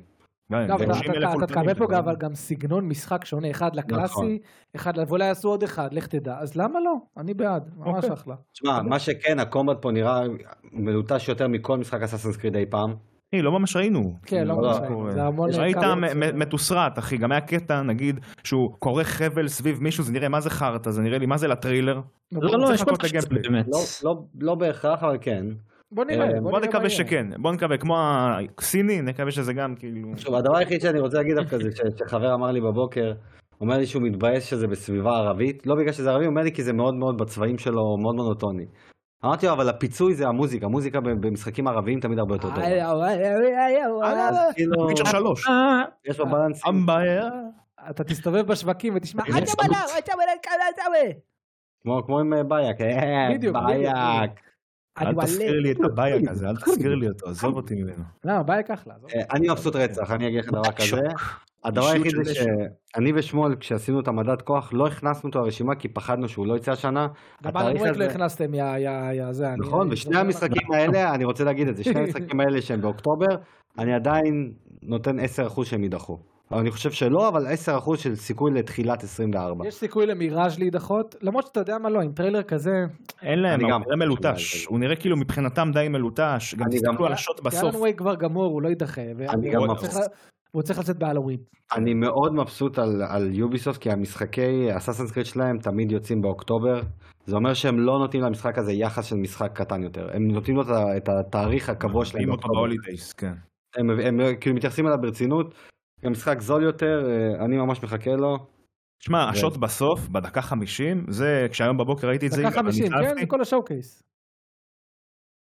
גם, אגב, כן, זה לא, אתה- אתה- 90,000 אתה אולפנים, תקבל פה זה גם- גם- אבל גם סגנון משחק שונה, אחד נכון. לקלאסי, אחד, ל- ואולי יעשו עוד אחד, לך תדע. אז למה לא? אני בעד, ממש אוקיי. אחלה. תשמע, מה שכן, הקומבט פה נראה מלוטש יותר מכל משחק אסאסינס קריד אי פעם. אחי, לא ממש ראינו. כן, לא לא ממש, קורה. זה המון... ראית קאמות, מ- זה- מ- מתוסרט, אחי, גם היה קטע, נגיד, שהוא כורך חבל סביב מישהו, זה נראה מה זה כן, חרטא, זה נראה לי מה זה לטריילר. לא, לא, צריך יש לחכות פה קצת לגיימפליי. באמת. לא- לא- לא בהכרח, אבל כן. בוא נראה, אה, בוא, בוא נראה מה נקווה יהיה. שכן, בוא נקווה כמו הסיני, נקווה שזה גם כאילו... שוב, הדבר היחיד שאני רוצה להגיד דווקא זה ש- שחבר אמר לי בבוקר, אומר לי שהוא מתבאס שזה בסביבה ערבית, לא בגלל שזה ערבי, הוא אומר לי כי זה מאוד מאוד בצבעים שלו, מאוד מונוטוני. אמרתי לו, אבל הפיצוי זה המוזיקה, המוזיקה ב- במשחקים ערביים תמיד הרבה יותר אה, טובה. אז כאילו, פיצ'ר שלוש. יש לו בלנס. אמבעיה. לא. אתה תסתובב בשווקים ותשמע, יש "אג'ה בלה, אג'ה בלה, כאלה, אג'ה בלה". כמו כמו עם אה, בייק, אה, בדיוק, בייק. אני אל מלא. תזכיר לי את הבעיה כזה, אל תזכיר לי אותו, עזוב אותי ממנו. למה, לא, בא לקח לה. עזוב. אה, אני מבסוט רצח, אני אגיד לך דבר כזה. הדבר אישיות היחיד של זה נשק. שאני ושמואל, כשעשינו את המדד כוח, לא הכנסנו אותו לרשימה כי פחדנו שהוא לא יצא השנה. גם על התאריך המועד הזה- לא הכנסתם, יא, יא, יא, זה. אני- לא נכון, אני- ושני המשחקים האלה, אני רוצה להגיד את (laughs) זה, שני המשחקים האלה שהם באוקטובר, אני עדיין נותן 10% שהם יידחו. אבל אני חושב שלא, אבל 10% של סיכוי לתחילת 24. יש סיכוי למיראז' להידחות? למרות שאתה יודע מה לא, עם טריילר כזה, אין להם, אני הוא גם נראה מלוטש, הוא נראה כאילו מבחינתם די מלוטש, גם אני תסתכלו גם- על השוט בסוף. בסוף. אלן וייק כבר גמור, הוא לא יידחה. ו- אני הוא גם צריך מבסוט. ל- הוא צריך לצאת בהלווין. אני מאוד מבסוט על, על יוביסופט, כי המשחקי אסאסנס קריד שלהם תמיד יוצאים באוקטובר. זה אומר שהם לא נותנים למשחק הזה יחס של משחק קטן יותר. הם נותנים לו את ה- את התאריך הקבוע שלהם עם אותו באוקטובר. בהולידייס, כן. הם, הם, הם כאילו מתייחסים אליו ברצינות. גם משחק זול יותר, אה, אני ממש מחכה לו. שמע, כן. השוט בסוף, בדקה 50, זה, כשהיום בבוקר ראיתי את זה, דקה אני 50, התלהבתי. כן? כל השואו-קייס.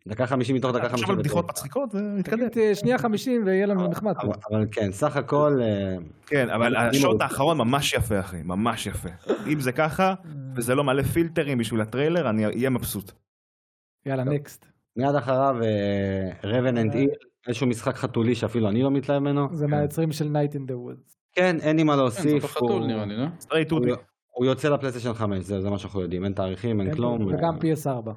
דקה 50 מתוך דקה 50. עכשיו על בדיחות מצחיקות, זה מתקדם. תגיד, אה, שנייה 50 ויהיה לנו נחמד. אבל, אבל כן, סך הכל, אה, כן, אבל אני השוט מאוד- האחרון ממש יפה, אחי, ממש יפה. אם זה ככה, וזה לא מלא פילטרים בשביל הטריילר, אני אהיה מבסוט. יאללה, נקסט. מיד אחריו רבן אנד אה, איל, איזשהו משחק חתולי שאפילו אני לא מתלהב ממנו. זה מהיוצרים של Night in the Woods. כן, אין לי מה כן, זה אותו להוסיף. חתול הוא- נראה לי, לא? סטרייט הוא- טודי. הוא יוצא לפלייסטיישן 5, זה זה מה שאנחנו יודעים, אין תאריכים, אין כן, כלום. וגם אה, PS4.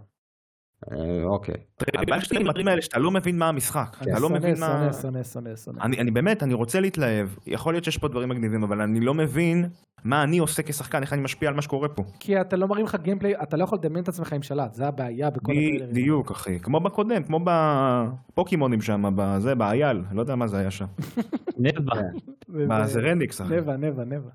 אה, אוקיי. הבעיה שלי עם הדברים האלה שאתה לא מבין מה המשחק. אני אתה לא שונא, מבין שונא, מה... שונא, שונא, שונא. אני, אני באמת, אני רוצה להתלהב. יכול להיות שיש פה דברים מגניבים, אבל אני לא מבין מה אני עושה כשחקן, איך אני משפיע על מה שקורה פה. כי אתה לא מראים לך גיימפליי, אתה לא יכול לדמיין את עצמך עם שלט, זה הבעיה בכל הטריילרים. בדיוק, אחי. כמו בקודם, כמו בפוקימונים שם, בזה, באייל. לא יודע מה זה היה שם. נדבע. זה- מה, זה- זה רניקס, אחי. נבע, נבע, נבע.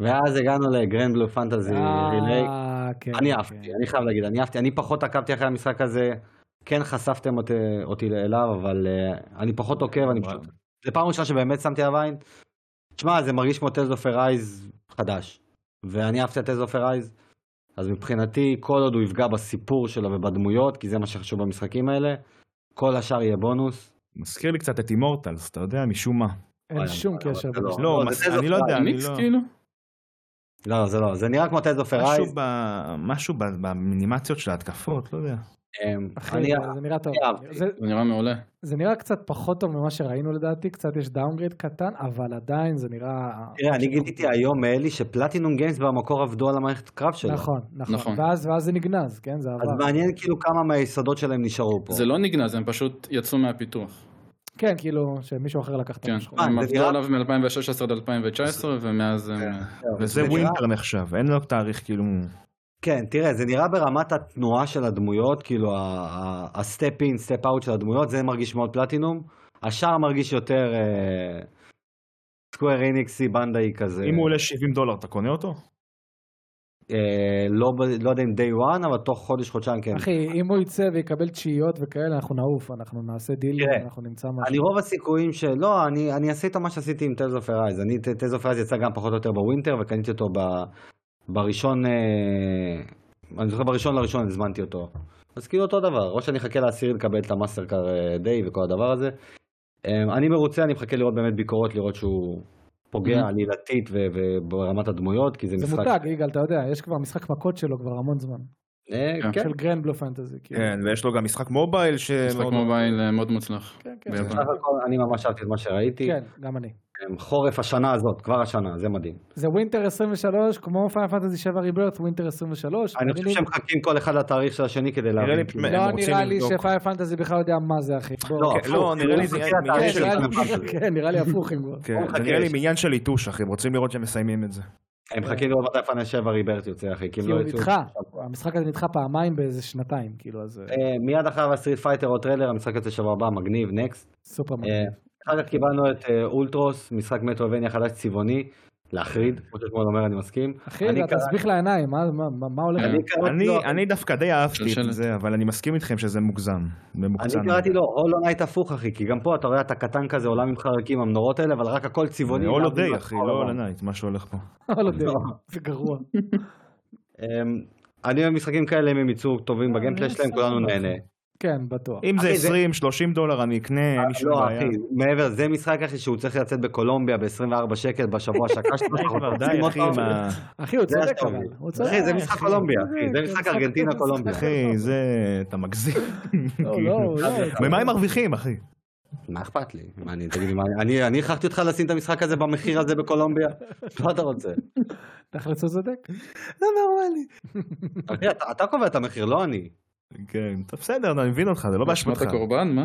ואז הגענו לגרנד בלו פנטזי רילי. אה, כן, אני כן. אהבתי, אני חייב להגיד, אני אהבתי, אני פחות עקבתי אחרי המשחק הזה. כן חשפתם אותי- אותי אליו, אבל אה, אני פחות עוקב, אני פשוט... זה פעם ראשונה שבאמת שמתי עליו עין. תשמע, זה מרגיש כמו טלס אוף ארייז חדש. ואני אהבתי את טלס אוף ארייז, אז מבחינתי, כל עוד הוא יפגע בסיפור שלו ובדמויות, כי זה מה שחשוב במשחקים האלה, כל השאר יהיה בונוס. מזכיר לי קצת את אימורטלס, אתה יודע, משום מה. אין שום קשר. זה בין- לא, זה מס- Tales of אני לא יודע, אני ניקס לא... כאילו? לא, זה לא, זה נראה כמו טלס אוף ארייז. משהו ב- משהו ב- במינימציות של ההתקפות, לא יודע. אחי, אמ, אני זה נראה טוב. אני אהבתי. זה- זה נראה מעולה. זה נראה קצת פחות טוב ממה שראינו לדעתי, קצת יש דאונגרד קטן, אבל עדיין זה נראה... תראה, אני גיליתי היום מאלי שפלטינום גיימס במקור עבדו על המערכת קרב שלו. נכון, נכון. נכון. ואז ואז זה נגנז, כן? זה אז עבר. מעניין כאילו כמה מהיסודות שלהם נשארו פה. זה לא נגנז, הם פשוט יצאו מהפיתוח. כן, כאילו, שמישהו אחר לקח את כן, המשחק. אה, הם זה עבדו נראה- עליו מ-2016 עד 2019, ומאז הם... כן. וזה נראה- ווינטר נחשב, אין לו תאריך כאילו... כן, תראה, זה נראה ברמת התנועה של הדמויות, כאילו הסטפ אין, סטפ אאוט של הדמויות, זה מרגיש מאוד פלטינום. השאר מרגיש יותר אה, סקוויר איניקסי, בנדאי כזה. אם הוא עולה 70 דולר, אתה קונה אותו? אה, לא ב- לא יודע אם day one, אבל תוך חודש, חודשיים כן. אחי, אם הוא יצא ויקבל תשיעיות וכאלה, אנחנו נעוף, אנחנו נעשה דיל, תראה, אנחנו נמצא משהו. אני רוב הסיכויים שלא, אני, אני אעשה איתו מה שעשיתי עם טלס אוף ארייז. אני, טלס אוף ארייז יצא גם פחות או יותר בווינטר, וקניתי אותו ב, בראשון, אה, אני זוכר בראשון לראשון הזמנתי אותו. אז כאילו אותו דבר, או שאני אחכה לעשירי לקבל את המאסטר קאר דיי וכל הדבר הזה. אה, אני מרוצה, אני מחכה לראות באמת ביקורות, לראות שהוא פוגע Mhm. עלילתית ו- וברמת הדמויות, כי זה, Mm-hmm. זה משחק... מותג, יגאל, אתה יודע, יש כבר משחק מכות שלו כבר המון זמן. אה, כן, של גרנד בלו פנטזי, כאילו. כן, ויש לו גם משחק מובייל ש... משחק מובייל אה, מאוד מוצלח. כן, כן. ביפן. בסך הכל אני ממש אהבתי את מה שראיתי. כן, גם אני. אה, חורף השנה הזאת, כבר השנה, זה מדהים. זה ווינטר 23, כמו פיין פנטזי 7 ריברט, ווינטר 23. אני חושב שהם מחכים כל אחד לתאריך של השני כדי להבין. לי- כאילו. הם לא רוצים נראה לי לבדוק. שפיין פנטזי בכלל יודע מה זה, אחי. בוא. לא, כן, לא, הפוך, נראה לי הוא זה מחכה עניין- לתאריך כן, של של נראה לי- התאריך שלו. כן, נראה לי הפוך אם כבר. כן, הוא זה מחכה נראה לי יש. עניין של ליטוש, אחי, הם רוצים לראות שהם מסיימים את זה. הם מחכים לראות מתי פאנל 7 ריברט יוצא אחי, כי הם כי לא הוא יצאו. נדחה, המשחק הזה נדחה פעמיים באיזה שנתיים, כאילו, אז אה, אה, מיד אחריו הסטריט פייטר או טריילר, המשחק יוצא שבוע הבא, מגניב, נקסט. סופר אה, מגניב. אחר כך קיבלנו את אה, אולטרוס, משחק מטרובניה חדש צבעוני. להחריד, כמו ששמואל אומר, אני מסכים. אחי, אני אתה קראתי- תסביך לעיניים, מה- מה- מה מה הולך? אני קראתי אני, לו- אני דווקא די אהבתי שלשלת. לא. את זה, אבל אני מסכים איתכם שזה מוגזם. זה מוקצן. אני קראתי לו הולו נייט הפוך אחי, כי גם פה אתה רואה אתה קטן כזה עולה ממך רקים המנורות האלה, אבל רק הכל צבעוני. All להבין day, מה אחי, קורה לא בעולם. all night, מה שהולך פה. לא יודע, לא. זה גרוע. אמ, אני אוהב משחקים כאלה אם הם יצאו טובים בגיימפליי שלהם, כולנו נהנה. כן, בטוח. אם זה אה, אחי, זה- 20-30 דולר אני אקנה, מישהו לא בעיה. אחי, מעבר, זה משחק אחי שהוא צריך לצאת בקולומביה ב-24 שקל בשבוע שקשת. די (laughs) כבר, די אחי, מה... אחי, הוא זה צודק השטוב. אבל. הוא צודק. אחי, זה משחק אחי. קולומביה, אחי, זה זה משחק משחק- ארגנטינה קולומביה. אחי, זה... אתה מגזים. (laughs) לא, לא, כאילו. לא. ממה הם מרוויחים, אחי? מה אכפת לי? מה, אני- תגיד לי, מה, אני- אני הכרחתי אותך לשים את המשחק הזה במחיר הזה בקולומביה? (laughs) מה אתה רוצה? תכלס הוא צודק. כן, לא נורמלי. אחי, אתה- אתה קובע את המחיר, לא אני. כן, טוב, בסדר, אני מבין אותך, זה לא באשמת באשמתך. הקורבן, מה?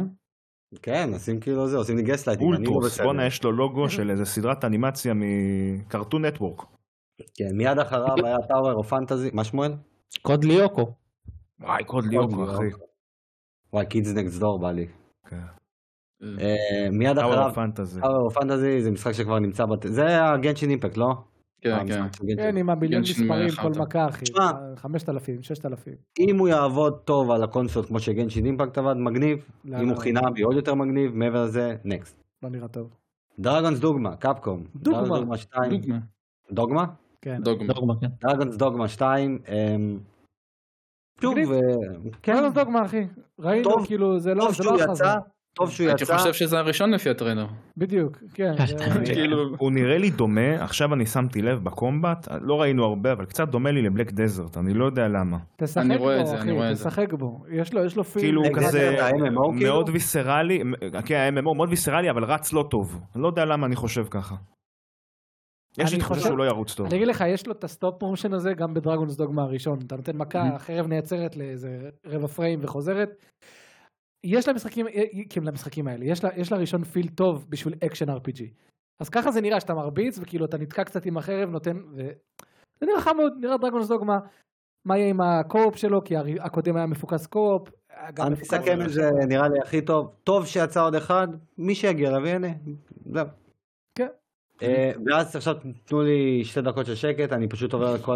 כן, עושים כאילו זה, עושים לי גסלייטינג, אני לא אולטרוס, בסדר. בואנה, יש לו לוגו של איזה סדרת אנימציה מקרטון נטוורק. כן, מיד אחריו היה טאוור או פנטזי, מה שמואל? קוד ליוקו. וואי, קוד ליוקו, אחי. וואי, קידס נקס דור בא לי. כן. אה, מיד טאוור אחריו, אוף פנטזי. טאוור או פנטזי זה משחק שכבר נמצא בת... זה הגנשין אימפקט, לא? כן, המשחק כן. של Genshin. כן, עם הביליון גנשין מספרים, מאחר כל אותם. מכה, אחי. תשמע. 5,000, 6,000. אם הוא יעבוד טוב על הקונסול כמו שגנשין אימפקט עבד, מגניב. לא, אם לא, הוא חינמי, עוד יותר מגניב. מעבר לזה, נקסט. לא נראה טוב. דרגונס דוגמה, קפקום. דוגמה. דרגונס דוגמה 2. דוגמה. דוגמה? כן. דוגמה. דוגמה, כן. דרגונס דוגמה 2. אמ, שוב, מגניב. ו- כן, כן, אז דוגמה, אחי. ראינו, טוב- כאילו, זה לא טוב זה שהוא לא יצא, הכרזה. טוב שהוא הייתי יצא. חושב שזה הראשון לפי הטריילר. בדיוק, (laughs) כן. זה- כאילו, הוא נראה לי דומה, עכשיו אני שמתי לב בקומבט, לא ראינו הרבה, אבל קצת דומה לי לבלק דזרט, אני לא יודע למה. תשחק אני רואה את בו, זה, אחי, אני רואה את זה. תשחק בו. יש לו, יש לו פיל. כאילו הוא נגד כזה זה ה-MMO, כאילו? מאוד ויסרלי, כן, ה-MMO מאוד ויסרלי, אבל רץ לא טוב. אני לא יודע למה אני חושב ככה. יש לי אני תחושה חושב- שהוא לא ירוץ טוב. אני אגיד לך, יש לו את הסטופ מושן הזה גם בדרגונס דוגמה הראשון. אתה נותן מכה, החרב נעצרת לאיזה רבע פריים וחוזרת. יש למשחקים, כאילו למשחקים האלה, יש, לה, יש לראשון פיל טוב בשביל אקשן RPG. אז ככה זה נראה, שאתה מרביץ, וכאילו אתה נתקע קצת עם החרב, נותן, ו... זה נראה חמוד, נראה דרגונס דוגמה. מה יהיה עם הקו-אופ שלו, כי הרי- הקודם היה מפוקס קו-אופ. אה, גם אני מפוקס- מסכם את זה, נראה לי הכי טוב. טוב שיצא עוד אחד, מי שיגיע אליו יהנה. זהו. כן. אה, ואז עכשיו תנו לי שתי דקות של שקט, אני פשוט עובר על כל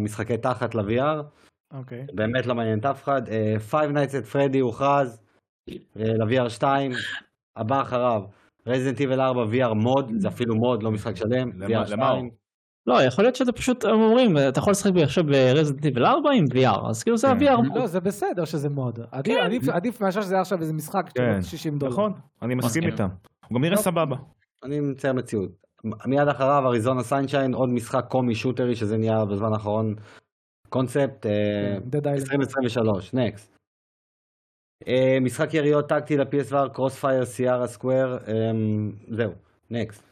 המשחקי תחת ל-VR. אוקיי. באמת לא מעניין את אף אחד. אה, Five Nights at Freddy הוכרז אה, ל-VR 2, הבא אחריו. רזנט איבל 4 VR מוד, זה אפילו מוד, לא משחק שלם. למה- VR למה 2. לא, יכול להיות שזה פשוט, הם אומרים, אתה יכול לשחק עכשיו ברזנט איבל 4 עם VR, אז כאילו זה כן. ה-VR. לא, זה בסדר שזה מוד. עדיף- עדיף- עדיף מאשר שזה עכשיו איזה משחק כן. של 60 דולר. נכון, אני מסכים מסכים. איתם. הוא גם נראה טוב. סבבה. אני מצייר מציאות. מיד אחריו אריזונה סיינשיין, עוד משחק קומי שוטרי שזה נהיה בזמן האחרון קונספט. אה, Dead Island. 2023, נקסט. אה, משחק יריות טקטי ל-PSVR, קרוספייר, סיארה סקוואר, אמ, זהו, (laughs) נקסט.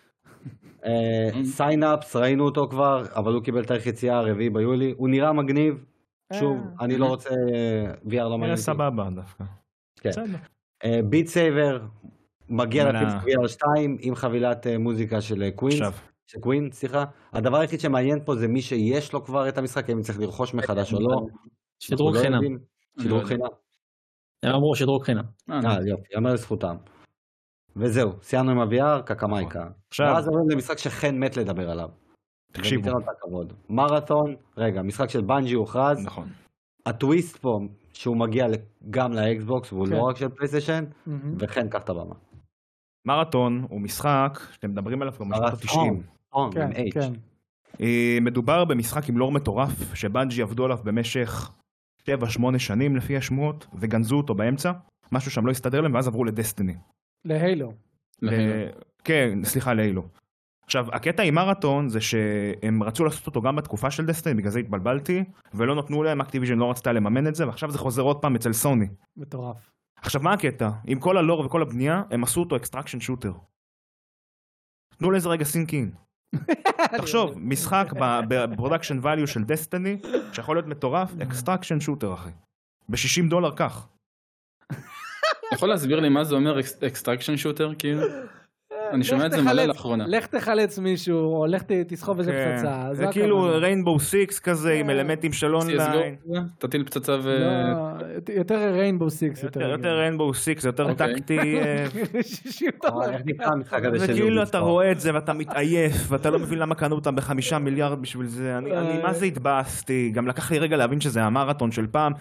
סיינאפס, ראינו אותו כבר, אבל הוא קיבל תאריך יציאה הרביעי ביולי, הוא נראה מגניב, שוב, אה. אני לא רוצה, אה, VR לא מעניין נראה סבבה דווקא. כן. בסדר. ביט סייבר, מגיע מנה. ל-PSVR 2 עם חבילת אה, מוזיקה של אה, קווינס, עכשיו, של קווין, סליחה. הדבר היחיד שמעניין פה זה מי שיש לו כבר את המשחק, אם צריך לרכוש מחדש או לא. שדרוג אנחנו לא חינם. יודעים. אני לא שדרוג יודע. חינם. הם אמרו שדרוג חינם. אה, אה, יופי, יאמר לזכותם. וזהו, סיימנו עם ה-VR, קקמייקה. נכון. עכשיו, ואז עוברים למשחק שחן מת לדבר עליו. תקשיבו. וניתן לו את הכבוד. מרתון, רגע, משחק של בנג'י הוכרז. נכון. הטוויסט פה, שהוא מגיע ל- גם לאקסבוקס, והוא כן. לא רק של פלייסטיישן, מהמם. וחן, קח את הבמה. מרתון הוא משחק שאתם מדברים עליו כבר משנות ה-90. מרתון, און, כן, עם H. כן. אה, מדובר במשחק עם לור מטורף, שבנג'י עבדו עליו במשך 7-8 שנים לפי השמועות, וגנזו אותו באמצע, משהו שם לא הסתדר להם, ואז עברו לדסטיני. להיילו. לכן. ל- כן, סליחה, להילו. עכשיו, הקטע עם מרתון זה שהם רצו לעשות אותו גם בתקופה של דסטיני, בגלל זה התבלבלתי, ולא נתנו להם, אקטיביז'ן לא רצתה לממן את זה, ועכשיו זה חוזר עוד פעם אצל סוני. מטורף. עכשיו, מה הקטע? עם כל הלור וכל הבנייה, הם עשו אותו אקסטרקשן שוטר. תנו לזה רגע סינק (laughs) אין. תחשוב, משחק (laughs) בפרודקשן value של דסטיני, שיכול להיות (laughs) מטורף, אקסטרקשן שוטר, אחי. ב-60 דולר כך. אתה יכול להסביר לי מה זה אומר אקסטרקשן שוטר כאילו? אני שומע את זה מלא לאחרונה. לך תחלץ מישהו, או לך ת- תסחוב איזה כן. פצצה. זה כן. זו כאילו הכוונה. ריינבו סיקס כזה עם אלמנטים של אונליין. CSGO, תטיל פצצה ו... לא, יותר ריינבו סיקס. יותר- יותר ריינבו סיקס, יותר אוקיי. טקטי. אה, (laughs) שישים וואי, דולר. אה, איך נקרא המשחק הזה של כאילו וכאילו יוביסופט? כאילו אתה רואה את זה ואתה מתעייף ואתה לא מבין למה קנו אותם בחמישה מיליארד בשביל זה. אני, אני מה זה התבאסתי, גם לקח לי רגע להבין שזה המרתון של פעם.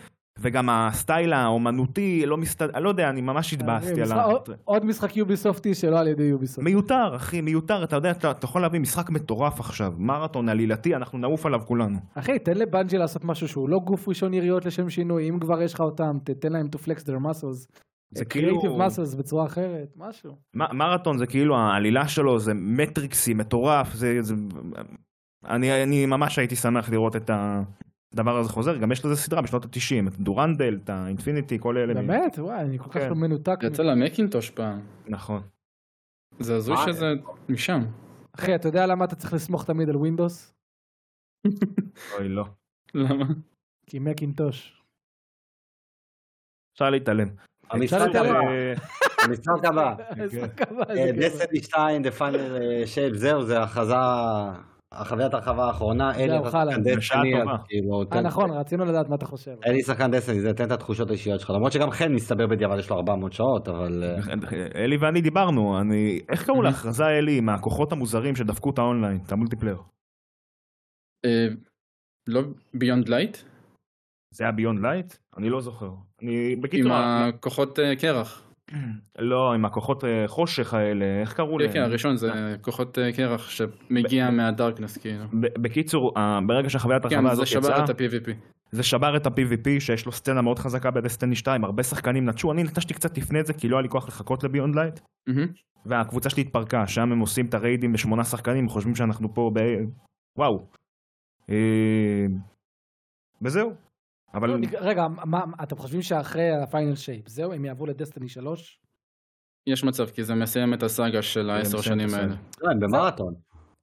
וגם הסטייל האומנותי לא מסתדר, לא יודע, אני ממש התבאסתי על אה, משחק- ה... עוד- עוד משחק יוביסופטי שלא על ידי יוביסופט. מיותר, אחי, מיותר, אתה יודע, אתה, אתה יכול להביא משחק מטורף עכשיו, מרתון עלילתי, אנחנו נעוף עליו כולנו. אחי, תן לבנג'י לעשות משהו שהוא לא גוף ראשון יריות לשם שינוי, אם כבר יש לך אותם, תתן להם to flex their muscles. אה, זה creative כאילו- muscles בצורה אחרת, משהו. מ- מרתון זה כאילו העלילה שלו זה מטריקסי מטורף זה זה אני אני ממש הייתי שמח לראות את הדבר הזה חוזר גם יש לזה סדרה בשנות ה-90 את דורנדל את האינפיניטי כל אלה באמת? וואי, אני כל כך כן. לא מנותק. יצא למקינטוש פעם. נכון זה הזוי מה? שזה משם. אחי, אתה יודע למה אתה צריך לסמוך תמיד על ווינדוס? אוי לא למה? כי מקינטוש. אפשר להתעלם. המשחק אפשר הבא, להתעלם. אה, המשחק (laughs) הבא, כן. אה, דסטי 2, The Final אה, Shape, זהו, זה הכרזה, החוויית הרחבה האחרונה, אין לי זהו, חלאס. שחקן דסטיני, בשעה אז טובה. כאילו, אה, תן- נכון, רצינו לדעת מה אתה חושב. אה, אין לי שחקן דסטיני, זה תן את התחושות האישיות שלך, למרות שגם חן מסתבר בדיעבד יש לו 400 שעות, אבל... אה, אלי ואני דיברנו אני איך קראו להכרזה אלי עם הכוחות המוזרים שדפקו את האונליין את המולטיפלייר. אה, לא ביונד לייט? זה היה ביונד לייט? אני לא זוכר. אני עם בקיצור הכוחות אה, קרח. לא עם הכוחות אה, חושך האלה איך קראו כן, כן, להם? הראשון זה כוחות אה, קרח שמגיע מהדארקנס כאילו. ב- בקיצור אה, ברגע שהחוויית הרחבה כן, זה הזאת שבר יצאה את ה-PVP. זה שבר את ה-PVP שיש לו סצנה מאוד חזקה בדסטיני 2 הרבה שחקנים נטשו אני נטשתי קצת לפני זה כי לא היה לי כוח לחכות לביונד לייט מהמם. והקבוצה שלי התפרקה שם הם עושים את הריידים בשמונה שחקנים הם חושבים שאנחנו פה ב... וואו. אה, וזהו. לא, אבל רגע, מה- מה- אתם חושבים שאחרי הפיינל שייפ, זהו, הם יעברו לדסטיני 3? יש מצב, כי זה מסיים את הסאגה של העשר מסיים את שנים האלה. לא, הם במרתון.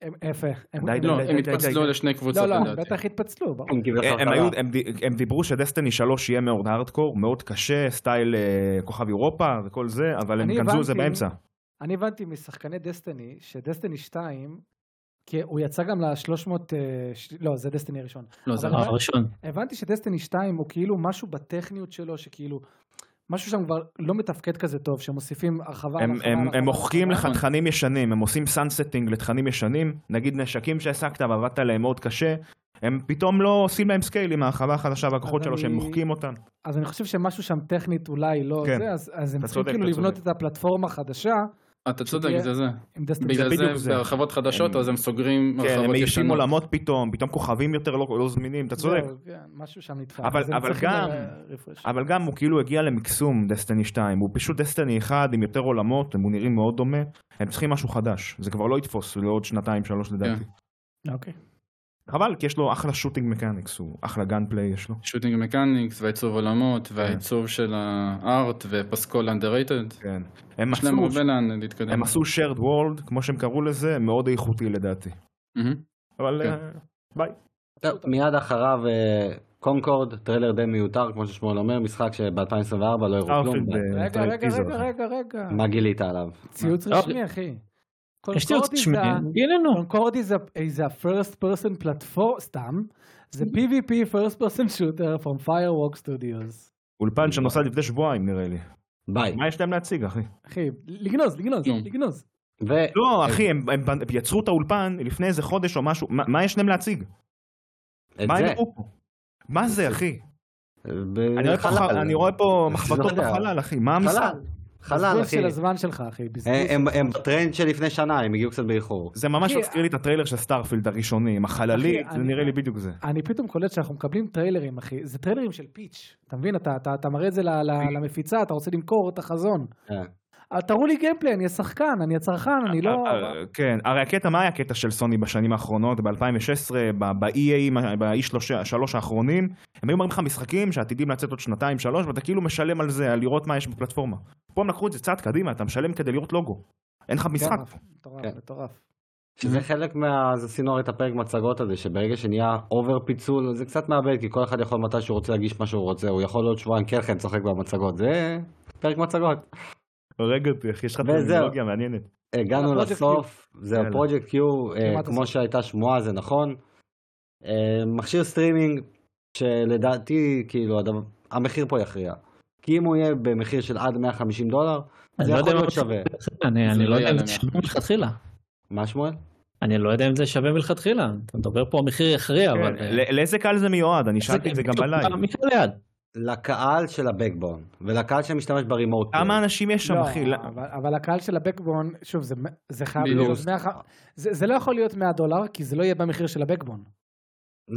הם- יפה. הם- די, די, לא, די, הם די, די, התפצלו די. לשני קבוצות לא, לא, הם לדעתי. בטח התפצלו, ברור. הם כביכול אה, הם, חזרה. היו, הם, ד- הם דיברו שדסטיני 3 יהיה מאוד הארדקור מאוד קשה סטייל אה, כוכב אירופה וכל זה אבל הם אני גנזו את זה הבנתי- באמצע. אני הבנתי משחקני דסטיני, שדסטיני 2, כי הוא יצא גם ל-300, לא, זה דסטיני הראשון. לא, זה אבל- רע. הראשון. הבנתי שדסטיני 2 הוא כאילו משהו בטכניות שלו, שכאילו, משהו שם כבר לא מתפקד כזה טוב, שמוסיפים הרחבה. הם, הרחבה, הם, הרחבה, הם מוחקים לך נכון. תכנים ישנים, הם עושים סאנסטינג לתכנים ישנים, נגיד נשקים שהעסקת ועבדת עליהם מאוד קשה, הם פתאום לא עושים להם סקייל עם ההרחבה החדשה והכוחות אבל שלו שהם היא- מוחקים אותם. אז אני חושב שמשהו שם טכנית אולי לא כן. זה, אז, אז הם אתה צריכים צודק, כאילו אתה לבנות צודק. את הפלטפורמה החדשה אתה צודק, שתהיה- זה זה. עם דסטיני. בגלל בדיוק זה זה. בהרחבות חדשות, הם- אז הם סוגרים כן, הם הרחבות מעיפים ישנות. עולמות פתאום, פתאום כוכבים יותר לא, לא זמינים, אתה צודק. כן, משהו שם נדחה. אבל- אז הם אבל צריכים גם- ל- refresh. אבל גם הוא כאילו הגיע למקסום דסטיני 2, הוא פשוט דסטיני 1 עם יותר עולמות, הם הוא נראים מאוד דומה, הם צריכים משהו חדש, זה כבר לא יתפוס לעוד שנתיים שלוש לדעתי. אוקיי. כן. חבל, כי יש לו אחלה שוטינג מקניקס, הוא אחלה גן פליי יש לו. שוטינג מקניקס והעיצוב עולמות והעיצוב של הארט ופסקול אנדררייטד. כן. הם יש להם מצאו הרבה לאן להתקדם. הם עשו shared world, כמו שהם קראו לזה, מאוד איכותי לדעתי. מהמם. אבל כן. אה, טוב, מיד אחריו אה, קונקורד, טריילר די מיותר, כמו ששמואל אומר, משחק שב-2024 לא הראו כלום. סטארפילד, אה, רגע, טרי- רגע, טיזר. רגע, רגע, רגע. מה גילית עליו? ציוץ לא, רשמי, אחי. יש אה? לי עוד קונקורדי זה שמי, ה- גיל לנו. קונקורד is a- is a first person platform, סתם, זה PvP first person shooter from Firework Studios. אולפן שנוסד לפני שבועיים נראה לי. ביי. מה יש להם להציג אחי? אחי, לגנוז, לגנוז, נו. לגנוז. ו- לא אחי, הם הם בנ- יצרו את האולפן לפני איזה חודש או משהו, מה- מה יש להם להציג? את מה הם זה. הראו פה? מה זה אחי? ב- אני רואה פה חלל. ח- אני רואה פה מחבטות יודע. בחלל אחי, מה המשחק? חלל. חלל, בזבוז אחי. של הזמן שלך, אחי. בזבוז. אה, הם- הם בטרנד של לפני שנה, הם הגיעו קצת באיחור. זה ממש אחי, מזכיר לי את הטריילר של סטארפילד הראשוני, עם החללית, אחי, זה אני- נראה לי בדיוק זה. אני פתאום קולט שאנחנו מקבלים טריילרים, אחי. זה טריילרים של פיץ'. אתה מבין? אתה- אתה אתה מראה את זה ל- ל- למפיצה, אתה רוצה למכור את החזון. אה. אה, תראו לי גיימפליי, אני השחקן, אני הצרכן, אני לא... אה, אה, כן, הרי הקטע, מה היה הקטע של סוני בשנים האחרונות, ב-2016, ב-EA, ב-E3 האחרונים, הם היו מראים לך משחקים שעתידים לצאת עוד שנתיים, שלוש, ואתה כאילו משלם על זה, על לראות מה יש בפלטפורמה. פה הם לקחו את זה צעד קדימה, אתה משלם כדי לראות לוגו. אין לך משחק. מטורף, מטורף, כן. מטורף. שזה חלק מה... אז עשינו הרי את הפרק מצגות הזה, שברגע שנהיה אובר פיצול, זה קצת מאבד, כי כל אחד יכול מתי שהוא רוצה להגיש מה שהוא רוצה, הוא יכול עוד שבועיים כן, קרחן לשחק במצגות, זה פרק מצגות. כן. הורג אותי, אחי, יש לך וזהו. טרמינולוגיה מעניינת. הגענו הפרויקט לסוף, זה יאללה. הפרויקט Q, אה, כמעט כמו הסוף. שהייתה שמועה זה נכון. אה, מכשיר סטרימינג, שלדעתי, כאילו, הדבר- המחיר פה יכריע. כי אם הוא יהיה במחיר של עד 150 דולר, אני זה לא יודע יכול מה להיות שווה. אני זה אני לא לא יודע אם יעלה זה שווה מלכתחילה. מה שמואל? אני לא יודע אם זה שווה מלכתחילה. אתה מדבר פה על מחיר יכריע, כן, אבל... אה, ל- לאיזה קהל זה מיועד? אני שאלתי את זה גם בלייב. מקרה ליד. לקהל של הבקבון, ולקהל שמשתמש ברימוט. כמה אנשים יש שם, לא, אחי? לא- אבל- אבל הקהל של הבקבון, שוב, זה- זה חייב בדיוק. להיות... מאה ח- זה זה לא יכול להיות 100 דולר, כי זה לא יהיה במחיר של הבקבון.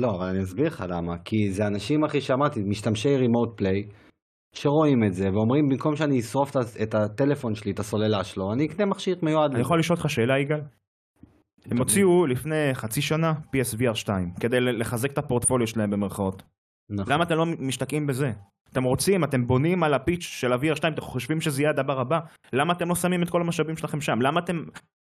לא, אבל אני אסביר לך למה. כי זה אנשים, אחי, שאמרתי, משתמשי רימוט פליי, שרואים את זה, ואומרים, במקום שאני אשרוף את ה- את הטלפון שלי, את הסוללה שלו, אני אקנה מכשיר מיועד. אני יכול לשאול אותך שאלה, יגאל? הם הוציאו לפני חצי שנה PSVR 2, כדי ל- לחזק את הפורטפוליו שלהם במרכאות. נכון. למה אתם לא משתקעים בזה? אתם רוצים, אתם בונים על הפיץ' של ה-VR 2, אתם חושבים שזה יהיה הדבר הבא, למה אתם לא שמים את כל המשאבים שלכם שם? למה אתם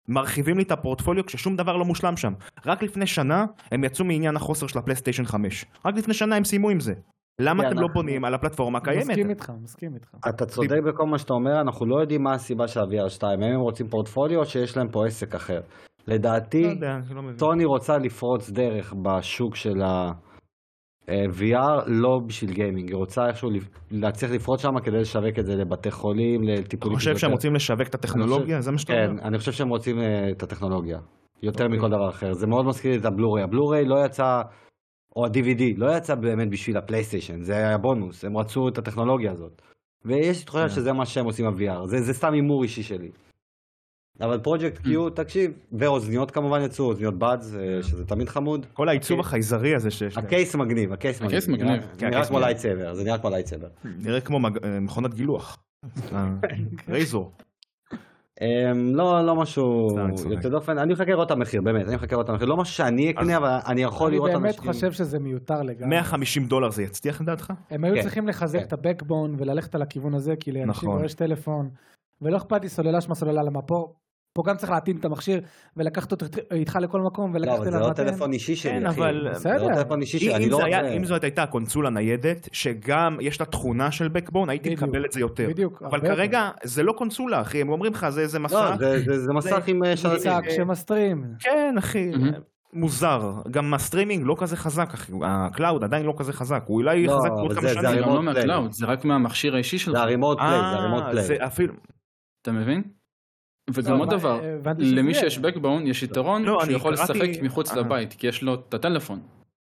מרחיבים לי את הפורטפוליו כששום דבר לא מושלם שם? רק לפני שנה הם יצאו מעניין החוסר של הפלייסטיישן 5. רק לפני שנה הם סיימו עם זה. למה כי אתם לא אנחנו- בונים על הפלטפורמה מסכים הקיימת? איתך, מסכים איתך. אתה צודק בכל מה שאתה אומר, אנחנו לא יודעים מה הסיבה של ה-VR 2, האם הם רוצים פורטפוליו או שיש להם פה עסק אחר. לא לדעתי, יודע, אני לא מבין. טוני רוצה לפרוץ דרך בשוק של ה-VR, לא בשביל גיימינג, היא רוצה איכשהו לפ- להצליח לפרוץ שם כדי לשווק את זה לבתי חולים, אתה לטיפולים. חושב שהם יותר- רוצים לשווק את הטכנולוגיה? זה מה שאתה אומר? אוקיי, כן, אני חושב שהם רוצים אה, את הטכנולוגיה, יותר אוקיי. מכל דבר אחר. זה מאוד מזכיר לי את הבלוריי. הבלוריי לא יצא, או ה-DVD, לא יצא באמת בשביל הפלייסטיישן, זה היה בונוס, הם רצו את הטכנולוגיה הזאת. ויש לי תחושה כן. שזה מה שהם עושים ב-VR, זה, זה סתם הימור אישי שלי. אבל פרויקט כן. קיו, תקשיב, ואוזניות כמובן יצאו, אוזניות באז, אה, שזה תמיד חמוד. כל העיצוב החייזרי הזה שיש להם. הקייס מגניב, הקייס מגניב. הקייס מגניב. נראה- כן, נראה כן. הקייס כמו מגניב. לייטסייבר, זה נראה כמו לייטסייבר. נראה כמו מג- אה, מכונת גילוח. אה, רייזור. אמ, לא, לא משהו סתם, אני צוחק. יוצא דופן, אני מחכה לראות את המחיר, באמת, אני מחכה לראות את המחיר, לא משהו שאני אקנה, אבל אני יכול אני לראות אנשים. באמת חושב שזה מיותר לגמרי. 150 דולר זה יצליח לדעתך? הם היו כן, צריכים לחזק כן. את הבקבון וללכת על הכיוון הזה, כי לאנשים נכון. כבר יש טלפון, ולא אכפת לי סוללה שמה סוללה, למה פה? פה גם צריך להתאים את המכשיר ולקחת אותו איתך לכל מקום לא, ולקחת אבל זה אליו לא מתן. טלפון אישי שלי, כן, אחי. אבל- זה לא בסדר. טלפון אישי שלי, אני אם לא זה רוצה... היה- אם זאת הייתה קונסולה ניידת, שגם יש לה תכונה של בקבון, הייתי בדיוק. מקבל את זה יותר. בדיוק. אבל הרבה יותר. כרגע זה לא קונסולה, אחי, הם אומרים לך זה איזה מסע. לא, זה- זה- זה מסך עם אה, שלטים. מוצק שמסטרים. כן, אחי. מהמם. מוזר, גם הסטרימינג לא כזה חזק, אחי, הקלאוד עדיין לא כזה חזק, הוא אולי יהיה לא, חזק אבל בעוד כמה זה- זה זה גם שנים. הרימון לא פליי. מהקלאוד, זה רק מהמכשיר האישי שלך, זה הרימוט פליי, זה הרימוט אה, פליי. זה אפילו, אתה מבין? וגם עוד אבל, דבר, אה, הבנתי שזה- למי שיש בקבון יש יתרון לא, שהוא אני יכול קראתי- לשחק מחוץ אה. לבית, כי יש לו את הטלפון.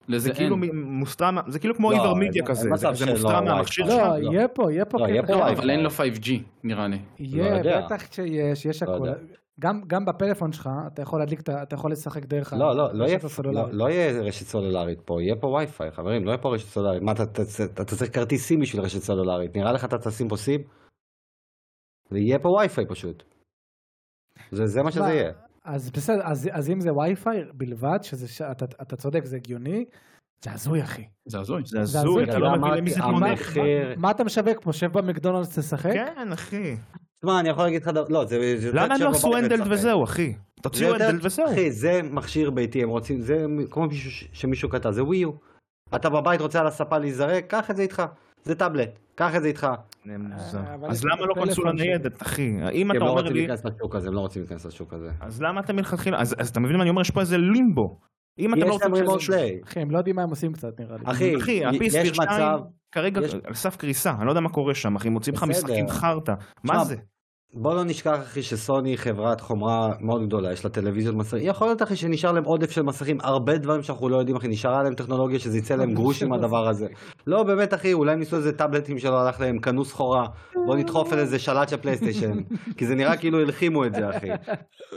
לזה זה אין. כאילו מ- מוסתר, מה- זה כאילו כמו לא, עיוור אין- מידיה אין כזה, מצב זה- זה שלא, מוסתר וואי. מהמכשיר לא, שלך. לא, יהיה פה, יהיה פה לא, יהיה קטע. פה לא, וואי, אבל אין וואי. לו 5G נראה לי. לא יהיה, יודע. בטח שיש, יש לא הכול. יודע. גם, גם בפלאפון שלך, אתה יכול להדליק, את ה- אתה יכול לשחק דרך ה- לא, לא, לא יהיה- רשת הסלולרית. לא- לא יהיה רשת סלולרית פה, יהיה פה וי-פיי, חברים, לא יהיה פה רשת סלולרית. מה, אתה- אתה- אתה אתה צריך כרטיס סים בשביל רשת סלולרית, נראה לך אתה תשים פה סים? ויהיה פה וי-פיי פשוט. זה זה מה שזה מה? יהיה. אז בסדר, אז, אז אם זה וי-פיי בלבד, שזה, ש- אתה, אתה צודק, זה הגיוני, זה הזוי, אחי. זה הזוי. זה זה הזוי, הזוי, אתה גם לא מבין אמרתי, למי זה מונח. המחיר... מה אתה משווק פה? שב במקדונלדס תשחק? כן, אחי. תשמע, אני יכול להגיד לך דבר... לא, זה... זה- למה הם זה- לא עשו זה- הנדלד וזהו, אחי? זה תוציאו יותר- הנדלד וזהו. אחי, זה מכשיר ביתי, הם רוצים, זה כמו מישהו ש- שמישהו קטע, זה ווי יו. אתה בבית רוצה על הספה להיזרק, קח את זה איתך. זה טאבלט, קח את זה איתך. אה, אבל יש אז לי למה טלפון לא קונסולה שלי. ניידת, אחי? אם כי אתה הם לא אומר רוצים לי, להיכנס לשוק הזה, הם לא רוצים להיכנס לשוק הזה. אז למה אתם מלכתחילה, אז אז אתה מבין מה אני אומר? יש פה איזה לימבו. אם אתם לא יש רוצים להם רימוט שזה- פליי. אחי, הם לא יודעים מה הם עושים קצת, נראה לי. אחי, אחי, י- ה-PS יש 2 מצב, כרגע יש- על סף קריסה, אני לא יודע מה קורה שם, אחי, מוצאים לך בסדר. משחקים חרטא. מה שמע, זה? בוא לא נשכח אחי שסוני היא חברת חומרה מאוד גדולה, יש לה טלוויזיות מסכים. יכול להיות אחי שנשאר להם עודף של מסכים, הרבה דברים שאנחנו לא יודעים אחי, נשארה להם טכנולוגיה שזה יצא (laughs) להם גרוש עם הדבר הזה. לא באמת אחי, אולי הם ניסו איזה טאבלטים שלא הלך להם, קנו סחורה, בוא נדחוף על איזה שלט של פלייסטיישן. כי זה נראה כאילו הלחימו את זה אחי.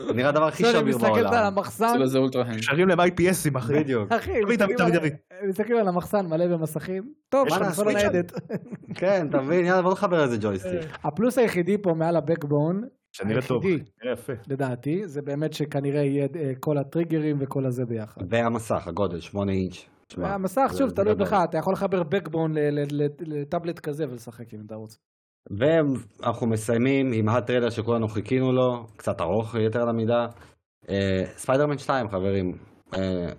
זה נראה הדבר הכי בסדר, שביר מסתכלת על בעולם. המחסן, אצלו זה אולטרה הנד. שרים להם IPSים, אחי. בדיוק. אחי, תביא, מסתכלים תביא, על- תביא. מסתכלים על המחסן מלא במסכים, טוב, יש לך מה לעשות, מספיק שם. ניידת. כן, אתה מבין, יאללה בוא נחבר איזה ג'ויסטיק. (laughs) הפלוס היחידי פה מעל הבקבון, שנראה לא טוב. היחידי. נראה יפה. לדעתי, זה באמת שכנראה יהיה אה, כל הטריגרים וכל הזה ביחד. והמסך, הגודל, 8 אינץ'. שמע, המסך, זה- שוב, זה תלוי גדול. בך, אתה יכול לחבר בקבון ל- ל- ל- לטאבלט כזה ולשחק אם אתה רוצה. ואנחנו מסיימים עם הטריילר שכולנו חיכינו לו, קצת ארוך יתר על המידה. אה, ספיידרמן 2 חברים, אה,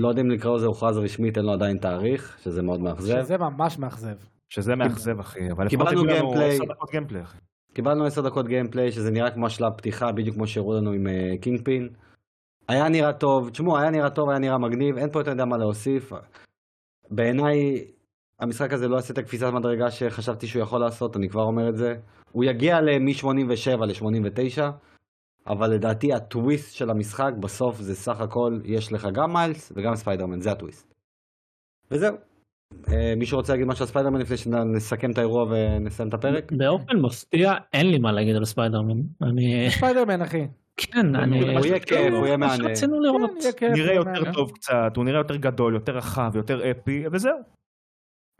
לא יודע אם לקרוא לזה הוכרז רשמית, אין לו עדיין תאריך, שזה מאוד מאכזב. שזה ממש מאכזב. שזה מאכזב, אחי, אבל קיבלנו לפחות הביאו לנו גיימפליי. עשר דקות גיימפליי, אחי. קיבלנו 10 דקות גיימפליי, שזה נראה כמו השלב פתיחה, בדיוק כמו שהראו לנו עם קינג פין. היה נראה טוב, תשמעו, היה נראה טוב, היה נראה מגניב, אין פה יותר מדי מה להוסיף. בעיניי, המשחק הזה לא יעשה את הקפיצת מדרגה שחשבתי שהוא יכול לעשות, אני כבר אומר את זה. הוא יגיע ל- מ-87 ל-89, אבל לדעתי הטוויסט של המשחק בסוף זה סך הכל, יש לך גם מיילס וגם ספיידרמן, זה הטוויסט. וזהו. אה, מישהו רוצה להגיד משהו על ספיידרמן לפני שנסכם את האירוע ונסיים את הפרק? באופן מפתיע אין לי מה להגיד על ספיידרמן. אה. אני... ספיידרמן אחי. כן, אני... הוא יהיה כיף, הוא יהיה מה מעניין. שרצינו כן, לראות. יהיה כיף, נראה יהיה יותר מעניין. טוב קצת, הוא נראה יותר גדול, יותר רחב, יותר אפי, וזהו.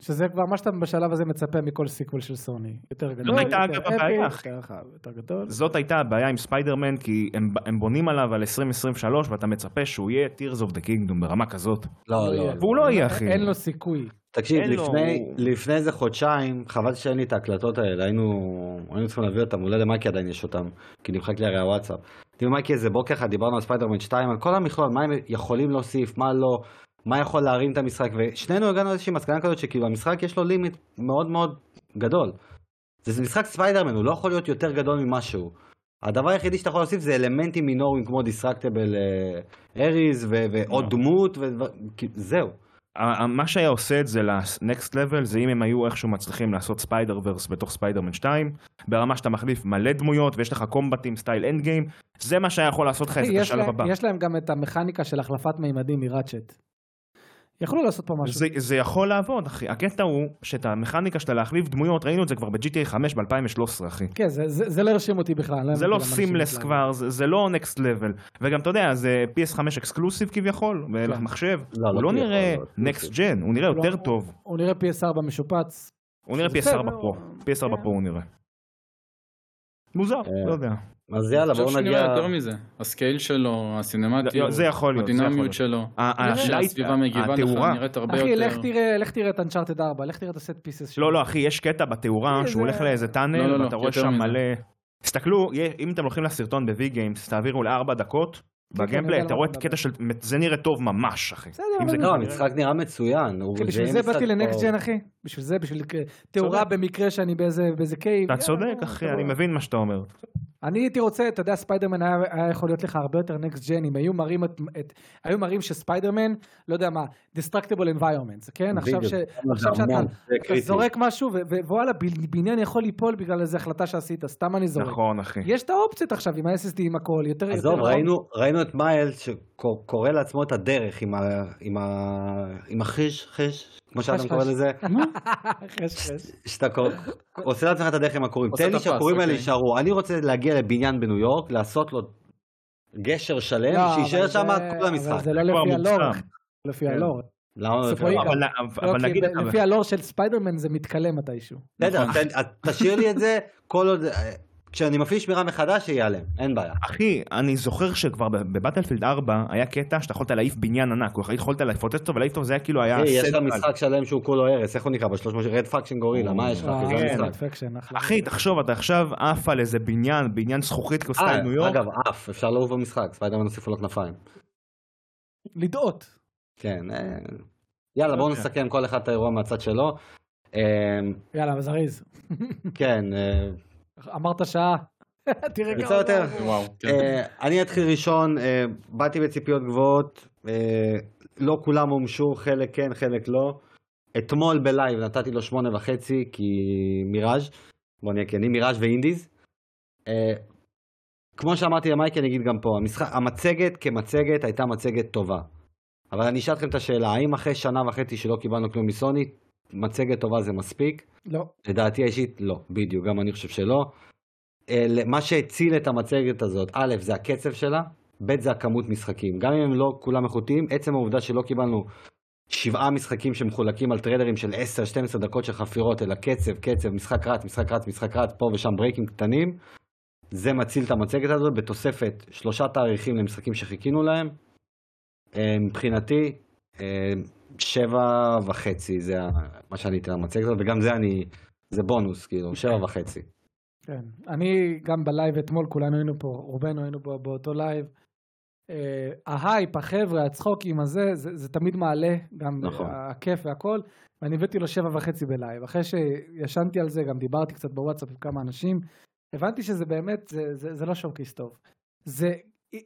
שזה כבר מה שאתה בשלב הזה מצפה מכל סיקוול של סוני. יותר גדול, לא הייתה, יותר אגב, אפי, הבעיה, אחי. יותר רחב, יותר גדול. זאת הייתה הבעיה עם ספיידרמן, כי הם, הם בונים עליו על 2023, ואתה מצפה שהוא יהיה Tears of the Kingdom ברמה כזאת. לא, לא. והוא לא יהיה, אחי. כן. אין לו סיכוי. תקשיב, אין לו- לפני, הוא- לפני איזה חודשיים, חבל שאין לי את ההקלטות האלה, היינו, היינו צריכים להביא אותם, אולי למייקי עדיין יש אותם, כי נמחק לי הרי הוואטסאפ. אני ומייקי איזה בוקר אחד דיברנו על ספיידרמן 2, על כל המכלול, מה הם יכולים להוסיף, מה לא, מה יכול להרים את המשחק, ושנינו הגענו לאיזושהי מסקנה כזאת שכאילו המשחק יש לו לימיט מאוד מאוד גדול. זה, זה משחק ספיידרמן, הוא לא יכול להיות יותר גדול ממשהו. הדבר היחידי שאתה יכול להוסיף זה אלמנטים מינוריים כמו דיסטרקטבל אריז ועוד לא. דמות, ודבר- כאילו, זהו. ה- ה- מה שהיה עושה את זה לנקסט לבל זה אם הם היו איכשהו מצליחים לעשות ספיידר ורס בתוך ספיידרמן 2 ברמה שאתה מחליף מלא דמויות ויש לך קומבטים סטייל אנד גיים זה מה שהיה יכול לעשות לך את אחי, זה יש בשלב להם- הבא. יש להם גם את המכניקה של החלפת מימדים מראצ'ט. יכלו לעשות פה משהו. זה, זה יכול לעבוד אחי הקטע הוא שאת המכניקה שלה להחליף דמויות ראינו את זה כבר ב-GTA 5 ב-2013 אחי. כן, זה- זה זה לא הרשים אותי בכלל. זה הבנתי לא למה אנשים סימלס בכלל. כבר זה, זה לא נקסט לבל וגם אתה יודע זה PS5 אקסקלוסיב כביכול למחשב לא, הוא לא לא כביכול, נראה לא, נקסט ג'ן הוא נראה לא. יותר טוב כן. הוא נראה PS4 משופץ. הוא נראה זה בסדר, PS4 פרו הוא- PS4 כן. פרו הוא נראה. מוזר אה, לא יודע. אז יאללה, אני בואו חושב שהוא נגיע... נראה יותר מזה. הסקייל שלו, לא, הסינמטיות, זה יכול להיות, זה יכול הדינמיות להיות. שלו, ה- ה- איך הלייט- שהסביבה מגיבה לך, התאורה. נראית הרבה אחי, יותר. לך תראה- לך תראה את אנצ'ארטד 4, לך תראה את הסט פיסס שלו. לא, לא, אחי, יש קטע בתאורה כן, זה- שהוא הולך לאיזה לא, לא, טאנל, לא, ואתה רואה יותר שם מזה. מלא... תסתכלו, יה- אם אתם הולכים לסרטון בווי גיימס, תעבירו לארבע דקות, כן, אני בגיימפליי יודע אתה על רואה מה את אתה הקטע של... זה נראה טוב ממש, אחי. בסדר, אם אבל זה זה- לא, ככה נראה. המשחק נראה מצוין. הוא- כי כן, בשביל יהיה זה משחק באתי לנקסט טוב. ג'ן אחי, בשביל זה, בשביל תאורה צודק. במקרה שאני באיזה באיזה כן, קייב. אתה יאללה, צודק, אחי, תבוא. אני מבין מה שאתה אומר. אני הייתי רוצה, אתה יודע, ספיידרמן היה, היה יכול להיות לך הרבה יותר נקסט ג'ן אם היו מראים, את, את, היו מראים שספיידרמן, לא יודע מה, destructible environments, כן? עכשיו, ש, בדיוק. עכשיו זה שאתה המון, זה אתה קריטי. זורק משהו ו- ו- ווואלה, ב- בניין יכול ליפול בגלל איזה החלטה שעשית, סתם אני זורק. נכון, אחי. יש את האופציות עכשיו עם ה-SSD עם הכל, יותר... עזוב, יותר (laughs) ראינו- ראינו את מייל שקורא לעצמו את הדרך עם ה- עם ה- עם החיש, חיש, כמו שאדם חש. קורא לזה, חש, חש. שאתה קור- עושה לעצמך את הדרך עם הקוראים. עושה תן לי את הפס, שהקוראים האלה אוקיי. יישארו. אני רוצה להגיע לבניין בניו יורק, לעשות לו גשר שלם, לא, כן, שיישאר אבל שם זה- את כל אבל המשחק. זה לא כבר לפי מוגזם. הלור, לא לפי כן. הלור. למה לא לפי ספוילר. הלוח? אבל אבל לא, כי נגיד... ב- לפי הלור של ספיידרמן זה מתכלה מתישהו. בסדר, תן- תשאיר לי את זה כל עוד... כשאני מפעיל שמירה מחדש, שייעלם, אין בעיה. אחי, אני זוכר שכבר בבטלפילד 4 היה קטע שאתה יכולת להעיף בניין ענק, הוא יכולת לפוצץ אותו ולהעיף אותו, זה היה כאילו היה... אחי, יש לך סדק. משחק שלם שהוא כולו הרס, איך הוא נקרא? ב-300 רד פאקשן גורילה, מה יש לך? וואו, כזה כן. משחק. פקשן, אה, אחלה. אחי, תחשוב, אתה עכשיו עף על איזה בניין, בניין זכוכית כמו סטייל ניו אה, יורק. אגב, עף, אפשר לעוף במשחק, ספיידרמן הוסיפו לו כנפיים. לדאות. כן, אה, יאללה, בואו אוקיי. נסכם כל אחד את האירוע מהצד שלו. אה, יאללה, אבל זריז. כן, אה, אמרת שעה. תראה יצא כמה יותר. זמן. וואו, כן. אה, אני אתחיל ראשון, אה, באתי בציפיות גבוהות, אה, לא כולם הומשו, חלק כן, חלק לא. אתמול בלייב נתתי לו שמונה וחצי, כי מיראז', בוא נהיה כנים, מיראז' ואינדיז. אה, כמו שאמרתי למייקי, אני אגיד גם פה, המשחק, המצגת כמצגת הייתה מצגת טובה. אבל אני אשאל אתכם את השאלה, האם אחרי שנה וחצי שלא קיבלנו כלום מסוני, מצגת טובה זה מספיק? לא. לדעתי האישית לא, בדיוק, גם אני חושב שלא. אה, מה שהציל את המצגת הזאת, א', זה הקצב שלה, ב', זה הכמות משחקים. גם אם הם לא כולם איכותיים, עצם העובדה שלא קיבלנו שבעה משחקים שמחולקים על טריילרים של 10-12 דקות של חפירות, אלא קצב, קצב, משחק רץ, משחק רץ, משחק רץ, פה ושם ברייקים קטנים, זה מציל את המצגת הזאת, בתוספת שלושה תאריכים למשחקים שחיכינו להם. אה, מבחינתי, אה, שבע וחצי זה ה- מה שאני אתן למצגת הזאת, וגם זה אני... זה בונוס, כאילו, שבע וחצי. כן. אני גם בלייב אתמול, כולנו היינו פה, רובנו היינו פה באותו לייב. אה, ההייפ, החבר'ה, הצחוקים הזה, זה, זה תמיד מעלה, גם נכון. הכיף והכל. ואני הבאתי לו שבע וחצי בלייב. אחרי שישנתי על זה, גם דיברתי קצת בוואטסאפ עם כמה אנשים, הבנתי שזה באמת, זה, זה, זה לא שואו-קייס טוב. זה,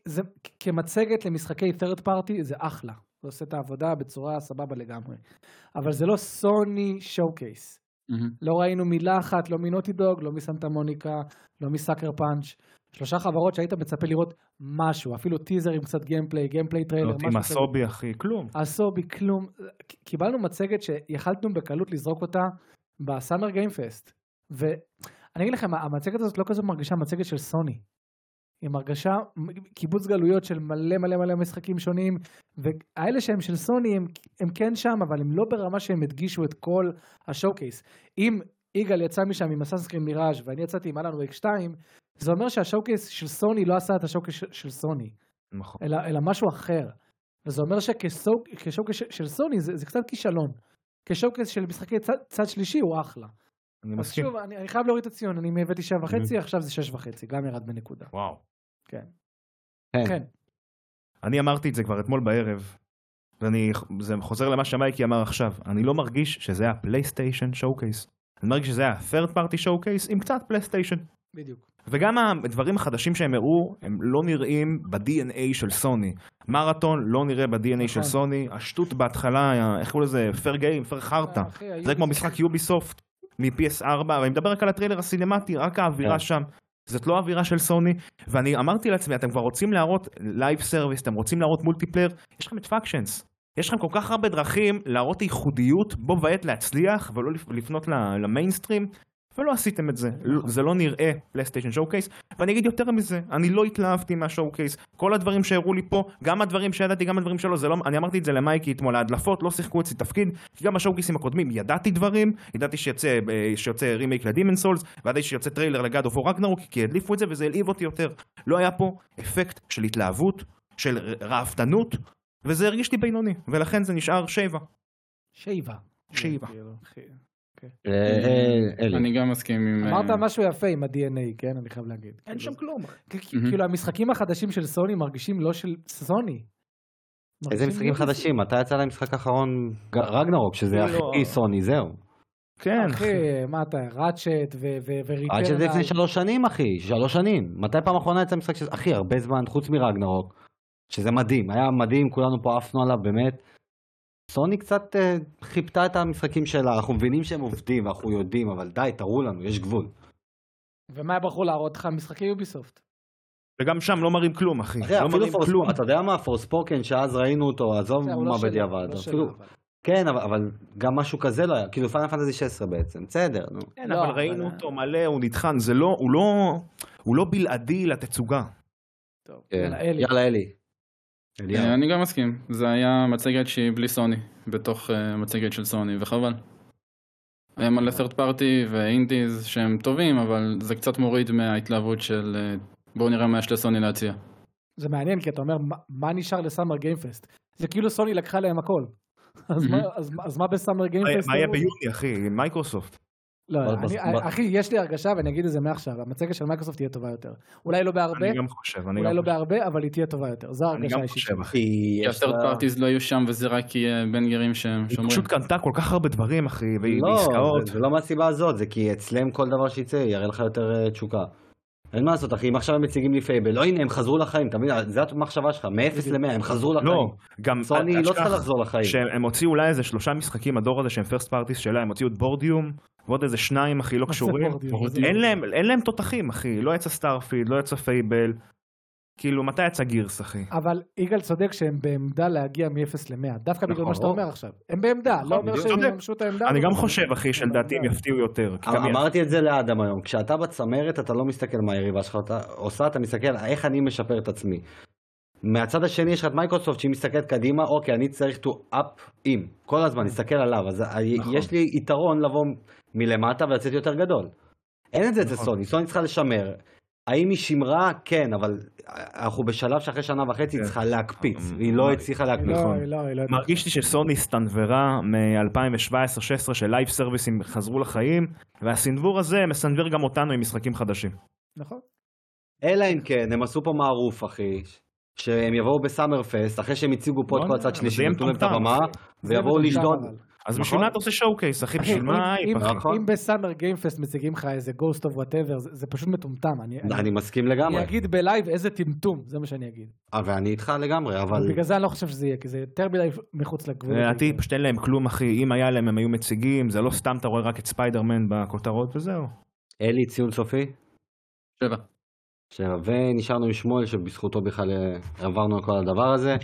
זה כמצגת למשחקי third party זה אחלה. זה עושה את העבודה בצורה סבבה לגמרי. אבל זה לא סוני שואו-קייס. מהמם. לא ראינו מילה אחת, לא מנוטי דוג, לא מסנטה מוניקה, לא מסאקר פאנץ'. שלושה חברות שהיית מצפה לראות משהו, אפילו טיזר עם קצת גיימפליי, גיימפליי טריילר, זאת משהו לא, עם כזה. הסובי אחי, כלום. עשור בכלום. קיבלנו מצגת שיכלנו בקלות לזרוק אותה בסאמר גיימפסט. ואני אגיד לכם, המצגת הזאת לא כזאת מרגישה מצגת של סוני. היא מרגישה קיבוץ גלויות של מלא מלא מלא משחקים שונים, והאלה שהם של סוני הם, הם כן שם, אבל הם לא ברמה שהם הדגישו את כל השואו-קייס. אם יגאל יצא משם עם הסאנסקרין מיראז' ואני יצאתי עם אלן וייק 2, זה אומר שהשואו-קייס של סוני לא עשה את השואו-קייס של- של סוני. נכון. אלא, אלא משהו אחר. וזה אומר שכשואוקס של סוני זה, זה קצת כישלון. כשואוקס של משחקי צד, צד שלישי הוא אחלה. אני אז מסכים. Mhm. שוב, אני, אני חייב להוריד את הציון, אני הבאתי שבע וחצי, עכשיו זה שש וחצי, גם ירד בנקודה. וואו. כן. כן, אני אמרתי את זה כבר אתמול בערב, ואני זה חוזר למה שמייקי אמר עכשיו, אני לא מרגיש שזה היה פלייסטיישן שואו-קייס. אני מרגיש שזה היה third party showcase עם קצת פלייסטיישן. בדיוק. וגם הדברים החדשים שהם הראו, הם לא נראים ב-DNA של סוני. מרתון לא נראה ב-DNA של נכון. סוני, השטות בהתחלה, היה- איך קוראים לזה? פר גיים, פר חרטא. אחי, היו- זה כמו משחק יוביסופט מ-PS4, ואני מדבר רק על הטריילר הסינמטי, רק האווירה כן. שם. זאת לא אווירה של סוני, ואני אמרתי לעצמי, אתם כבר רוצים להראות לייב סרוויס, אתם רוצים להראות מולטיפלייר, יש לכם את פאקשנס. יש לכם כל כך הרבה דרכים להראות ייחודיות, בו בעת להצליח, ולא לפ- לפנות ל- למיינסטרים, ולא עשיתם את זה. לא- זה לא נראה פלייסטיישן שואו-קייס, ואני אגיד יותר מזה, אני לא התלהבתי מהשואו-קייס. כל הדברים שהראו לי פה, גם הדברים שידעתי, גם הדברים שלא, זה לא, אני אמרתי את זה למייקי אתמול, ההדלפות לא שיחקו אצלי תפקיד, כי גם בשואו-קייסים הקודמים ידעתי דברים, ידעתי שיוצא, אה, שיוצא רימייק לדימן סולס, וידעתי שיוצא טריילר לגד אוף רגנרוק, כי הדליפו את זה וזה העליב אותי יותר. לא היה פה אפקט של התלהבות, של ר- ראוותנות, וזה הרגיש לי בינוני, ולכן זה נשאר שבע. שבע. שבע. כאילו, אחי. אה, אה, אלי. אני גם מסכים עם... אה, אמרת משהו יפה עם ה-DNA, כן? אני חייב להגיד. אין כאילו, שם כלום. כ- כ- כאילו המשחקים החדשים של סוני מרגישים לא של סוני. איזה מרגישים משחקים לא של- חדשים? מתי יצא להם משחק אחרון? ג- רגנרוק, שזה לא. הכי סוני, זהו. כן, אחי. אחי, מה אתה, ראצ'ט וריטרנל. עד שזה לפני שלוש שנים, אחי, שלוש שנים. מתי פעם אחרונה יצא משחק של... אחי, הרבה זמן, חוץ מרגנרוק, שזה מדהים, היה מדהים, כולנו פה עפנו עליו, באמת. סוני קצת אה, חיפתה את המשחקים שלה, אנחנו מבינים שהם עובדים, אנחנו יודעים, אבל די, תראו לנו, יש גבול. ומה בחרו להראות לך? משחקי יוביסופט. וגם שם לא מראים כלום, אחי. אחי, לא אפילו מראים כלום. פורספוקן, אתה יודע מה, פורספוקן, שאז ראינו אותו, עזוב זהו, לא מה שלה, בדיעבד, לא אפילו... שלה, אבל. כן, אבל- אבל גם משהו כזה לא היה, כאילו פאנל פנטזי 16 בעצם, בסדר, נו. כן, לא, אבל ראינו אבל- אותו מלא, הוא נטחן, זה לא, הוא לא, הוא לא בלעדי לתצוגה. טוב, כן. יאללה, אלי. יאללה, אלי. אה, אליהו. אני גם מסכים, זה היה מצגת שהיא בלי סוני, בתוך אה, מצגת של סוני, וחבל. היה מלא third party ואינדיז שהם טובים, אבל זה קצת מוריד מההתלהבות של אה, בואו נראה מה יש לסוני להציע. זה מעניין, כי אתה אומר, מה- מה נשאר לסאמר גיימפסט? זה כאילו סוני לקחה להם (laughs) הכל. אז מה- אז מה- אז מה בסאמר מה גיימפסט? מה יהיה ביוני, אחי? מייקרוסופט. לא, אבל אני- בס- ב- אחי, יש לי הרגשה, ואני אגיד את זה מעכשיו, המצגת של מייקרוסופט תהיה טובה יותר. אולי לא בהרבה, אני גם חושב, אני אולי גם לא חושב. בהרבה, אבל היא תהיה טובה יותר. זו אני הרגשה גם האישית. חושב, אחי. כי כי יש לה- ה-third parties לא יהיו שם וזה רק יהיה בנגרים שהם היא שומרים. פשוט קנתה כל כך הרבה דברים, אחי, והיא לא, בעסקאות. זה- זה לא מהסיבה הזאת, זה כי אצלם כל דבר שיצא יראה לך יותר אה, תשוקה. אין מה לעשות אחי, אם עכשיו הם מציגים לי פייבל, לא הנה הם חזרו לחיים, אתה מבין, זו המחשבה שלך, מ-0 ל-100 הם חזרו לחיים. לא, גם... סוני אל לא תשכח צריכה לחזור לחיים. שהם הוציאו אולי איזה שלושה משחקים, הדור הזה שהם פרסט פארטיס שלה, הם הוציאו את בורדיום, ועוד איזה שניים, אחי, לא מה זה קשורים. בורדיום? זה- אין להם, אין להם תותחים, אחי. לא יצא סטארפיד, לא יצא פייבל. כאילו, מתי יצא גירס, אחי? אבל יגאל צודק שהם בעמדה להגיע מ-0 ל-100, דווקא בגלל מה שאתה נכון. אומר עכשיו. הם בעמדה, לא אומר בדיוק. שהם צודק. יממשו את העמדה. אני אבל- גם חושב, אחי, שלדעתי הם יפתיעו יותר. כי גם אמ- אמרתי את זה לאדם היום, כשאתה בצמרת אתה לא מסתכל מה היריבה שלך אתה עושה, אתה מסתכל איך אני משפר את עצמי. מהצד השני יש לך את מייקרוסופט שהיא מסתכלת קדימה, אוקיי, אני צריך to up in, כל הזמן, נסתכל עליו, אז ה- נכון. יש לי יתרון לבוא מלמטה ולצאת יותר גדול. אין את זה אצל נכון. סוני, סוני צריכה לשמר. האם היא שימרה? כן, אבל אנחנו בשלב שאחרי שנה וחצי היא כן. צריכה להקפיץ, אמ, היא לא אמר- הצליחה היא להקפיץ. נכון. לא, היא לא, היא לא. מרגיש לי שסוני הסתנוורה מ-2017-2016 של לייב סרוויסים חזרו לחיים והסנוור הזה מסנוור גם אותנו עם משחקים חדשים. נכון. אלא אם כן, הם עשו פה מערוף, אחי, שהם יבואו בסאמר פסט, אחרי שהם הציגו פה את לא כל יודע, הצד אבל זה שלישי, יהיה נתנו להם את מטומטם, הבמה, אחי. זה ויבואו מטומטם, לשדוד, אבל. אז נכון. בשביל מה אתה עושה שואו קייס, אחי? בשביל מה אם- האייפ, אחי? נכון. אם בסאמר גיימפסט מציגים לך איזה גוסט אוף וואטאבר, זה פשוט מטומטם. אני- אני- אני מסכים אני לגמרי, אגיד בלייב איזה טמטום, זה מה שאני אגיד. אה, ואני איתך לגמרי, אבל בגלל זה אני לא חושב שזה יהיה, כי זה יותר מדי מחוץ לגבול. לדעתי אה, פשוט אין להם כלום, אחי. אם היה להם, הם היו מציגים, זה לא סתם אתה רואה רק את ספיידרמן בכותרות וזהו. אלי ציון סופי, שבע. כן. שבע, ונשארנו עם שמואל שבזכותו בכלל אה, עברנו על כל הדבר הזה,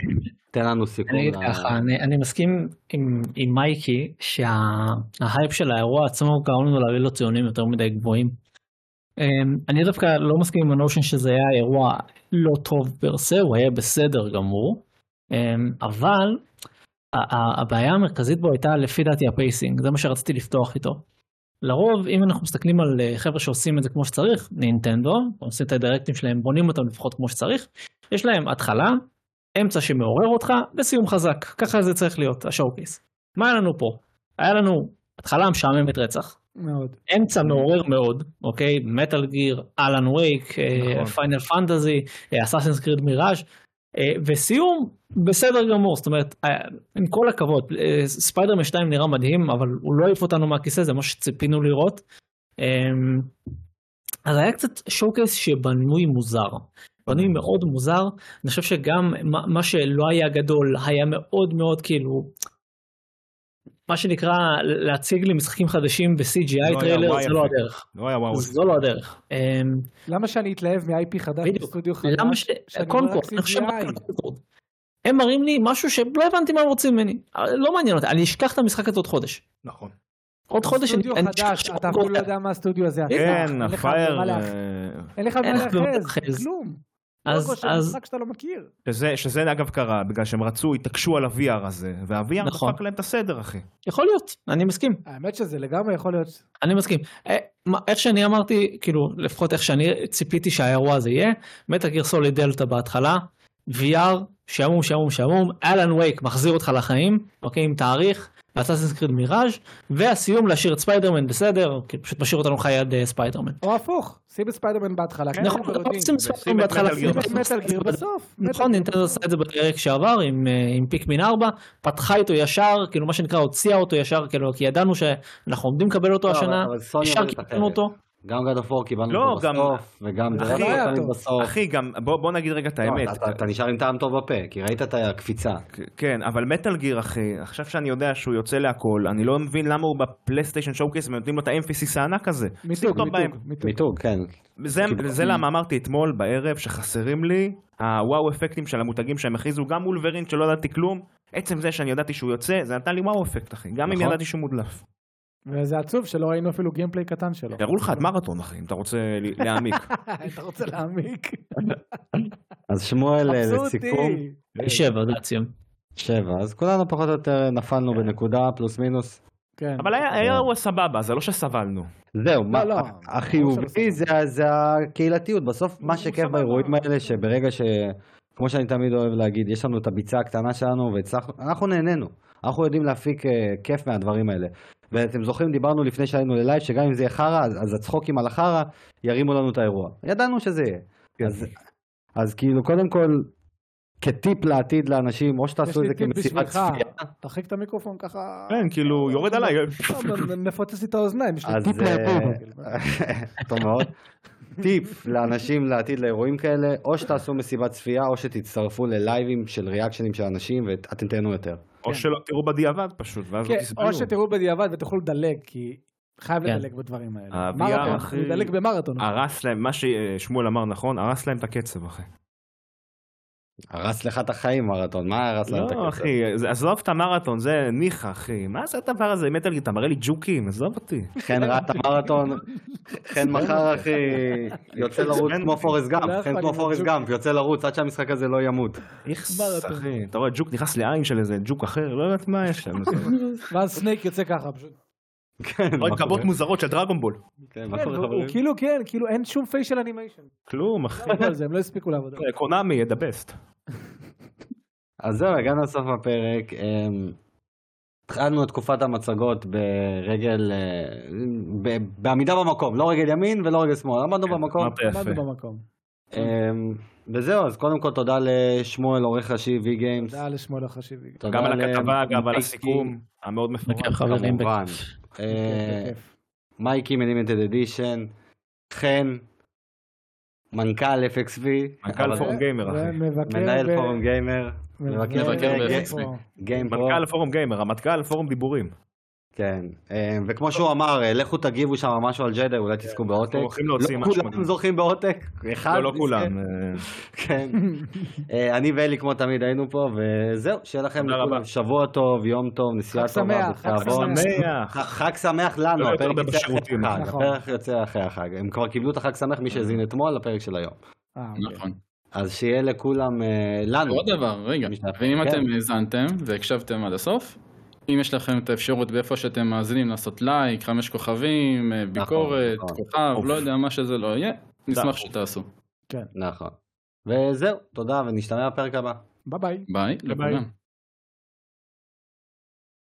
תן לנו סיכום. אני אגיד ל- ככה, אני, אני מסכים עם, עם מייקי שההייפ של האירוע עצמו גרם לנו להביא לו ציונים יותר מדי גבוהים. אמ, אני דווקא לא מסכים עם הנושן שזה היה אירוע לא טוב פרסה, הוא היה בסדר גמור, אמ, אבל ה- ה- הבעיה המרכזית בו הייתה לפי דעתי הפייסינג, זה מה שרציתי לפתוח איתו. לרוב אם אנחנו מסתכלים על אה, חבר'ה שעושים את זה כמו שצריך, נינטנדו, עושים את הדירקטים שלהם, בונים אותם לפחות כמו שצריך, יש להם התחלה, אמצע שמעורר אותך וסיום חזק. ככה זה צריך להיות, השואו-קייס. מה היה לנו פה? היה לנו התחלה משעממת רצח, מאוד. אמצע נכון. מעורר מאוד, אוקיי? מטאל גיר, אלן וייק, נכון. פיינל פנטזי, אסאסינס קריד מיראז' אה, וסיום בסדר גמור, זאת אומרת, אה, עם כל הכבוד, אה, ספיידרמן 2 נראה מדהים, אבל הוא לא העיף אותנו מהכיסא, זה מה שציפינו לראות. אה, אז היה קצת שואו-קייס שבנוי מוזר. בנוי מאוד מוזר, אני חושב שגם מה- מה שלא היה גדול היה מאוד מאוד כאילו, מה שנקרא להציג לי משחקים חדשים לא ב-CGI היה טריילר וואי זה לא אפקט. הדרך. לא היה וואו. זו לא הדרך. אמ, למה שאני אתלהב מ-IP חדש בדיוק. בסטודיו חדש? למה ש... שאני קונקורד, רואה רק אני חושב רק על CGI. קונקורד. הם מראים לי משהו שלא הבנתי מה הם רוצים ממני. לא מעניין אותי, אני אשכח את המשחק הזה עוד חודש. נכון. עוד חודש אני סטודיו אני אשכח חדש, אתה שקונקורד אפילו לא יודע מה הסטודיו הזה עשה. אין כן, לך הפייר, במה להאח- אה, אין לך אין מה לך במה להאחז, להאחז. כלום. לא אז, לוגו של אז משחק שאתה לא מכיר. שזה- שזה אגב קרה, בגלל שהם רצו, התעקשו על ה-VR הזה, וה-VR נכון. דפק להם את הסדר, אחי. יכול להיות, אני מסכים, האמת שזה לגמרי יכול להיות... אני מסכים. אה, מה- איך שאני אמרתי, כאילו, לפחות איך שאני ציפיתי שהאירוע הזה יהיה, מטה גיר סוליד דלתא בהתחלה, VR, שעמום, שעמום, שעמום, אלן וייק מחזיר אותך לחיים, אוקיי, עם תאריך, אסאסינס קריד מיראז', והסיום להשאיר את ספיידרמן בסדר, כאילו, פשוט משאיר אותנו חי עד אה, ספיידרמן. או הפוך, שים את ספיידרמן בהתחלה. כן, כן, נכון, ברוטין. לא עושים שים ספיידרמן את בהתחלה. מטאל גיר שים את מטאל גיר בסוף. נכון, נינטנדו עשה את זה בדירק שעבר עם, אה, עם פיקמין 4, פתחה איתו ישר, כאילו מה שנקרא הוציאה אותו ישר, כאילו כי ידענו שאנחנו עומדים לקבל אותו לא, השנה, אבל- אבל סוני ישר עובדת קיבלנו אחרת. אותו. גם God of War קיבלנו לא, אותו גם- בסוף, וגם אחי, דרסל היה אותנו טוב. בסוף. אחי, גם, בוא בוא נגיד רגע את לא, האמת. אתה- אתה- אתה נשאר עם טעם טוב בפה, כי ראית את הקפיצה. כ- כן, אבל מטאל גיר, אחי, עכשיו שאני יודע שהוא יוצא להכל, אני לא מבין למה הוא בפלייסטיישן שואו-קייס ונותנים לו את האמפיסיס הענק הזה. מיתוג, טוב בהם. מיתוג, מיתוג. מיתוג, כן. זה, זה למה אמרתי אתמול בערב שחסרים לי הוואו אפקטים של המותגים שהם הכריזו, גם וולברין שלא ידעתי כלום, עצם זה שאני ידעתי שהוא יוצא, זה נתן לי וואו אפקט אחי, גם אם נכון. ידעתי שהוא מודלף. וזה עצוב שלא ראינו אפילו גיימפליי קטן שלו. אה, יראו לך עד מרתון אחי, אם אתה רוצה (laughs) ל- להעמיק. אתה רוצה להעמיק? (laughs) אז שמואל אה, לסיכום, מבסוטי. שבע, זה הציון. שבע, אז כולנו פחות או יותר נפלנו בנקודה פלוס מינוס. כן. אבל היה היה אירוע סבבה, זה לא שסבלנו. זהו, מה- לא. ה- החיובי ברור שלא זה- זה הקהילתיות, בסוף מה ברור שכיף שלא. באירועים האלה שברגע ש... כמו שאני תמיד אוהב להגיד, יש לנו את הביצה הקטנה שלנו והצלחנו, אנחנו נהנינו, אנחנו יודעים להפיק אה, כיף מהדברים האלה. ואתם זוכרים, דיברנו לפני שעלינו ללייב, שגם אם זה יהיה חרא, אז אז הצחוקים על החרא ירימו לנו את האירוע. ידענו שזה יהיה. כן. אז- אז כאילו, קודם כל, כטיפ לעתיד לאנשים, או יש שתעשו את לי זה טיפ כמשימת בשבילך. צפייה. תרחיק את המיקרופון ככה. אה, כן, כאילו, יורד עליי. לא, מפוצץ לי את האוזניים, יש לי אז, טיפ אה, לאירוע. טוב מאוד. טיפ לאנשים לעתיד לאירועים כאלה, או שתעשו מסיבת צפייה, או שתצטרפו ללייבים של ריאקשנים של אנשים, ואתם תהנו יותר. או שלא תראו בדיעבד פשוט, ואז לא כן, תסבלו. או שתראו בדיעבד ותוכלו לדלג, כי חייב כן. לדלג בדברים האלה. ה-VR, מרתון, אחי. אני מדלג במרתון. הרס להם, מה ששמואל אמר נכון, הרס להם את הקצב אחי. הרס לך את החיים מרתון, מה הרס לנו את לא הכסף? אחי, זה- עזוב את המרתון, זה ניחא אחי, מה זה הדבר הזה, מטאל גיר, אתה מראה לי ג'וקים, עזוב אותי. חן ראה את המרתון, חן מחר אחי יוצא לרוץ עצבן כמו אותי. פורס לא גאמפ, יכול חן כמו להיות פורס ג'וק. גאמפ, יוצא לרוץ עד שהמשחק הזה לא ימות. איכס, אחי. אתה רואה ג'וק נכנס לעין של איזה ג'וק אחר, לא יודעת מה יש שם. ואז סנייק יוצא ככה פשוט. כן, מה (laughs) עוד כבות קורה? מוזרות של דרגונבול. כן, מה כן, קורה, והוא- חברים? הוא כאילו כן, כאילו אין שום פיישל (laughs) אנימיישן. כלום, אחי. עבדו על זה, הם לא הספיקו לעבוד. על זה. קונאמי, the best. אז זהו, הגענו לסוף הפרק. אמ, התחלנו את תקופת המצגות ברגל, אה, כן, ב- בעמידה במקום, לא רגל ימין ולא רגל שמאל, עמדנו במקום, אמרת יפה. עמדנו במקום. אמ, וזהו, אז קודם כל תודה לשמואל, עורך ראשי V-Games. תודה לשמואל החשיבי. תודה גם על ל- הכתבה, גם על מייקי, הסיכום כן, המאוד מפורט. בכיף, כן, חברים, כמובן. בכיף. כן, אה, כן. מייקי מלימטד אדישן, חן, מנכ"ל FXV, מנכ"ל אבל- פורום אה, גיימר, אחי. מנהל פורום גיימר, מבקר ב-FXV. גיים פרו, מנכ"ל פורום גיימר, רמטכ"ל פורום דיבורים. כן, אה, וכמו שהוא אמר, אה, לכו תגיבו שם משהו על ג'דה, אולי תזכו בעותק, כן, אנחנו הולכים לא להוציא משהו כולם מדהים. זוכים בעותק, (laughs) אחד, לא, לא מסכן. כולם. אה, (laughs) כן, אה, אני ואלי כמו תמיד היינו פה, וזהו, שיהיה לכם תודה לכולם רבה. שבוע טוב, יום טוב, נסיעה חג טובה, שמח, חג אה, בתיאבון. שמח. שמח. ח- חג שמח לנו, לא יותר הפרק יוצא אחרי בשירותים. החג, נכון. הפרק יוצא אחרי החג, הם כבר קיבלו את החג שמח, מי שהזין אתמול, לפרק של היום. Ah, נכון. אז שיהיה לכולם, אה, לנו, עוד דבר, רגע, משתתף, ואם כן. אתם האזנתם והקשבתם עד הסוף, אם יש לכם את האפשרות באיפה שאתם מאזינים לעשות לייק, חמש כוכבים, אה, ביקורת, נכון. כוכב, אוף. לא יודע מה שזה לא יהיה, נשמח אוף. שתעשו. נכון. וזהו, תודה ונשתמע בפרק הבא. ביי ביי. ביי, ביי. לכולם.